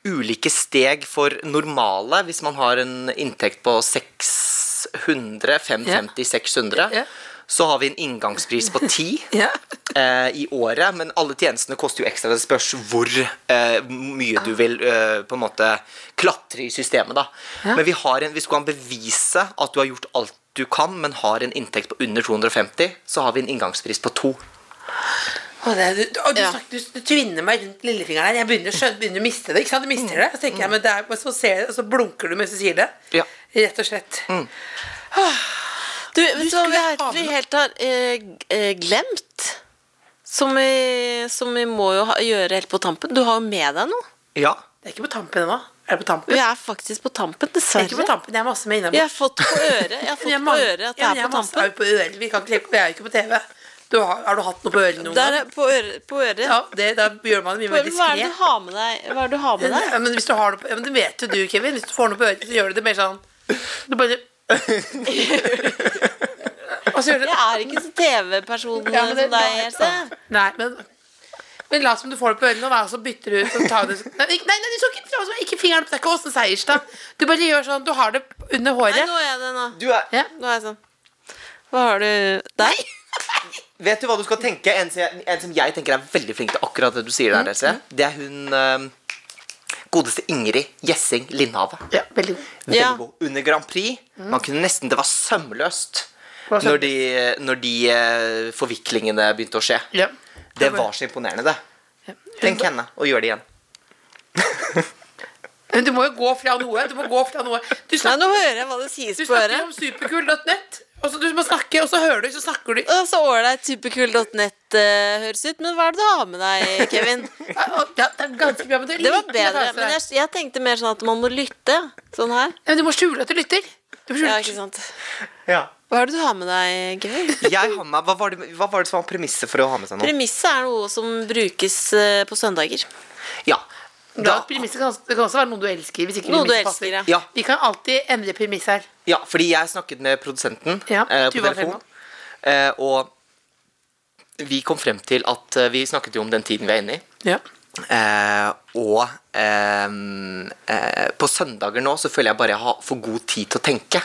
[SPEAKER 2] ulike steg for normale, hvis man har en inntekt på 600, 550, 600.
[SPEAKER 3] Ja.
[SPEAKER 2] Så har vi en inngangspris på 10
[SPEAKER 3] Ja.
[SPEAKER 2] eh, i året, men alle tjenestene koster jo ekstra. Det spørs hvor eh, mye du vil eh, på en måte klatre i systemet, da. Men vi har en, hvis du kan bevise at du har gjort alt du kan, men har en inntekt på under 250, så har vi en inngangspris på to.
[SPEAKER 3] Å, det er, du, å, du,
[SPEAKER 4] Ja.
[SPEAKER 3] snakker, du, du tvinner meg rundt lillefingeren her. Jeg begynner å, skjønne, begynner å miste det. ikke sant? Du mister det, og så tenker jeg, men det er, og så, ser, jeg- og så blunker du mens du sier det.
[SPEAKER 2] Ja.
[SPEAKER 3] Rett og slett.
[SPEAKER 4] Mm. Du, vet du hva
[SPEAKER 3] skulle
[SPEAKER 4] vi,
[SPEAKER 3] ha
[SPEAKER 4] har, vi
[SPEAKER 3] med-
[SPEAKER 4] helt har eh, g- eh, glemt? Som vi, som vi må jo ha, gjøre helt på tampen. Du har jo med deg noe.
[SPEAKER 2] Ja.
[SPEAKER 3] Det er ikke på tampen ennå. Er det på tampen?
[SPEAKER 4] Vi er faktisk på tampen,
[SPEAKER 3] Jeg er ikke på
[SPEAKER 4] dessverre.
[SPEAKER 3] tampen, jeg har masse med innom.
[SPEAKER 4] Vi har fått på øret, jeg har fått på øret at det er på tampen.
[SPEAKER 3] på øret. Vi kan ikke legge på, jeg er jo ikke på TV. Du har, har du hatt noe på øret noen
[SPEAKER 4] Der
[SPEAKER 3] gang?
[SPEAKER 4] er, eh, på øret. På øret.
[SPEAKER 3] Ja, det, da gjør man det mye
[SPEAKER 4] Hva
[SPEAKER 3] mer
[SPEAKER 4] er det
[SPEAKER 3] diskré.
[SPEAKER 4] du har med deg? Hva er det du har med deg?
[SPEAKER 3] Ja, men hvis du har det på, ja, men det vet jo du, Kevin. Hvis du får noe på øret, så gjør du det mer sånn Du bare Og så gjør du
[SPEAKER 4] Jeg er ikke så TV-person
[SPEAKER 3] Ja, men det-
[SPEAKER 4] som deg, Else.
[SPEAKER 3] Nei, men Men la som du får det på ørene, og da, og så bytter du ut. Så tar du nei, nei, nei, du så ikke, det var ikke fingeren. Det er ikke Åsne Seierstad. Du bare gjør sånn. Du har det under
[SPEAKER 4] Nei,
[SPEAKER 3] håret.
[SPEAKER 4] nå er jeg det nå.
[SPEAKER 2] Du er,
[SPEAKER 3] Ja.
[SPEAKER 4] Nå er jeg sånn. Hva har du der?
[SPEAKER 2] vet du hva du skal tenke? En, som jeg- en som jeg tenker er veldig flink til akkurat det du sier
[SPEAKER 3] Mm,
[SPEAKER 2] der, Else. Det er hun eh, godeste Ingrid Gjessing Lindhave.
[SPEAKER 3] Ja, veldig god.
[SPEAKER 2] Veldig
[SPEAKER 4] Ja.
[SPEAKER 2] god. Under Grand Prix. Man kunne nesten, Det var sømløst
[SPEAKER 3] var sømløst.
[SPEAKER 2] når de, når de eh, forviklingene begynte å skje.
[SPEAKER 3] Ja.
[SPEAKER 2] Det var så imponerende, det. Tenk henne, og gjør det igjen.
[SPEAKER 3] Men du må jo gå fra noe. Du må gå fra noe. Du
[SPEAKER 4] Nei,
[SPEAKER 3] snakker,
[SPEAKER 4] nå hører jeg hva det sies
[SPEAKER 3] du
[SPEAKER 4] på
[SPEAKER 3] snakker
[SPEAKER 4] øret.
[SPEAKER 3] om superkul.nett, og så du må snakke, og så hører du, så snakker du.
[SPEAKER 4] Og så ålreit superkul.net eh, høres ut, men hva er det du har med deg, Kevin?
[SPEAKER 3] Ja, og- ja, det er ganske bra, men du, er
[SPEAKER 4] Det var
[SPEAKER 3] liten,
[SPEAKER 4] bedre,
[SPEAKER 3] altså.
[SPEAKER 4] men jeg, jeg tenkte mer sånn at man må lytte. Sånn her.
[SPEAKER 3] Ja, men du må skjule at du lytter. Du må skjule.
[SPEAKER 4] Ja, ikke sant.
[SPEAKER 2] Ja.
[SPEAKER 4] Hva er det du har med deg, Kevin?
[SPEAKER 2] Jeg har med, hva, var det, hva var det som var premisset for å ha med seg noe?
[SPEAKER 4] Premisset er noe som brukes eh, på søndager.
[SPEAKER 2] Ja.
[SPEAKER 3] Da,
[SPEAKER 2] Da,
[SPEAKER 3] premisset kan, det kan også være noe du elsker. Hvis ikke
[SPEAKER 4] Noe du
[SPEAKER 3] premisset
[SPEAKER 4] elsker, ja.
[SPEAKER 3] passer.
[SPEAKER 2] Ja.
[SPEAKER 3] Vi kan alltid endre premiss her.
[SPEAKER 2] ja, fordi jeg snakket med produsenten
[SPEAKER 3] Ja,
[SPEAKER 2] eh, på
[SPEAKER 3] Tuva
[SPEAKER 2] telefon,
[SPEAKER 3] Fellmann.
[SPEAKER 2] eh, og vi kom frem til at eh, Vi snakket jo om den tiden vi er inne i.
[SPEAKER 3] Ja.
[SPEAKER 2] Eh, og eh, eh, på søndager nå så føler jeg bare jeg har for god tid til å tenke.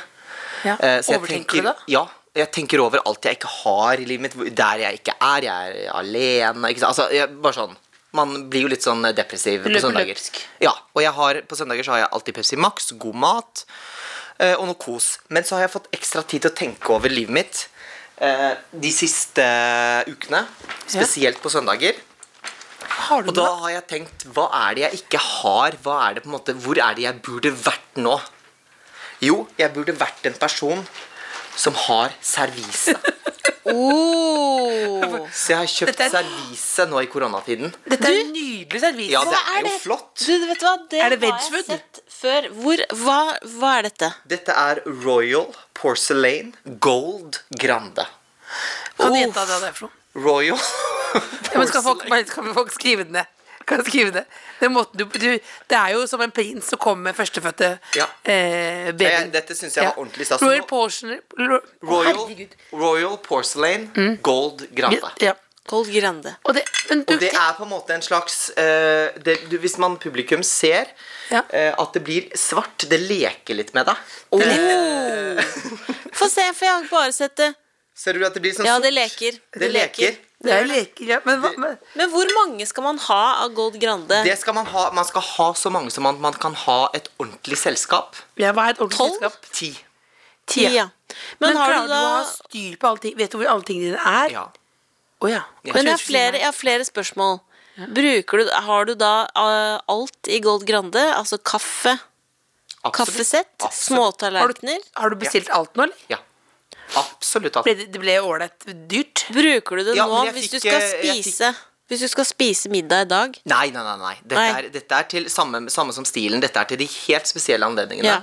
[SPEAKER 3] Ja.
[SPEAKER 2] Eh, så jeg
[SPEAKER 3] Overtenker du
[SPEAKER 2] tenker-
[SPEAKER 3] det?
[SPEAKER 2] Ja. Jeg tenker over alt jeg ikke har i livet mitt, hvor- der jeg ikke er. Jeg er alene. Ikke sant? Altså, jeg, bare sånn. Man blir jo litt sånn eh, depressiv
[SPEAKER 3] Løper
[SPEAKER 2] på søndager.
[SPEAKER 3] løpsk.
[SPEAKER 2] Ja, og jeg har, på søndager så har jeg alltid Pepsi Max, god mat eh, og noe kos. Men så har jeg fått ekstra tid til å tenke over livet mitt eh, de siste eh, ukene. Spesielt på søndager.
[SPEAKER 3] Har du
[SPEAKER 2] Og da
[SPEAKER 3] noe?
[SPEAKER 2] har jeg tenkt, hva er det jeg ikke har? Hva er det på en måte, hvor er det jeg burde vært nå? Jo, jeg burde vært en person som har servise.
[SPEAKER 4] Oh.
[SPEAKER 2] Så jeg har kjøpt
[SPEAKER 3] Dette er-
[SPEAKER 2] servise nå i koronatiden.
[SPEAKER 3] Dette er en nydelig servise.
[SPEAKER 2] Ja, det
[SPEAKER 4] Hva
[SPEAKER 2] er
[SPEAKER 4] er
[SPEAKER 2] jo
[SPEAKER 4] det?
[SPEAKER 2] flott.
[SPEAKER 4] Du, vet du hva? Det,
[SPEAKER 3] Er det
[SPEAKER 4] har jeg
[SPEAKER 3] Wedgwood?
[SPEAKER 4] sett før. Hvor, hva, hva er dette?
[SPEAKER 2] Dette er Royal Porcelain Gold Grande.
[SPEAKER 3] Kan du
[SPEAKER 4] Uff.
[SPEAKER 3] gjette hva det er for noe?
[SPEAKER 2] Royal
[SPEAKER 3] Ja, men skal folk, bare- skal folk skrive det ned? Kan skrive det. Den måten du, du, det er jo som en prins som kommer med førstefødte
[SPEAKER 2] Ja.
[SPEAKER 3] eh, baby.
[SPEAKER 2] Ja, ja, dette synes jeg var ordentlig stas.
[SPEAKER 3] Royal
[SPEAKER 2] Nå-
[SPEAKER 3] Portion
[SPEAKER 2] Royal,
[SPEAKER 3] Herregud. Mm.
[SPEAKER 2] Royal Porcelain Gold Grande.
[SPEAKER 3] Ja.
[SPEAKER 4] Cold Grande.
[SPEAKER 3] Og det, men du,
[SPEAKER 2] Og det er på en måte en slags eh, det, du, Hvis man publikum ser
[SPEAKER 3] Ja.
[SPEAKER 2] eh, at det blir svart, det leker litt med deg.
[SPEAKER 4] Oh. Få se, for jeg har bare sett det.
[SPEAKER 2] Ser du at det blir sånn
[SPEAKER 4] Ja,
[SPEAKER 2] sort?
[SPEAKER 4] det leker.
[SPEAKER 2] Det leker.
[SPEAKER 3] det er jo leker, ja. Men, hva, men
[SPEAKER 4] Men hvor mange skal man ha av Gold Grande?
[SPEAKER 2] Det skal man ha. Man skal ha så mange som man, man kan ha et ordentlig selskap.
[SPEAKER 3] ja, hva er et ordentlig
[SPEAKER 4] Tolv?
[SPEAKER 3] selskap?
[SPEAKER 2] Ti.
[SPEAKER 4] Ti, ja. Men,
[SPEAKER 3] Men
[SPEAKER 4] har
[SPEAKER 3] klarer
[SPEAKER 4] du da
[SPEAKER 3] å ha styr på alle ting? Vet du hvor alle tingene dine
[SPEAKER 4] Eh,
[SPEAKER 3] er?
[SPEAKER 2] Ja.
[SPEAKER 3] Å ja.
[SPEAKER 2] Ja.
[SPEAKER 4] Men jeg
[SPEAKER 3] Jeg
[SPEAKER 4] har
[SPEAKER 3] tror
[SPEAKER 4] flere,
[SPEAKER 3] ikke
[SPEAKER 4] jeg har flere spørsmål. Bruker du, har du da eh, alt i Gold Grande? Altså kaffe,
[SPEAKER 2] Absolutt.
[SPEAKER 4] kaffesett,
[SPEAKER 2] Absolutt.
[SPEAKER 3] Har du,
[SPEAKER 4] småtallerkener?
[SPEAKER 3] har du bestilt alt nå, eller?
[SPEAKER 2] Ja. Absolutt.
[SPEAKER 3] Ble
[SPEAKER 2] At,
[SPEAKER 3] det, det ble ålreit dyrt.
[SPEAKER 4] Bruker du det
[SPEAKER 2] Ja,
[SPEAKER 4] nå
[SPEAKER 2] men jeg
[SPEAKER 4] hvis du
[SPEAKER 2] fikk,
[SPEAKER 4] skal
[SPEAKER 2] eh, jeg fikk-
[SPEAKER 4] spise Hvis du skal spise middag i dag?
[SPEAKER 2] nei, nei, nei. nei. Dette,
[SPEAKER 4] Nei.
[SPEAKER 2] Er, dette er til samme, samme som stilen. Dette er til de helt spesielle anledningene.
[SPEAKER 4] Ja.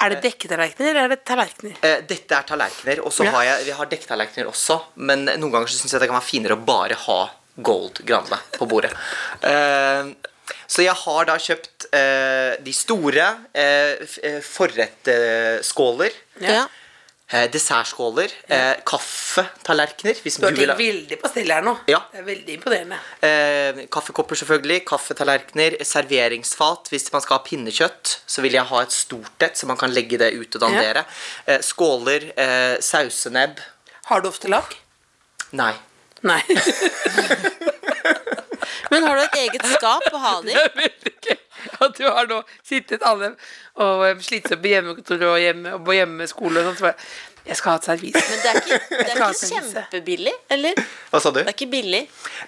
[SPEAKER 3] Er det dekketallerkener, eller er det tallerkener?
[SPEAKER 2] Eh, dette er tallerkener, og så
[SPEAKER 3] Ja.
[SPEAKER 2] har jeg, vi har dekktallerkener også. Men noen ganger så syns jeg det kan være finere å bare ha gold grande på bordet. Eh, så jeg har da kjøpt eh, de store eh, f- eh, forrettskåler.
[SPEAKER 4] ja.
[SPEAKER 2] Eh, dessertskåler. Eh, kaffetallerkener, hvis
[SPEAKER 3] Du
[SPEAKER 2] du,
[SPEAKER 3] har
[SPEAKER 2] vil
[SPEAKER 3] tenkt
[SPEAKER 2] ha.
[SPEAKER 3] veldig på stell her nå.
[SPEAKER 2] Ja.
[SPEAKER 3] Det er veldig imponerende.
[SPEAKER 2] Eh, kaffekopper, selvfølgelig. Kaffetallerkener. Serveringsfat. Hvis man skal ha pinnekjøtt, så vil jeg ha et stort et, så man kan legge det ut og dandere. Eh, skåler. Eh, sausenebb.
[SPEAKER 3] Har du ofte lag?
[SPEAKER 2] Nei.
[SPEAKER 3] Nei.
[SPEAKER 4] Men har du et eget skap å ha det i?
[SPEAKER 3] Jeg vet ikke at du har nå sittet alle og eh, slitt opp i hjemmekontor og, hjemme, og på hjemmeskole og sånn. Så bare, jeg skal ha et servis.
[SPEAKER 4] Men det er ikke, det er
[SPEAKER 3] skal ha
[SPEAKER 4] ikke
[SPEAKER 3] servise.
[SPEAKER 4] kjempebillig, eller?
[SPEAKER 2] Hva sa du?
[SPEAKER 4] Det er ikke billig,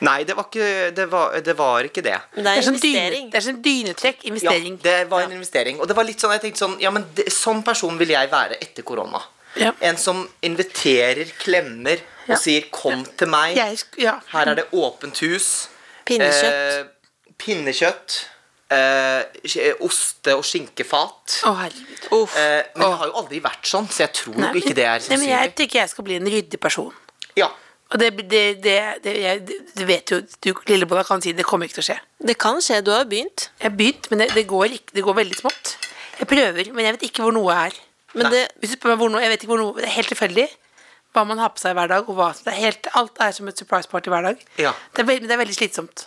[SPEAKER 2] Nei, det var ikke det. Var, det, var ikke det.
[SPEAKER 4] men det
[SPEAKER 3] Det
[SPEAKER 4] er
[SPEAKER 3] er
[SPEAKER 4] en
[SPEAKER 3] sånn, dyne,
[SPEAKER 4] investering.
[SPEAKER 3] det er sånn dynetrekk.
[SPEAKER 2] Ja,
[SPEAKER 3] Investering.
[SPEAKER 2] det var en investering. Og det var litt sånn, jeg tenkte sånn Ja, men det, sånn person vil jeg være etter korona.
[SPEAKER 3] Ja.
[SPEAKER 2] En som inviterer, klemmer
[SPEAKER 3] Ja.
[SPEAKER 2] og sier 'kom til meg'.
[SPEAKER 3] Jeg sk- ja.
[SPEAKER 2] Her er det åpent hus.
[SPEAKER 4] Pinnekjøtt.
[SPEAKER 2] Eh, pinnekjøtt. Eh, sk- oste- og skinkefat.
[SPEAKER 3] Å, herregud.
[SPEAKER 4] Uff.
[SPEAKER 2] Eh, men det har jo aldri vært sånn, så jeg tror
[SPEAKER 3] Nei,
[SPEAKER 2] ikke det er
[SPEAKER 3] men- Nei, men jeg
[SPEAKER 2] sannsynlig.
[SPEAKER 3] tenker jeg skal bli en ryddig person.
[SPEAKER 2] Ja.
[SPEAKER 3] Og det, det, det, det jeg, Du vet jo, du lillebolla kan si det kommer ikke til å skje.
[SPEAKER 4] Det kan skje, du har jo begynt.
[SPEAKER 3] Jeg har begynt, men det, det, går ikke, det går veldig smått. Jeg prøver, men jeg vet ikke hvor noe er.
[SPEAKER 4] Men det,
[SPEAKER 3] Hvis du spør meg hvor noe, jeg vet ikke hvor noe, Det er helt tilfeldig hva man har på seg hver dag. Og hva, det er helt, alt er som et surprise party hver dag.
[SPEAKER 2] Ja.
[SPEAKER 3] Det er, veld, men det er veldig slitsomt.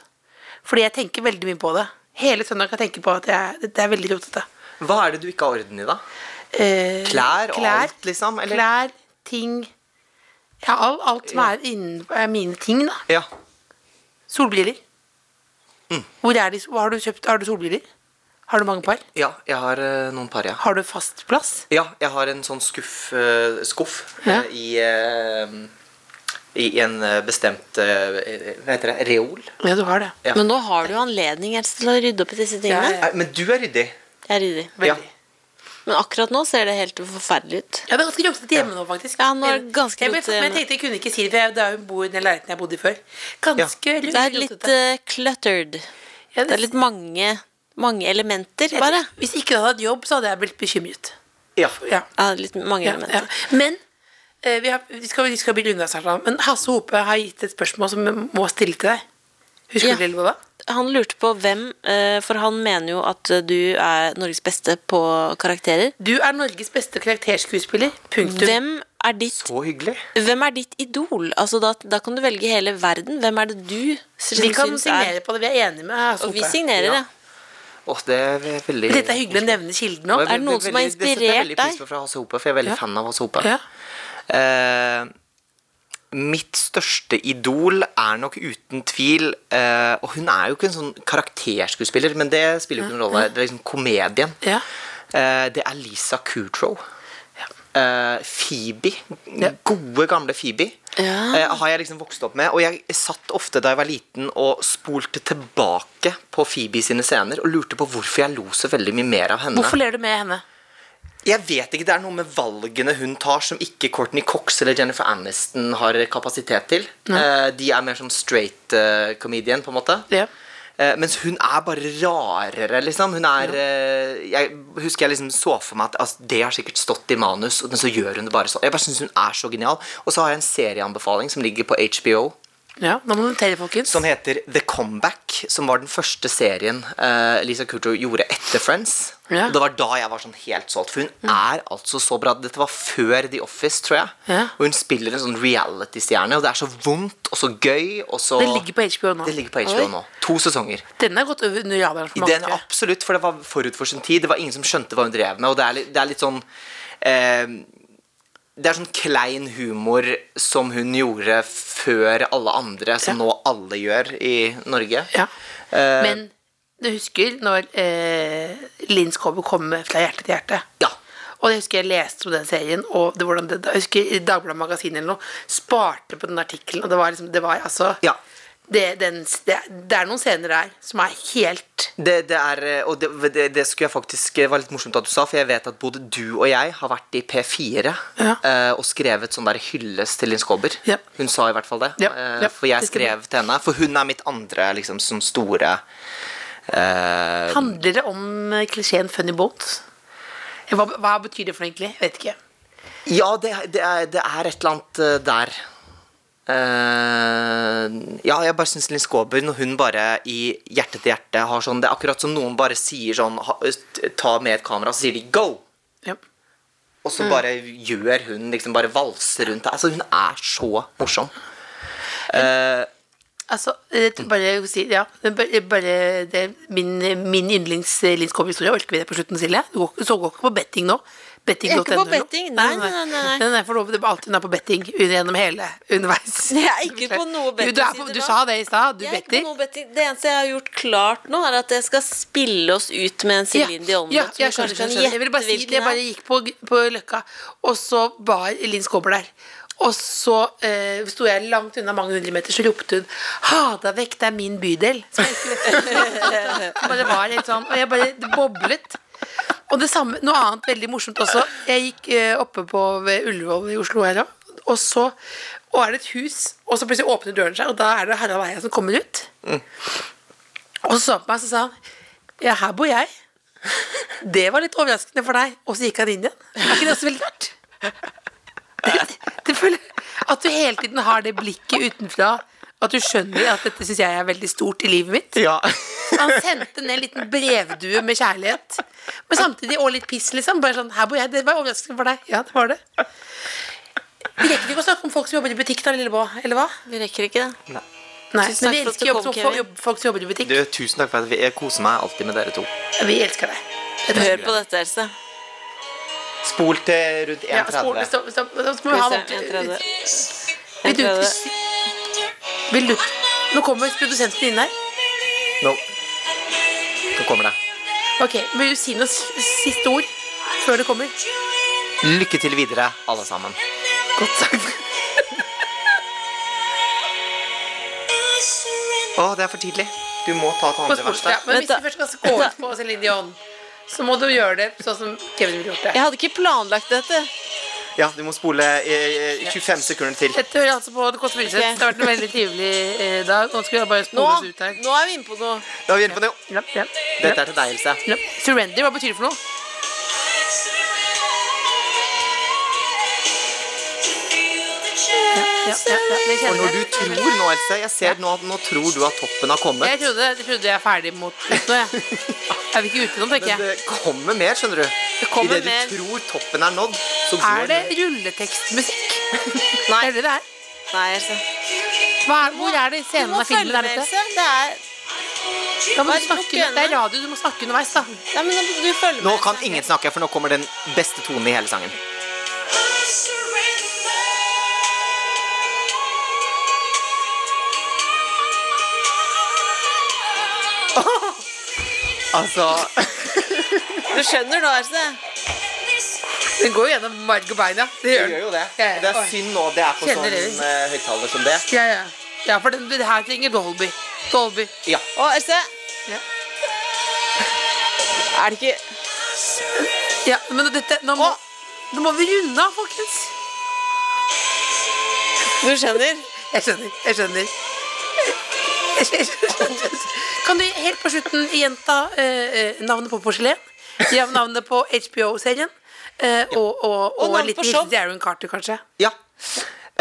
[SPEAKER 3] Fordi jeg tenker veldig mye på det. Hele søndag kan jeg tenke på at jeg, dette er veldig rotete.
[SPEAKER 2] Hva er det du ikke har orden i, da?
[SPEAKER 3] Eh,
[SPEAKER 2] Klær og alt, liksom, eller?
[SPEAKER 3] Klær, ting Ja, all, alt som er innen er mine ting, da.
[SPEAKER 2] Ja.
[SPEAKER 3] Solbriller.
[SPEAKER 2] Mm.
[SPEAKER 3] Hvor er de? Har du, kjøpt, har du solbriller? Har du mange par?
[SPEAKER 2] ja jeg har eh, noen par, ja.
[SPEAKER 3] Har du fast plass?
[SPEAKER 2] Ja, jeg har en sånn skuff, eh, skuff eh, i, eh, i en eh, bestemt eh, Hva heter det? Reol?
[SPEAKER 3] Ja, du har det.
[SPEAKER 2] Ja.
[SPEAKER 4] Men nå har du jo anledning Else, til å rydde opp i disse tingene.
[SPEAKER 3] Ja,
[SPEAKER 2] Nei, Eh, men du er ryddig.
[SPEAKER 4] Jeg er ryddig.
[SPEAKER 2] Ja.
[SPEAKER 3] Veldig.
[SPEAKER 4] Men akkurat nå ser det helt forferdelig ut.
[SPEAKER 3] Ja, det er ganske rotete hjemme nå, faktisk.
[SPEAKER 4] Ja, nå er det ganske eh,
[SPEAKER 3] jeg, ble-
[SPEAKER 4] rotete
[SPEAKER 3] Men jeg
[SPEAKER 4] hjemme.
[SPEAKER 3] tenkte jeg kunne ikke si det, for jeg, da hun bor i den leiligheten jeg bodde i før. Ganske
[SPEAKER 4] Det er litt eh, cluttered.
[SPEAKER 3] Ja,
[SPEAKER 4] Det er litt mange, mange elementer,
[SPEAKER 3] jeg-
[SPEAKER 4] bare.
[SPEAKER 3] Hvis ikke jeg hadde hatt jobb, så hadde jeg blitt bekymret.
[SPEAKER 2] Ja.
[SPEAKER 3] Ja,
[SPEAKER 4] Ja, litt mange
[SPEAKER 3] ja, ja.
[SPEAKER 4] elementer.
[SPEAKER 3] Men eh, vi, har, vi skal, vi skal begynne unna snart, da. men Hasse Hope har gitt et spørsmål som jeg må stille til deg. Husker
[SPEAKER 4] Ja.
[SPEAKER 3] du det, Lola?
[SPEAKER 4] Han lurte på hvem, eh, for han mener jo at du er Norges beste på karakterer.
[SPEAKER 3] Du er Norges beste karakterskuespiller. Punktum.
[SPEAKER 4] Hvem er ditt,
[SPEAKER 2] Så hyggelig.
[SPEAKER 4] hvem er ditt idol? Altså, da, da kan du velge hele verden. Hvem er det du
[SPEAKER 3] Vi
[SPEAKER 4] syns
[SPEAKER 3] kan
[SPEAKER 4] er
[SPEAKER 3] signere på det. Vi er enige med Hasse
[SPEAKER 4] Og
[SPEAKER 3] Hope.
[SPEAKER 4] vi signerer, ja.
[SPEAKER 2] Ja. Åh, det er ve- veldig
[SPEAKER 3] Dette er hyggelig å nevne kilden
[SPEAKER 2] Det
[SPEAKER 3] òg.
[SPEAKER 4] Er det noen
[SPEAKER 2] veldig-
[SPEAKER 4] som har
[SPEAKER 2] veldig- det setter jeg
[SPEAKER 4] inspirert
[SPEAKER 2] veldig pris
[SPEAKER 4] deg?
[SPEAKER 2] på fra Hasse Hope, for jeg er veldig
[SPEAKER 3] Ja.
[SPEAKER 2] fan av Hasse Hope.
[SPEAKER 3] Ja.
[SPEAKER 2] Eh, mitt største idol er nok uten tvil eh, Og hun er jo ikke en sånn karakterskuespiller, men det spiller jo ikke noen rolle. Det er liksom komedien.
[SPEAKER 3] Ja.
[SPEAKER 2] Eh, det er Lisa Kudrow. Eh, Phoebe. Gode, gamle Phoebe.
[SPEAKER 4] Ja.
[SPEAKER 2] Eh, har jeg liksom vokst opp med. Og jeg satt ofte da jeg var liten og spolte tilbake på Phoebe sine scener og lurte på hvorfor jeg lo så veldig mye mer av henne.
[SPEAKER 3] Hvorfor ler du med henne?
[SPEAKER 2] Jeg vet ikke, Det er noe med valgene hun tar som ikke Courtney Cox eller Jennifer Aniston har kapasitet til. Eh, de er mer som straight eh, comedian, på en måte.
[SPEAKER 3] Ja.
[SPEAKER 2] Eh, mens hun er bare rarere, liksom. Hun er eh, Jeg husker jeg liksom så for meg at altså, det har sikkert stått i manus, og- men så gjør hun det bare sånn. Jeg bare syns hun er så genial. Og så har jeg en serieanbefaling som ligger på HBO.
[SPEAKER 3] Ja, Nå må du notere, folkens.
[SPEAKER 2] Som heter The Comeback, som var den første serien eh, Lisa Kudrow gjorde etter Friends.
[SPEAKER 3] Ja.
[SPEAKER 2] Og det var da jeg var sånn helt solgt, for hun er altså så bra. Dette var før The Office, tror jeg.
[SPEAKER 3] Ja.
[SPEAKER 2] Og hun spiller en sånn reality-stjerne, og det er så vondt og så gøy. Og så
[SPEAKER 3] Det ligger på HBO nå.
[SPEAKER 2] Det ligger på HBO nå. To sesonger.
[SPEAKER 3] Den er gått over under radaren for mange.
[SPEAKER 2] Den,
[SPEAKER 3] tror jeg.
[SPEAKER 2] absolutt, for det var forut for sin tid. Det var ingen som skjønte hva hun drev med. Og det er litt, det er litt sånn eh, Det er sånn klein humor som hun gjorde før alle andre, som nå alle gjør i Norge.
[SPEAKER 3] Ja.
[SPEAKER 2] Eh,
[SPEAKER 3] Men du husker når eh, Linn Skåber kom med Fra hjerte til hjerte?
[SPEAKER 2] Ja.
[SPEAKER 3] Og jeg husker jeg leste om den serien, og det, hvordan det, jeg husker i Dagbladet Magasin eller noe, sparte på den artikkelen, og det var liksom, det var altså
[SPEAKER 2] Ja.
[SPEAKER 3] det, den, det, det er noen scener der som er helt
[SPEAKER 2] Det, det er, eh, og det, det, det skulle jeg faktisk det var litt morsomt at du sa, for jeg vet at både du og jeg har vært i P4
[SPEAKER 3] Ja.
[SPEAKER 2] eh, og skrevet sånn der hyllest til Linn Skåber.
[SPEAKER 3] Ja.
[SPEAKER 2] Hun sa i hvert fall det.
[SPEAKER 3] Ja,
[SPEAKER 2] eh,
[SPEAKER 3] ja,
[SPEAKER 2] For jeg
[SPEAKER 3] det stemmer.
[SPEAKER 2] skrev til henne. For hun er mitt andre liksom, sånn store eh,
[SPEAKER 3] Handler det om eh, klisjeen 'funny bones'? Hva, hva betyr det for noe egentlig? Jeg vet ikke.
[SPEAKER 2] Ja, det, det, er, det er et eller annet eh, der. Eh, ja, jeg bare syns Linn Skåber, når hun bare i hjerte til hjerte har sånn Det er akkurat som noen bare sier sånn ha, Ta med et kamera, så sier de 'go'!
[SPEAKER 3] Ja.
[SPEAKER 2] Og
[SPEAKER 3] Mm.
[SPEAKER 2] så bare gjør hun liksom bare valser rundt det. Altså, hun er så morsom.
[SPEAKER 3] Altså, eh, bare si Ja, det er bare, bare det, er min, min yndlings eh, Linn Skåber-historie orker vi det på slutten, Silje. Du går, ikke- så går ikke på betting nå. Betting.
[SPEAKER 4] Jeg er ikke på
[SPEAKER 3] nå.
[SPEAKER 4] betting. Nei, nei, nei, nei.
[SPEAKER 3] nei, for nå- det er alltid hun er på betting gjennom hele underveis.
[SPEAKER 4] Jeg er ikke på noe
[SPEAKER 3] Du, du, er på,
[SPEAKER 4] bettingsider
[SPEAKER 3] du
[SPEAKER 4] nå.
[SPEAKER 3] sa det i stad. Du
[SPEAKER 4] Jeg er ikke
[SPEAKER 3] better.
[SPEAKER 4] på noe betting. Det eneste jeg har gjort klart nå, er at jeg skal spille oss ut med en Celine Dion-låt.
[SPEAKER 3] ja,
[SPEAKER 4] som vi
[SPEAKER 3] jeg skjønner,
[SPEAKER 4] kanskje kan
[SPEAKER 3] skjønner, skjønner. Jeg ville bare si
[SPEAKER 4] gjette
[SPEAKER 3] det. Jeg
[SPEAKER 4] hvilken
[SPEAKER 3] bare
[SPEAKER 4] er.
[SPEAKER 3] gikk på, på Løkka, og så var Linn Skåber der. Og så eh, sto jeg langt unna mange hundre meter, så ropte hun 'Ha deg vekk, det er min bydel'. Som jeg ikke bare var helt sånn, og jeg bare det boblet. Og det samme, noe annet veldig morsomt også. Jeg gikk eh, oppe på ved Ullevål i Oslo her òg, og så og er det et hus, og så plutselig åpner døren seg, og da er det Harald Eia som kommer ut. Og så så han på meg, så sa han Ja, her bor jeg. Det var litt overraskende for deg. Og så gikk han inn igjen. Er ikke det også veldig rart? Det, det føler, at du hele tiden har det blikket utenfra. At du skjønner at dette syns jeg er veldig stort i livet mitt.
[SPEAKER 2] Ja.
[SPEAKER 3] Han sendte ned en liten brevdue med kjærlighet. Men samtidig og litt piss, liksom. Bare sånn, her bor jeg, Det var overraskende for deg. Ja, det var det. Vi rekker ikke å snakke om folk som jobber i butikk, da, Lillebå. Eller hva?
[SPEAKER 4] Vi rekker ikke det.
[SPEAKER 3] Nei,
[SPEAKER 4] Tusen takk for
[SPEAKER 3] men vi
[SPEAKER 4] at du
[SPEAKER 3] elsker jobb,
[SPEAKER 4] kom,
[SPEAKER 3] som-
[SPEAKER 4] Kevin.
[SPEAKER 3] jobb, folk som jobber i butikk.
[SPEAKER 2] Du, tusen takk for at vi, jeg koser meg alltid med dere to.
[SPEAKER 3] Vi elsker deg.
[SPEAKER 4] Hør på dette, Else.
[SPEAKER 2] Spol til rundt
[SPEAKER 3] Ja, spol,
[SPEAKER 2] 1,30.
[SPEAKER 3] stopp, stopp, stopp, så må vi ha
[SPEAKER 4] Skal
[SPEAKER 3] noe
[SPEAKER 4] vi se, en tredje.
[SPEAKER 3] Vil du,
[SPEAKER 4] En tredje.
[SPEAKER 3] vil du Nå kommer produsenten inn her.
[SPEAKER 2] Nå. Nå kommer det.
[SPEAKER 3] Ok, Vil du si noe s- siste ord før det kommer?
[SPEAKER 2] Lykke til videre, alle sammen.
[SPEAKER 3] Godt sagt.
[SPEAKER 2] Å, det er for tidlig. Du må ta et
[SPEAKER 3] På
[SPEAKER 2] andre vers
[SPEAKER 3] sportsdag.
[SPEAKER 2] der.
[SPEAKER 3] Men
[SPEAKER 4] Vent
[SPEAKER 3] hvis du
[SPEAKER 4] da.
[SPEAKER 3] først skal score på Céline Dion, så må du gjøre det sånn som Kevin ville gjort det.
[SPEAKER 4] Jeg hadde ikke planlagt dette.
[SPEAKER 2] Ja, du må spole eh, eh, 25 sekunder til.
[SPEAKER 3] Dette hører altså på Det Kåss
[SPEAKER 4] Ok.
[SPEAKER 3] Furuseth. Det har vært en veldig trivelig eh, dag. Nå skal vi bare
[SPEAKER 4] Nå,
[SPEAKER 3] spole oss ut her.
[SPEAKER 4] nå er vi inne på noe.
[SPEAKER 2] Da er vi inne på det.
[SPEAKER 3] Ja, ja, ja,
[SPEAKER 2] Dette er til deg, Else.
[SPEAKER 3] ja. Surrender, hva betyr det for noe? Ja, ja, ja, det
[SPEAKER 2] Og
[SPEAKER 3] kjenner
[SPEAKER 2] når du
[SPEAKER 3] jeg.
[SPEAKER 2] tror nå, Else Jeg ser nå at nå tror du at toppen har kommet.
[SPEAKER 3] Jeg trodde, jeg trodde jeg er ferdig mot slutt nå, jeg. Er vi ikke ute nå, tenker
[SPEAKER 2] Men
[SPEAKER 3] jeg.
[SPEAKER 2] det kommer mer, skjønner du. Det
[SPEAKER 4] kommer
[SPEAKER 2] I det
[SPEAKER 4] mer.
[SPEAKER 2] du tror toppen er nådd, så går
[SPEAKER 3] Er det rulletekstmusikk? Det
[SPEAKER 4] Nei.
[SPEAKER 3] er det det er.
[SPEAKER 4] Nei, Else.
[SPEAKER 3] Hva er, hvor er det i
[SPEAKER 4] Du
[SPEAKER 3] scenen
[SPEAKER 4] må
[SPEAKER 3] av filmen?
[SPEAKER 4] følge
[SPEAKER 3] Er
[SPEAKER 4] med,
[SPEAKER 3] dette?
[SPEAKER 4] Else. Det er
[SPEAKER 3] Da må
[SPEAKER 4] Bare
[SPEAKER 3] du
[SPEAKER 4] lukk
[SPEAKER 3] snakke,
[SPEAKER 4] øynene.
[SPEAKER 3] det er radio, du må snakke underveis, da.
[SPEAKER 4] Nei, men nå må du følge med. liksom.
[SPEAKER 2] Nå kan
[SPEAKER 4] Else.
[SPEAKER 2] ingen snakke, for nå kommer den beste tonen i hele sangen. Altså
[SPEAKER 4] Du skjønner nå, Else.
[SPEAKER 3] Den går jo gjennom marg og bein, ja. Det
[SPEAKER 2] Det gjør jo det. Det er synd nå det er på
[SPEAKER 3] Kjenner
[SPEAKER 2] sånn
[SPEAKER 3] dere?
[SPEAKER 2] eh, høyttaler som det.
[SPEAKER 3] Ja, ja. ja for den, det her trenger Dolby. Dolby.
[SPEAKER 2] Ja.
[SPEAKER 4] Å, Else.
[SPEAKER 3] Ja.
[SPEAKER 4] Er det ikke
[SPEAKER 3] Ja, men dette, nå må,
[SPEAKER 4] Å.
[SPEAKER 3] nå må vi runde av, folkens.
[SPEAKER 4] Du skjønner?
[SPEAKER 3] Jeg skjønner. Jeg skjønner. Jeg skjønner, jeg skjønner. Kan du helt på slutten gjenta eh, eh, navnet på porselen? Ja, navnet på HBO-serien? eh, og, og, og,
[SPEAKER 4] navnet
[SPEAKER 3] en liten
[SPEAKER 4] på show.
[SPEAKER 3] hilsen til Aaron Carter, kanskje.
[SPEAKER 2] ja.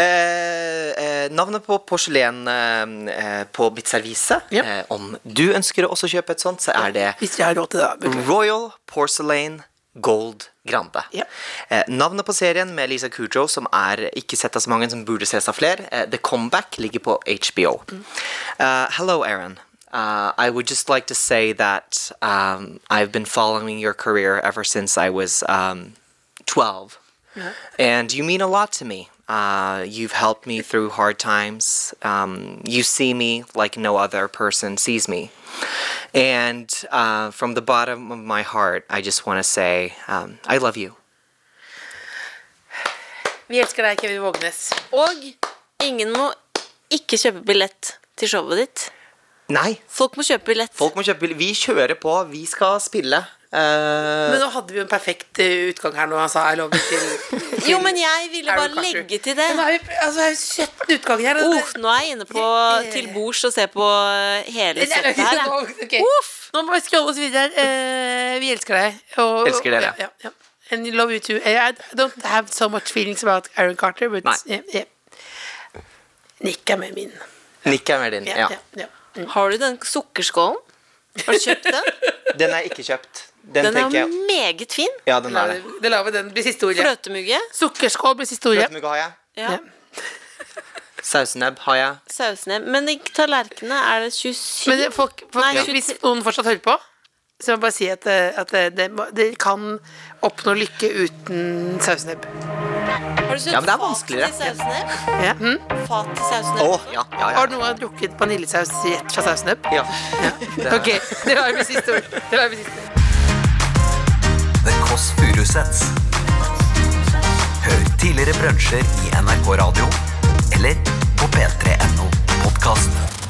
[SPEAKER 2] Eh, eh, navnet på porselen eh, eh, på mitt servise
[SPEAKER 3] Ja.
[SPEAKER 2] eh, Om du ønsker å også kjøpe et sånt, så er det
[SPEAKER 3] Hvis vi har råd til det. da.
[SPEAKER 2] Royal Porcelain Gold Grande.
[SPEAKER 3] Ja.
[SPEAKER 2] Eh, navnet på serien med Lisa Kudrow, som er ikke sett av så mange, som burde ses av flere, eh, The Comeback, ligger på HBO. Uh, hello, Aaron. Uh, I would just like to say that um, I've been following your career ever since I was um, 12. And you mean a lot to me. Uh, you've helped me through hard times. Um, you see me like no other person sees me. And uh, from the bottom of my heart, I just want to say um, I love you.
[SPEAKER 3] Vi elsker deg, Kevin Vågenes.
[SPEAKER 4] Og ingen må ikke kjøpe billett til showet ditt.
[SPEAKER 2] Nei,
[SPEAKER 4] Folk må kjøpe billett.
[SPEAKER 2] folk må kjøpe bill- Vi kjører på. Vi skal spille. Eh,
[SPEAKER 3] Men nå hadde vi jo en perfekt eh, utgang her nå, han sa I love you til, til
[SPEAKER 4] Jo, men jeg ville
[SPEAKER 3] Aaron
[SPEAKER 4] bare
[SPEAKER 3] Carter.
[SPEAKER 4] legge til det.
[SPEAKER 3] Men nå er vi altså, er vi 17 utganger her.
[SPEAKER 4] Oh, nå er jeg inne på til bords og ser på eh, hele
[SPEAKER 3] Nei,
[SPEAKER 4] settet her. jeg.
[SPEAKER 3] nå- ok. Nå må vi skrolle oss videre. Eh, vi elsker deg. Og,
[SPEAKER 2] Elsker dere.
[SPEAKER 3] Ja, ja, ja. And love you too. Eh, I don't have so much feelings about Aaron Carter, but
[SPEAKER 2] Nei.
[SPEAKER 3] yeah, yeah. Nick er med min.
[SPEAKER 2] Nick er med din.
[SPEAKER 3] Ja,
[SPEAKER 2] Ja.
[SPEAKER 3] ja. ja.
[SPEAKER 4] Har du den sukkerskålen? Har du kjøpt den?
[SPEAKER 2] Den er ikke kjøpt.
[SPEAKER 4] Den
[SPEAKER 2] Den,
[SPEAKER 4] er
[SPEAKER 2] tenker jeg
[SPEAKER 4] meget fin.
[SPEAKER 2] Ja, den
[SPEAKER 3] La
[SPEAKER 2] er det.
[SPEAKER 3] det, det lar vi den bli siste ordet.
[SPEAKER 4] Fløtemugge.
[SPEAKER 3] Sukkerskål blir siste ordet.
[SPEAKER 2] Fløtemugg har jeg.
[SPEAKER 4] Ja,
[SPEAKER 2] Sausenebb har jeg.
[SPEAKER 4] sausene. Men i tallerkenene er det 27
[SPEAKER 3] Men det- folk, folk,
[SPEAKER 4] Nei,
[SPEAKER 3] hvis
[SPEAKER 4] tjuetre-
[SPEAKER 3] noen fortsatt hører på, så må jeg bare si at, eh, at eh, det, må- dere kan oppnå lykke uten sausnebb.
[SPEAKER 4] Har du kjøpt
[SPEAKER 2] Ja, men
[SPEAKER 4] fat
[SPEAKER 2] det er
[SPEAKER 4] til
[SPEAKER 2] vanskeligere.
[SPEAKER 4] sausene?
[SPEAKER 3] Ja. Hm?
[SPEAKER 4] Fat til sausene?
[SPEAKER 2] Å, ja. ja, ja.
[SPEAKER 3] Har noen drukket vaniljesaus rett fra sausnebb?
[SPEAKER 2] ja. Det er-
[SPEAKER 3] Ok, det var mitt siste ord. Det var mitt siste ord.
[SPEAKER 6] The Kåss Furuseths. Hør tidligere brunsjer i NRK Radio eller på p3.no podkast.